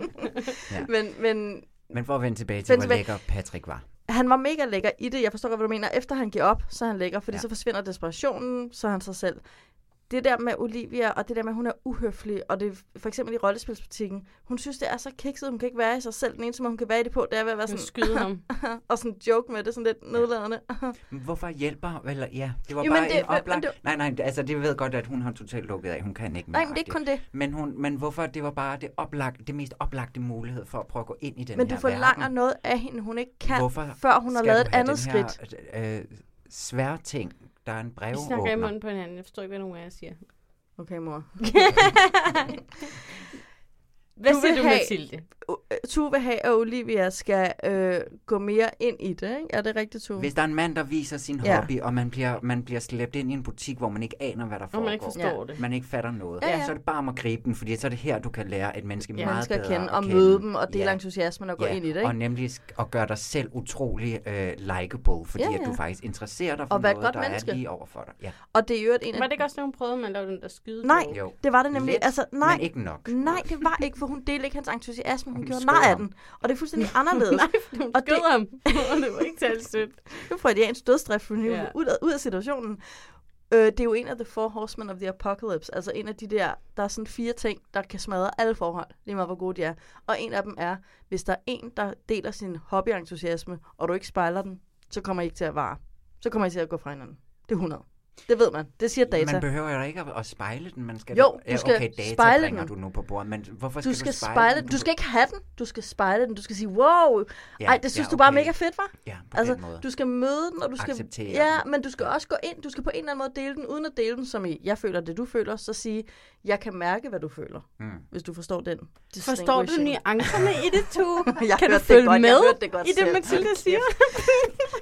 Men, men Men for at vende tilbage til, Vend hvor tilbage. lækker Patrick var. han var mega lækker i det. Jeg forstår godt, hvad du mener. Efter han giver op, så er han lækker, fordi ja. Ja. så forsvinder desperationen, så er han sig selv. Det der med Olivia, og det der med, at hun er uhøflig, og det for eksempel i rollespilsbutikken, hun synes, det er så kikset, hun kan ikke være i sig selv. Den eneste måde, hun kan være i det på, det er ved at være Nu sådan, skyder ham. og sådan joke med det, sådan lidt nedladende. Men Hvorfor hjælper? Eller, ja, det var Jo, jo, men bare det- det, en men- oplagt... men Nej, nej, altså det ved jeg godt, at hun har totalt lukket af. Hun kan ikke mere. Nej, men det er ikke kun det. Men, hun, men hvorfor det var bare det, oplagt, det mest oplagte mulighed for at prøve at gå ind i den Men her du forlanger verden. noget af hende, hun ikke kan, Hvorfor før hun har skal lavet du et have andet den skridt. Her, øh, svære ting. Der er en Vi snakker i brevåbner. munden på hinanden. Jeg forstår ikke, hvad nogen af jer siger. Okay, mor. Hvad Du siger vil du, have- Mathilde? Tue vil have, at Olivia skal øh, gå mere ind i det, ikke? Er det rigtigt, Tue? Hvis der er en mand, der viser sin Ja. ja. hobby, og man bliver, man bliver slæbt ind i en butik, hvor man ikke aner, hvad der Når foregår. man ikke forstår det. man ikke fatter noget, Ja, ja, ja. ja. så er det bare om at gribe den, fordi så er det her, du kan lære et menneske ja, meget mennesker at bedre kende, at og kende. møde dem, og dele ja. entusiasmen og gå ja. ja. ind i det, Og ikke? nemlig sk- at gøre dig selv utrolig øh, likable, fordi Ja, ja. ja, ja. at du faktisk interesserer dig for Og være et noget, godt der menneske. er lige over for dig. Ja. Og det er jo et en af... Var det ikke også, når hun prøvede, at man lavede den der skyde? Nej, Jo. det var det nemlig. Lidt, altså, nej, Men ikke nok. nej, det var ikke, for hun delte ikke hans entusiasme, hun Hun gjorde skød nej af ham. den. Og det er fuldstændig anderledes. Nej, fordi hun Og skød det- ham. Og det var ikke særlig sødt. Det var freudiansk dødsdrift, for hun Ja. ja. ud, af, ud af situationen. Øh, det er jo en af The Four Horsemen of the Apocalypse, altså en af de der, der er sådan fire ting, der kan smadre alle forhold, lige meget hvor gode de er. Og en af dem er, hvis der er en, der deler sin hobbyentusiasme, og du ikke spejler den, så kommer I ikke til at vare. Så kommer I til at gå fra hinanden. Det er 100. Det ved man. Det siger data. Man behøver jo ikke at, at spejle den. Man skal Jo, ja, du skal okay, data spejle bringer den. du nu på bordet, men hvorfor Du skal, skal spejle, spejle den. Du skal ikke have den. Du skal spejle den. Du skal sige, wow, Ja, ej, det synes ja, du bare er okay. mega fedt, var? Ja, på altså, den måde. du skal møde den, og du skal... Acceptere Ja, men du skal også gå ind. Du skal på en eller anden måde dele den, uden at dele den, som i, jeg føler det, du føler, så sige, jeg kan mærke, hvad du føler. Mm. Hvis du forstår den. Forstår du nuancerne i det, Tu? Jeg kan du hørte det følge godt, jeg med hørte det godt i det, selv. Mathilde siger?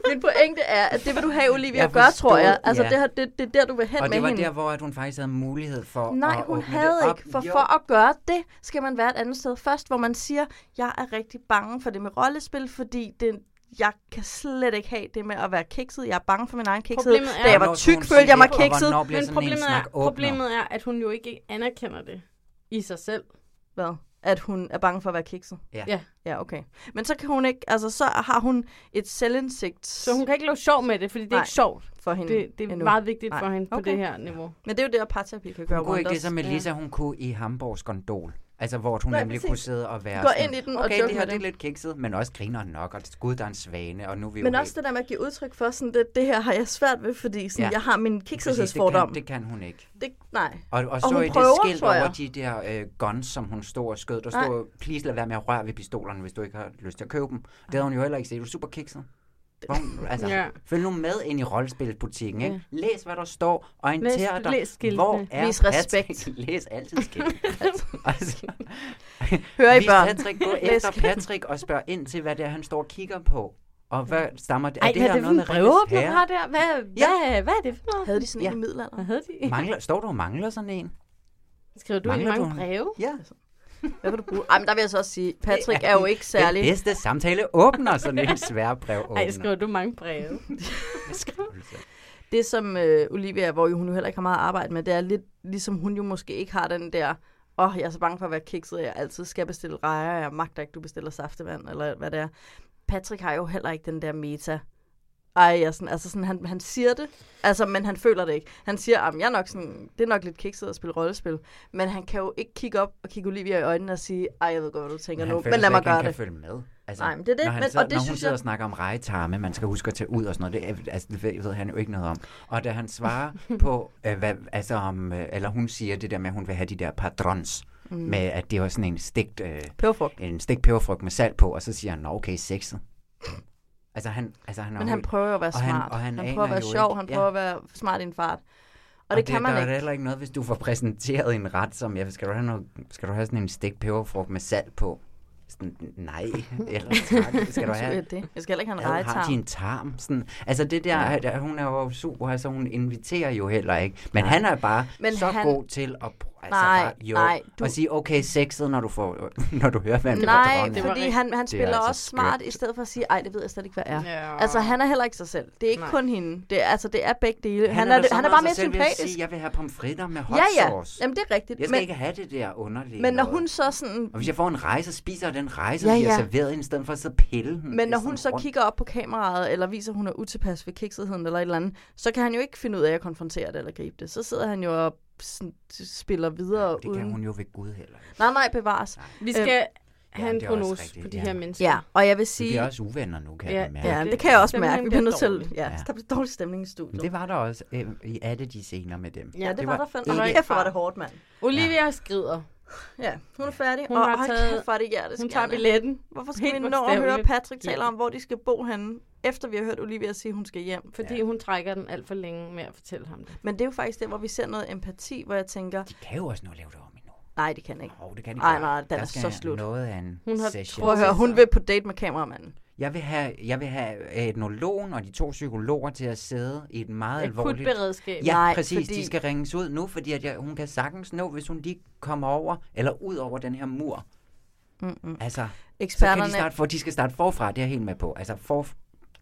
Min pointe er, at det vil du have, Olivia, Jeg at gøre, tror jeg. forstod, Altså, ja. det, har, det, det er der, du vil hen Og med det var hende. der, hvor at hun faktisk havde mulighed for Nej, at hun åbne havde det op. ikke. For, Jo. for at gøre det, skal man være et andet sted først, hvor man siger, jeg er rigtig bange for det med rollespil, fordi det, jeg kan slet ikke have det med at være kikset. Jeg er bange for min egen kikshed. Problemet er- Da jeg var Hvornår skal hun tyk, sige følte jeg mig det, og kikset. hvornår bliver Men sådan en problemet er, snak åbner? problemet er, at hun jo ikke anerkender det i sig selv. Hvad? At hun er bange for at være kikset? Ja. Ja. Ja, okay. Men så kan hun ikke, altså så har hun et selvindsigt. Så hun kan ikke lave sjov med det, fordi det er Nej, ikke sjovt. for hende Det, det er endnu. meget vigtigt Nej. for hende på Okay. det her niveau. Men det er jo det, at parterapi kan gøre Hun kunne ikke ligesom det, wonders. som Melissa, hun kunne i Hamburgs gondol. Altså, hvor hun Nej, nemlig præcis. kunne sidde og være Gå sådan, ind i den og okay, joke det her med det er det." lidt kikset, men også griner nok, og skud, der er en svane, og nu er vi Men okay. også det der med at give udtryk for, sådan det, det her har jeg svært ved, fordi sådan, Ja. ja. jeg har min Præcis, kiksethedsfordom. Det, kan- det kan hun ikke. Det, nej. Og, og så hun i det prøver, skilt tror jeg. over de der øh, guns, som hun stod og skød, der Nej. stod, please lad være med at røre ved pistolerne, hvis du ikke har lyst til at købe dem. Det havde hun jo heller ikke set. Du er super kikset. Hvor hun- Altså, Ja. ja. Følg nu med ind i rollespilbutikken. Ikke? Ja. Læs, hvad der står. Orienter Læs- dig. læs skiltene. Hvor er Vis respekt. Patrick? Læs altid skiltene. altså, Hør I vis børn. Patrick, gå Læs efter skiltene. Patrick og spørg ind til, hvad det er, han står og kigger på. Og hvad stammer det? Ej, er det hvad her er det for noget en med brevåbner, Ringenes du Herre? har der? Hvad, hvad, hvad er det for noget? Havde de sådan en Ja. i middelalderen? Hvad havde de? Mangler, står du og mangler sådan en? Skriver du Mangler ikke mange du en- breve? Ja. Hvad vil du bruge? Ej, men der vil jeg så også sige, Patrick er jo ikke særlig... Den bedste samtale åbner sådan en svær brev åbner. Altså, Ej, skriver du mange breve? Det, som øh, Olivia, hvor jo hun jo heller ikke har meget at arbejde med, det er lidt ligesom hun jo måske ikke har den der, åh, oh, jeg er så bange for at være kikset, jeg altid skal bestille rejer, jeg magter ikke, du bestiller saftevand, eller hvad det er. Patrick har jo heller ikke den der meta. Ej, jeg er sådan, altså sådan, han, han siger det, altså, men han føler det ikke. Han siger, at jeg er nok sådan, det er nok lidt kikset at spille rollespil, men han kan jo ikke kigge op og kigge Olivia i øjnene og sige, ej, jeg ved godt, hvad du tænker Men nu, han men lad mig ikke, han gøre kan det. følge med. Altså, Nej, men det er det, Når, han men- sidder, og det når hun synes sidder jeg- og snakker om rejetarme, man skal huske at tage ud og sådan noget, det, er- altså, det ved, ved han jo ikke noget om. Og da han svarer på, øh, hvad, altså om, øh, eller hun siger det der med, at hun vil have de der padrons, Mm. mm. med at det var sådan en stegt, øh, Peberfrugt. en stegt peberfrugt med salt på, og så siger han, nå okay, sexet. Altså han, altså han er Men jo- han prøver jo at være og smart. og han, aner prøver at være jo sjov, ikke- han ja. prøver at være smart i en fart. Og, og det, kan der man er der ikke. heller ikke noget, hvis du får præsenteret en ret, som, ja, skal du have, noget, skal du have sådan en stegt peberfrugt med salt på? Sådan, nej, eller tak, skal du have... Skal det? Jeg skal heller ikke have en Ad, Har de en rejetarm. tarm? Sådan, altså det der, ja. der, hun er jo super, altså hun inviterer jo heller ikke. Men han er bare Men Men så han- han... god til at pr- altså Nej, bare, jo, nej, du... og sige, okay, sexet, når du, får, når du hører, hvem Nej, det var fordi han, han Det er spiller altså også smart, i skørt. stedet for at sige, ej, det ved jeg slet ikke, hvad er. Ja. Altså, han er heller ikke sig selv. Det er ikke Nej. kun hende. Det er, altså, det er begge dele. Han, Han han, er er, da så han er meget bare sig mere selv ved at sige, sympatisk. "Jeg vil have pomfritter med hot Ja, ja. sauce." Jamen, det er rigtigt. Jeg skal men, ikke have det der underlige Men når noget. Mm, hun så sådan... Og hvis jeg får en rejse, spiser jeg den rejse, Ja, ja, ja. jeg ja. serveret hende, i stedet for at sidde og pille den. Men når sådan hun så rundt. kigger op på kameraet, eller viser, at hun er utilpas ved kiksetheden eller et eller andet, så kan han jo ikke finde ud af at konfrontere det eller gribe det. Så sidder han jo og sådan spiller videre Det uden... kan hun jo ved Gud heller. ikke. Nej, nej, bevares. Vi skal Ja, have en det er også prognose rigtigt, på de ja. her mennesker. Ja, og jeg vil Vi sige... bliver også uvenner nu, kan ja, jeg mærke. ja, det kan jeg også mærke. Vi Stemningen bliver bliver nødt til... dårlig. Ja, Ja. der bliver dårlig stemning i studiet. Men det var der også øh, i alle de scener med dem. Ja, det, det var, der fandme. ikke- Hold kæft, hvor var det hårdt, mand. Olivia skrider. Ja, hun er færdig. Hun og har hold taget- kæft, hvor er det hjerteskærende. hun tager billetten. Hvorfor skal Helt vi nå at høre bogstaveligt. Patrick tale om, hvor de skal bo henne, efter vi har hørt Olivia sige, hun skal hjem? Fordi hun trækker den alt for længe med at fortælle ham det. Men det er jo faktisk der, hvor vi ser noget empati, hvor jeg tænker, Det kan jo også nå at lave det om endnu. nej, det kan ikke. Jo, det kan de Nej, godt. nej, den Der er skal så slut. noget af en hun har session. Prøv at høre, hun vil på date med kameramanden. Jeg vil have, jeg vil have etnologen og de to psykologer til at sidde i et meget Et alvorligt... akutberedskab. Ja, Nej, præcis. fordi- De skal ringes ud nu, fordi at jeg, hun kan sagtens nå, hvis hun lige kommer over, eller ud over den her mur. Mm-mm. Altså, så kan Eksperterne- de starte, for, de skal starte forfra, det er jeg helt med på. Altså, for,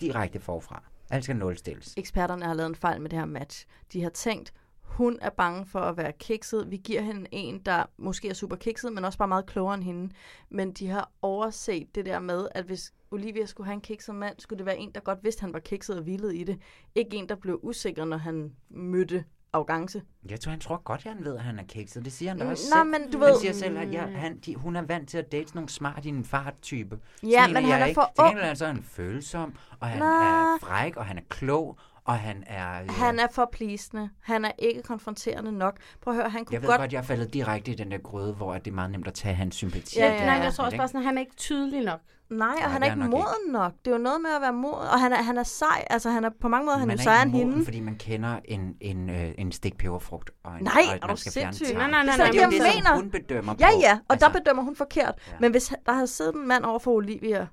direkte forfra. Alt skal nulstilles. Eksperterne har lavet en fejl med det her match. De har tænkt, hun er bange for at være kikset. Vi giver hende en, der måske er super kikset, men også bare meget klogere end hende. Men de har overset det der med, at hvis Olivia skulle have en kikset mand, skulle det være en, der godt vidste, han var kikset og hvilede i det. Ikke en, der blev usikker, når han mødte arrogance. Jeg tror, han tror godt, han ved, at han er kikset. Det siger han da Mm, også nej, selv. men du Han ved- siger selv, at jeg, han, de, hun er vant til at date sådan nogle smart i en fart-type. Ja, Sådan en men jeg han er ikke. for Til ung. gengæld er han så en følsom, og han Nå. er fræk, og han er klog, Og han er... øh, Han er for pleasende. Han er ikke konfronterende nok. Prøv at høre, han kunne jeg ved godt... godt, jeg er faldet direkte i den der grøde, hvor at det er meget nemt at tage hans sympati. Ja, ja, Nej, jeg tror også bare sådan, at han er ikke tydelig nok. Nej, og Nej, han det er er ikke nok moden nok. Det er jo noget med at være moden. Og han er, han er sej. Altså, han er på mange måder, han er man jo er sejere ikke end moden, hende. fordi man kender en, en, øh, en stikpeberfrugt, og, en, Nej, og er at du man skal fjerne sindssyg? tarmen. Nej, nej, nej, Det nej, er men jo det, det- som mener- hun bedømmer Ja, på. Altså, ja, og der bedømmer hun forkert. Men hvis der havde siddet en mand over for Olivia,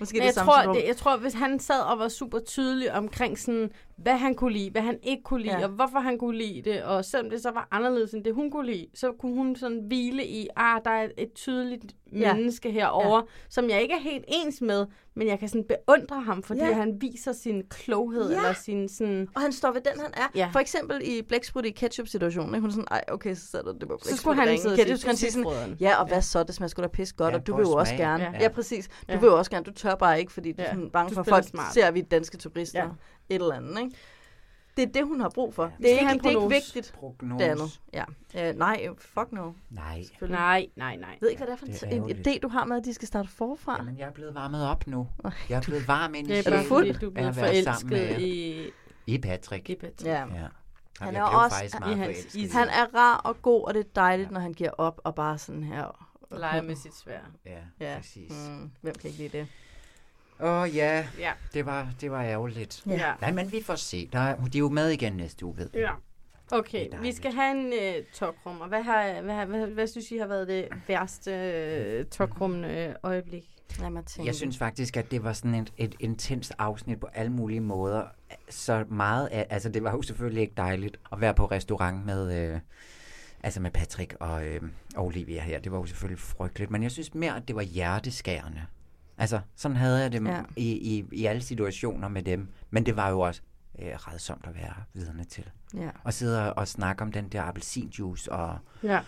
måske Men det jeg, samme tror, syndrom. det, jeg tror, hvis han sad og var super tydelig omkring, sådan, hvad han kunne lide, hvad han ikke kunne lide, ja. og hvorfor han kunne lide det, og selvom det så var anderledes end det, hun kunne lide, så kunne hun sådan hvile i, ah, der er et tydeligt Ja. menneske herovre, ja. som jeg ikke er helt ens med, men jeg kan sådan beundre ham, fordi Ja. ja. han viser sin kloghed, Ja. ja. eller sin sådan... Og han står ved den, han er. Ja. For eksempel i blæksprutte i ketchup-situationen. ikke? Hun er sådan, ej, okay, så sætter det på blæksprutte. skulle han sidde og sige, ketchup, så skal han sige sådan, "Frøden." ja, og hvad så, det smager sgu da pisse godt, Ja, og du prøv vil at jo også smage. gerne. Ja. Ja, præcis. Du Ja. vil jo også gerne, du tør bare ikke, fordi du er Ja. sådan bange Du for, at spiller folk smart. ser vi danske turister, Ja. et eller andet, ikke? Det er det, hun har brug for. skal Det er have ikke, en det er ikke prognose. vigtigt, Prognose. det andet. Ja. Øh, nej, fuck no. Nej. Selvfølgelig. Nej, nej, nej. Jeg ved ikke, hvad det er for Det er en, en ærgerligt. idé, du har med, at de skal starte forfra. Jamen, jeg er blevet varmet op nu. Jeg er blevet varm ind i Ah. Det er sjælen bare fordi, du er af blevet at være sammen forelsket med- i- I Patrick. I Patrick. Ja. Han Han jeg er er blev også faktisk meget forelsket. han er rar og god, og det er dejligt, ja. når han giver op og bare sådan her... og- Leger med sit svær. Ja, præcis. Mm, hvem kan ikke lide det? Åh oh, ja, Ja. det var, det var ærgerligt. Ja. Nej, men vi får se. Der er, de er jo med igen næste uge, ved jeg. Ja. Okay, vi skal have en øh, tokrum, og hvad, har, hvad, hvad, hvad synes I har været det værste øh, tokrum øh, øjeblik? Lad mig tænke. Jeg synes faktisk, at det var sådan et, et intenst afsnit på alle mulige måder. Så meget af, altså det var jo selvfølgelig ikke dejligt at være på restaurant med, øh, altså med Patrick og, øh, og Olivia her. Det var jo selvfølgelig frygteligt, men jeg synes mere, at det var hjerteskærende. Altså, sådan havde jeg det Ja. ja. i, i, i alle situationer med dem. Men det var jo også øh, redsomt at være vidne til. Ja. Og sidde og, og snakke om den der appelsinjuice, og Ja.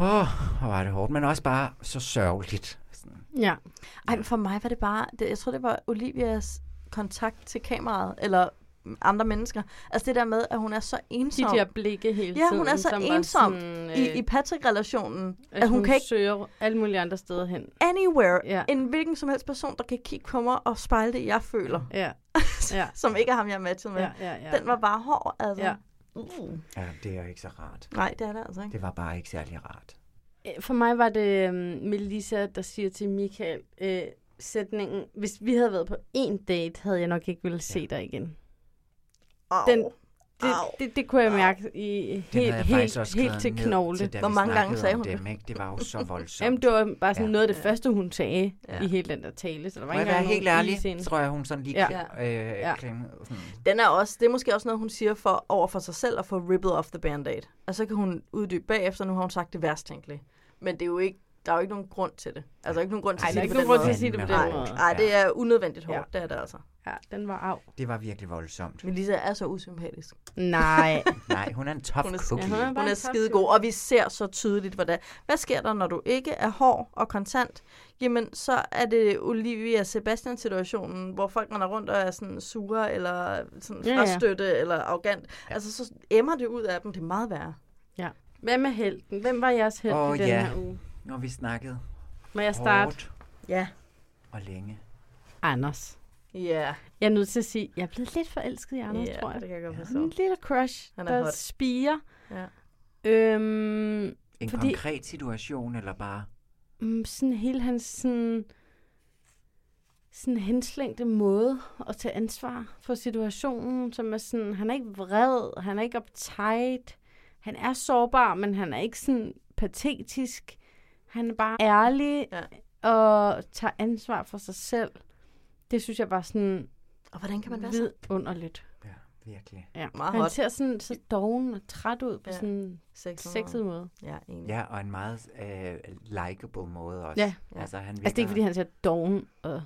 åh, hvor var det hårdt, men også bare så sørgeligt. Sådan, Ja. Ej, men for mig var det bare... Det, jeg tror, det var Olivias kontakt til kameraet, eller andre mennesker. Altså det der med, at hun er så ensom. der blikke hele Ja, hun er tiden, så som var ensom sådan, i, øh, i Patrick-relationen. At, at hun, hun kan kan ikke søger alle mulige andre steder hen. anywhere, Ja. en hvilken som helst person, der kan kigge på mig og spejle det, jeg føler. Ja. ja. som ikke er ham, jeg matchede med. Ja, ja, ja. Den var bare hård, altså. Ja. Uh. Ja, det er ikke så rart. Nej, det er det altså ikke. Det var bare ikke særlig rart. Øh, For mig var det um, Melissa, der siger til Michael øh, sætningen, hvis vi havde været på én date, havde jeg nok ikke ville se ja. dig igen. Au. Den, det, det, det kunne jeg mærke i Den helt, havde jeg faktisk helt, også helt til skrevet ned knogle. Til, da vi snakkede om Dem, ikke? Det var jo så voldsomt. Jamen, det var bare sådan Ja. ja. noget af det første, hun sagde Ja. ja. i hele den der tale. Så der var Må jeg ikke være engang helt nogen ærlig, is i hende. tror jeg, hun sådan lige Ja. klem- øh, Ja. klem- sådan. Den er også, det er måske også noget, hun siger for, over for sig selv at få ripped off the band-aid. Og så kan hun uddybe bagefter, nu har hun sagt det værst tænkelige. Men det er jo ikke, der er jo ikke nogen grund til det. Altså, der er ikke nogen grund til Ej, at sige der er det ikke på nogen grund den måde. til at sige det på den Nej, måde. Nej, det er unødvendigt hårdt, Ja. det er det altså. Ja, den var af. Det var virkelig voldsomt. Men Lisa er så usympatisk. Nej. Nej, hun er en tough Hun er, cookie. ja, hun bare er en tough skidegod, og vi ser så tydeligt, hvordan... Hvad sker der, når du ikke er hård og kontant? Jamen, så er det Olivia Sebastian-situationen, hvor folk render rundt og er sådan sure, eller sådan Ja, ja. frastøtte, eller arrogant. Ja. Altså, så emmer det ud af dem. Det er meget værre. Ja. Hvem er helten? Hvem var jeres helt Åh, oh, i den ja. her uge? Når vi snakkede Må jeg starte? Hårdt. Ja. og længe. Anders. Ja. Jeg er nødt til at sige, jeg er blevet lidt forelsket i Anders, Ja, tror jeg. det kan jeg godt En forstå. lille crush, Han er der hot. spiger. Ja. Øhm, En fordi konkret situation, eller bare... mm, sådan hele hans sådan, sådan henslængte måde at tage ansvar for situationen, som er sådan, han er ikke vred, han er ikke uptight, han er sårbar, men han er ikke sådan patetisk. Han er bare ærlig ja. og tager ansvar for sig selv. Det synes jeg var sådan Og hvordan kan man være så vidunderligt. Ja, virkelig. Ja. Meget han hot. ser sådan så doven og træt ud på Ja. ja. sådan en Sexet sexet måde. Ja, enig. Ja, og en meget øh, likable måde også. Ja. Altså, han Altså det er ikke, virker- fordi han ser doven og...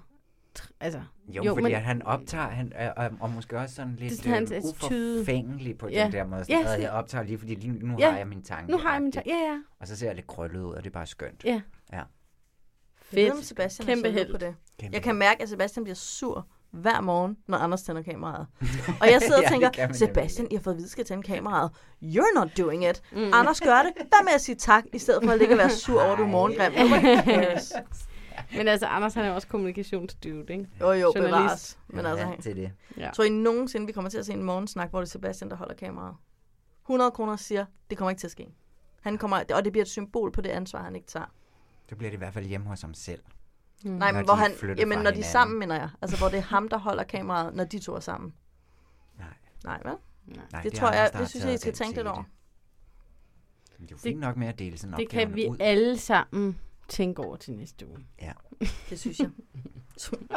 tr- Altså, Jo, jo fordi men... han optager, han, øh, og, og måske også sådan lidt sådan hans øh, attitude. uforfængelig på ja. Ja. den der måde. Ja, Sådan, ja, sådan- jeg optager lige, fordi lige nu Ja. har jeg min tanke. Nu har jeg min tanke. Ja, ja. Og så ser jeg lidt krøllet ud, og det er bare skønt. Ja. ja. Jeg ved, Fedt. om Sebastian Kæmpe Kæmpe er held. held. på det. Kæmpe Kæmpe jeg kan mærke, at Sebastian bliver sur hver morgen, når Anders tænder kameraet. Og jeg sidder og Ja, det tænker, kan man Sebastian, I har fået at vide, at I skal tænde kameraet. You're not doing it. Mm. Anders gør det. Hvad med at sige tak, i stedet for at ligge og være sur over, at du er morgengrim. Nobody cares. Men altså, Anders han er jo også kommunikationsdude, ikke? Jo, jo, Journalist. bevares. Men altså, Ja, han- til det. Ja. Tror I nogensinde, vi kommer til at se en morgensnak, hvor det er Sebastian, der holder kameraet? 100 kroner siger, det kommer ikke til at ske. Han kommer, og det bliver et symbol på det ansvar, han ikke tager. Det bliver det i hvert fald hjemme hos ham selv. Mm. Nej, Når men de hvor han, flytter jamen, fra når de er hinanden. sammen, mener jeg. Altså, hvor det er ham, der holder kameraet, når de to er sammen. Nej. Nej, hvad? Nej, det, det er tror jeg, Anders, der har det synes jeg, I taget skal den tænke lidt side. over. Men Det er jo fint nok med at dele sådan Det kan opgaverne vi ud. alle sammen tænke over til næste uge. Ja. Det synes jeg.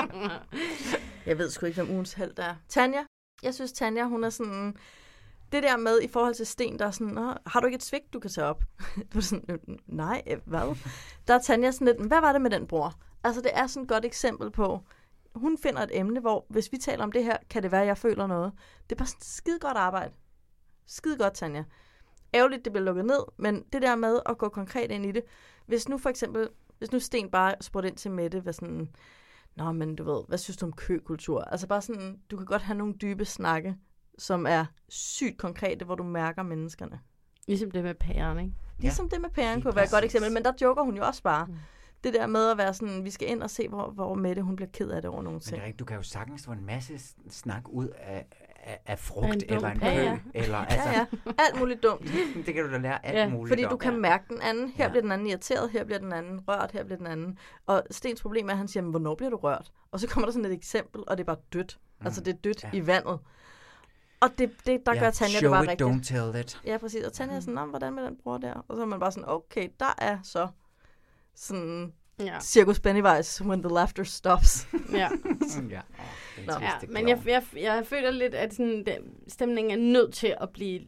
jeg ved sgu ikke, hvem ugens held er. Tanja, jeg synes, Tanja, hun er sådan... Det der med i forhold til Sten, der er sådan, Nå, har du ikke et svigt, du kan tage op? Du er sådan, "Øh, nej, øh, hvad? Der er Tanja sådan lidt, hvad var det med den bror? Altså, det er sådan et godt eksempel på, hun finder et emne, hvor hvis vi taler om det her, kan det være, at jeg føler noget. Det er bare sådan skide godt arbejde. Skide godt, Tanja. Ærgerligt, det bliver lukket ned, men det der med at gå konkret ind i det. Hvis nu for eksempel, hvis nu Sten bare spurgte ind til Mette, hvad sådan, Nå, men du ved, hvad synes du om køkultur? Altså bare sådan, du kan godt have nogle dybe snakke, som er sygt konkrete, hvor du mærker menneskerne. Ligesom det med pæren, ikke? Ligesom det med pæren kunne være et godt eksempel, men der joker hun jo også bare. Mm. Det der med at være sådan, vi skal ind og se, hvor, hvor Mette hun bliver ked af det over nogle Men det ting. er rigtigt, du kan jo sagtens få en masse s- snak ud af, af, af frugt en en dum- eller en kø. Ja, ja. Eller, altså, Ja, ja. Alt muligt dumt. det kan du da lære alt muligt Fordi du om. kan mærke den anden. Her bliver den anden irriteret, her bliver den anden rørt, her bliver den anden. Og Stens problem er, at han siger, "Men hvornår bliver du rørt? Og så kommer der sådan et eksempel, og det er bare dødt. Altså, det er dødt i vandet. Og det, det, der Mm. Ja, gør Tanja det show bare it, rigtigt. don't tell it. Ja, præcis. Og Tanja er Mhm. sådan, "Nå, men hvordan med den bror der? Og så er man bare sådan, okay, der er så sådan Ja. cirkus Pennywise, when the laughter stops. Ja. Mm, ja. Nå. Ja, men jeg, jeg, jeg føler lidt, at sådan, den, stemningen er nødt til at blive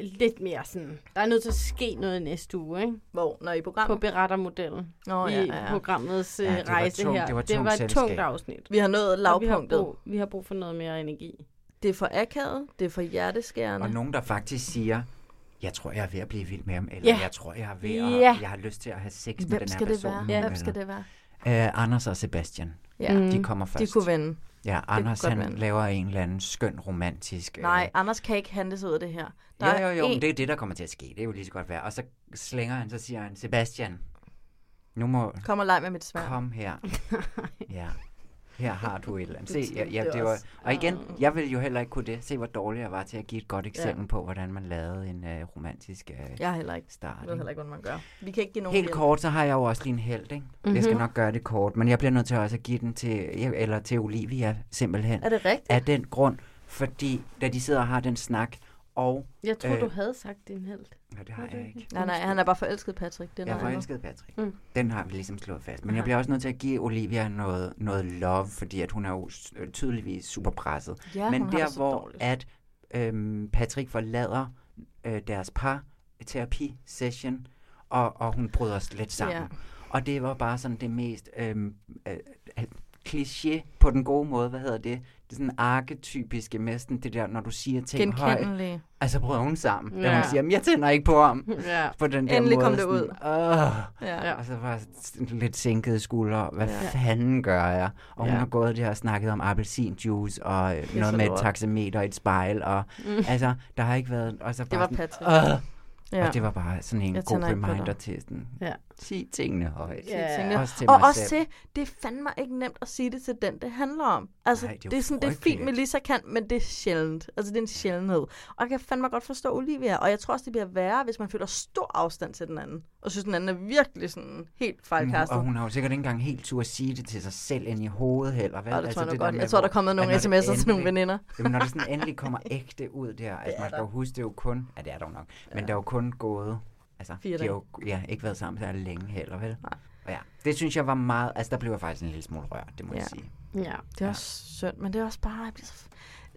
lidt mere sådan... Der er nødt til at ske noget i næste uge, ikke? Hvor? Når i programmet? På berettermodellen. Nå, I ja, ja, ja. programmets Ja, ja, det var rejse tungt- her. det var det tungt var et selskab. tungt afsavsnit. Vi har nået Og vi har lavpunktet. brug- Vi har brug for noget mere energi. Det er for akavet, det er for hjerteskærende. Og nogen, der faktisk siger, jeg tror, jeg er ved at blive vild med ham, eller Ja. jeg tror, jeg er ved at, Ja. jeg har lyst til at have sex med Hvem den her skal det person. være? nu, Ja. Hvem eller- skal det være? Øh, Anders og Sebastian. Ja. De Mm. kommer De først. kunne vinde. Ja, Det kunne Anders godt han vinde. laver en eller anden skøn romantisk... øh, Nej, Anders kan ikke handles ud af det her. jo, jo, jo, en- men det er det, der kommer til at ske. Det er jo lige så godt være. Og så slænger han, så siger han, Sebastian, nu må... Kom og leg med mit sværd. Kom her. ja. Her har du et eller andet. Du Se, ja, tænkte ja, det var, også. og igen, jeg ville jo heller ikke kunne det. Se, hvor dårlig jeg var til at give et godt eksempel Ja. ja. på, hvordan man lavede en øh, romantisk øh, Jeg har heller ikke. start. Jeg ved ikke? heller ikke, hvordan man gør. Vi kan ikke give nogen Helt hjælp. kort, så har jeg jo også lige en held, ikke? Mm-hmm. Jeg skal Mhm. nok gøre det kort, men jeg bliver nødt til også at give den til, eller til Olivia simpelthen. Er det rigtigt? Af den grund, fordi da de sidder og har den snak, og... Jeg tror, øh, du havde sagt din held. Nej, det har jeg ikke. Nej, nej, han er bare forelsket, Patrick. Det er Jeg er noget andet. forelsket, Patrick. Mm. Mm. Den har vi ligesom slået fast. Men jeg bliver også nødt til at give Olivia noget, noget love, fordi at hun er jo s- øh, tydeligvis super presset. Ja, Men hun har der, det så hvor at øhm, Patrick forlader øh, deres par terapi-session, og, og hun bryder slet sammen. Ja. Og det var bare sådan det mest øhm, øh, øh, kliché på den gode måde. Hvad hedder det? Det er sådan arketypiske med sådan det der, når du siger ting højt. Genkendelige. Altså bryder hun sammen. Ja. Ja. Da hun siger, "Jamen, jeg tænder ikke på ham. Ja. På den der Endelig måde. kom det sådan, ud. Åh. Ja. Ja. Og så var jeg sådan lidt sænket skulder. Hvad Ja. ja. fanden gør jeg? Og hun Ja. har gået der og snakket om appelsinjuice og øh, Pisse noget med et lort. taxameter og et spejl. Og, Mm. mm. Altså, der har ikke været... Og så Det bare var sådan, Patrick. "Åh." Ja. Og det var bare sådan en Jeg jeg tænder god ikke på dig. reminder til sådan... Ja. Sig tingene højt. Sige tingene. Også til og mig også selv. til, det er fandme ikke nemt at sige det til den, det handler om. Altså, Nej, det, det er er det, er jo sådan, det er fint, frygteligt. Melissa kan, men det er sjældent. Altså, det er en sjældenhed. Og jeg kan fandme godt forstå Olivia, og jeg tror også, det bliver værre, hvis man føler stor afstand til den anden, og synes, den anden er virkelig sådan helt Men hun- fejlkastet. Mm, Og hun har jo sikkert ikke engang helt tur at sige det til sig selv ind i hovedet heller. Vel? Altså, Ej, det tror jeg nok der godt. Jeg med, tror, der hvor- er kommet nogle at når det sms'er til nogle veninder. Jamen, når det sådan endelig kommer ægte ud der, altså er man skal der. jo huske, det er jo kun, ja det er der jo nok, men der er jo kun gået, altså Fire de har jo ja, ikke været sammen så længe heller, vel? Nej. Og ja, det synes jeg var meget, altså der blev jeg faktisk en lille smule rørt, det må Ja. jeg sige. Ja, det er også synd, men det er også bare, jeg bliver så...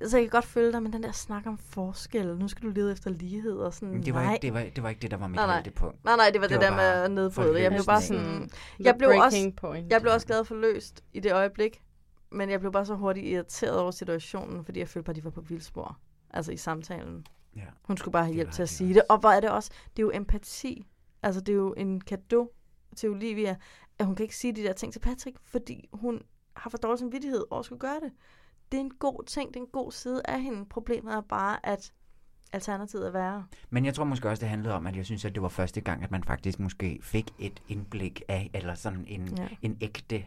Altså, jeg kan godt følge dig, men den der snak om forskel, nu skal du lede efter lighed og sådan, Men det var, nej. ikke, det, var, det var ikke det, der var mit nej, nej. højdepunkt. Nej, nej, det var det, det der med bare at nedbryde det. Jeg blev bare sådan... forløsningen. Jeg The blev, også, breaking point. jeg blev også glad for løst i det øjeblik, men jeg blev bare så hurtigt irriteret over situationen, fordi jeg følte bare, at de var på vildspor. Altså i samtalen. Ja. Hun skulle bare have hjælp til at sige det. Og hvor er det også... Det er jo empati. Altså, det er jo en gave til Olivia, at hun kan ikke sige de der ting til Patrick, fordi hun har for dårlig samvittighed over at skulle gøre det. Det er en god ting, det er en god side af hende. Problemet er bare, at alternativet er værre. Men jeg tror måske også, det handlede om, at jeg synes, at det var første gang, at man faktisk måske fik et indblik af, eller sådan en, Ja. ja. en ægte øh,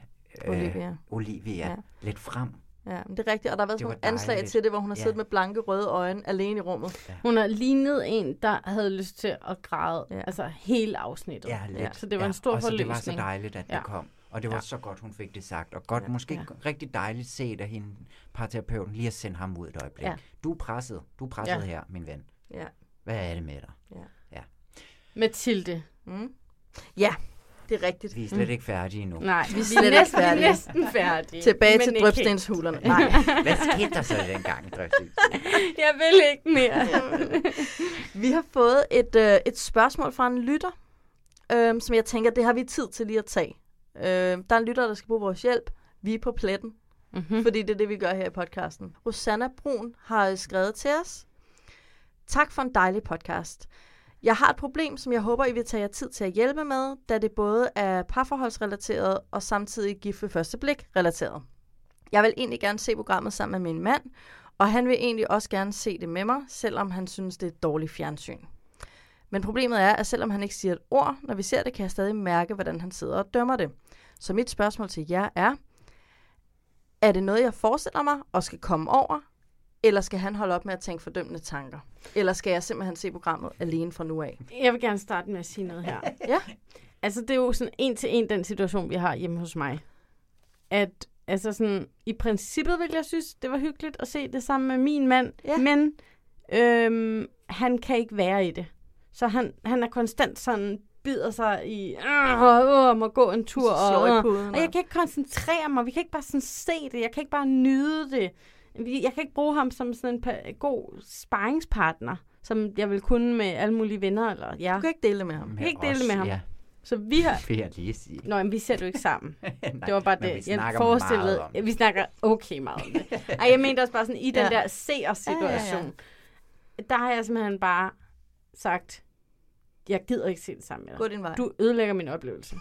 Olivia. Olivia Ja. ja. lidt frem. Ja, men det er rigtigt, og der har været Det sådan var nogle anslag dejligt. til det, hvor hun har Ja. siddet med blanke røde øjne alene i rummet. Ja. Hun har lignet en, der havde lyst til at græde, ja. altså hele afsnittet. Ja, lidt. Så det var ja. en stor og så forløsning. det var så dejligt, at ja. ja. det kom. Og det var ja. så godt, hun fik det sagt. Og godt, ja. måske ja. rigtig dejligt set af hende, parterapeuten, lige at sende ham ud et øjeblik. Ja. Ja. Du er presset. Du er presset Ja. ja. her, min ven. Ja. Hvad er det med dig? Ja. ja. Mathilde. Mm. Ja, det er rigtigt. Vi er slet ikke færdige endnu. Nej, vi er vi slet er ikke næsten- færdige. næsten færdige, Tilbage men til ikke drøbstenshulerne. helt. Nej. Hvad skete der så dengang, drøbstens? Jeg vil ikke mere. vi har fået et, øh, et spørgsmål fra en lytter, øh, som jeg tænker, det har vi tid til lige at tage. Øh, der er en lytter, der skal bruge vores hjælp. Vi er på pletten, Mhm. mm-hmm. fordi det er det, vi gør her i podcasten. Rosanna Brun har øh, skrevet til os. Tak for en dejlig podcast. Jeg har et problem, som jeg håber, I vil tage jer tid til at hjælpe med, da det både er parforholdsrelateret og samtidig gift ved første blik relateret. Jeg vil egentlig gerne se programmet sammen med min mand, og han vil egentlig også gerne se det med mig, selvom han synes, det er et dårligt fjernsyn. Men problemet er, at selvom han ikke siger et ord, når vi ser det, kan jeg stadig mærke, hvordan han sidder og dømmer det. Så mit spørgsmål til jer er, er det noget, jeg forestiller mig og skal komme over, eller skal han holde op med at tænke fordømmende tanker? Eller skal jeg simpelthen se programmet alene fra nu af? Jeg vil gerne starte med at sige noget her. ja. Altså, det er jo sådan en til en den situation, vi har hjemme hos mig. At, altså sådan, i princippet ville jeg synes, det var hyggeligt at se det sammen med min mand. Ja. Men øhm, han kan ikke være i det. Så han, han er konstant sådan, bider sig i, "Ah, åh, åh, må gå en tur. Og, Slår i åh." puden, og jeg og- kan ikke koncentrere mig. Vi kan ikke bare sådan se det. Jeg kan ikke bare nyde det. Vi- Jeg kan ikke bruge ham som sådan en pa- god sparringspartner, som jeg vil kunne med alle mulige venner. Eller, ja. Du kan ikke dele det med ham. Jeg kan ikke dele det med ham. Ja. Så vi har... Vil jeg lige sige. Nå, men vi ser det jo ikke sammen. Nej, det var bare men det, vi jeg snakker meget forestillede. om Ja, vi snakker okay meget om det. Ej, jeg mente også bare sådan, i den Ja. ja. der se os situation, ja, ja, ja. der har jeg simpelthen bare sagt, jeg gider ikke se det sammen med dig. Gå din vej. Du ødelægger min oplevelse.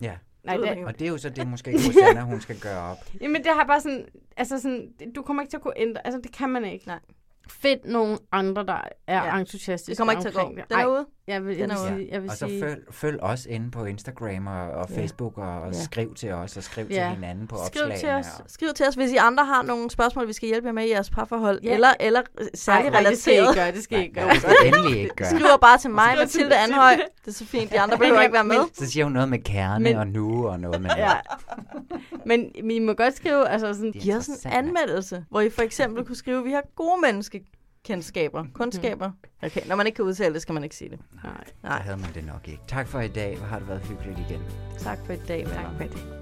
Ja. Nej, det- Og det er jo så det, måske Rosanna, hun skal gøre op. Jamen, det har bare sådan, altså sådan, du kommer ikke til at kunne ændre, altså det kan man ikke. Nej. Find nogle andre, der er Ja. ja. entusiastiske Det kommer ikke til at gå. omkring det. Den er Ej, ude. Jeg vil, jeg Den vil er ude. sige, jeg vil og så sige, følg, følg os inde på Instagram og, og Ja. Facebook og, og Ja. skriv til os og skriv Ja. til hinanden på Skriv til opslagene. os. og- Skriv til os, hvis I andre har nogle spørgsmål, vi skal hjælpe jer med i jeres parforhold, Ja. eller, eller øh, særligt nej, relateret. det skal I ikke gøre, det skal I Nej, ikke nej, gøre. det skal I Endelig ikke gøre. Skriver bare til mig, Skriv til Mathilde Mathilde. Anhøj. Det er så fint, de andre behøver Men- ikke være med. Så siger hun noget med kerne Men- og nu og noget med Ja. Men I må godt skrive, altså sådan, Giv os en anmeldelse, hvor I for eksempel kunne skrive, at vi har gode menneskekendskaber, kundskaber. Okay, når man ikke kan udtale det, skal man ikke sige det. Nej. Nej. havde man det nok ikke. Tak for i dag. Hvor har det været hyggeligt igen. Tak for i dag, venner. Tak for i dag.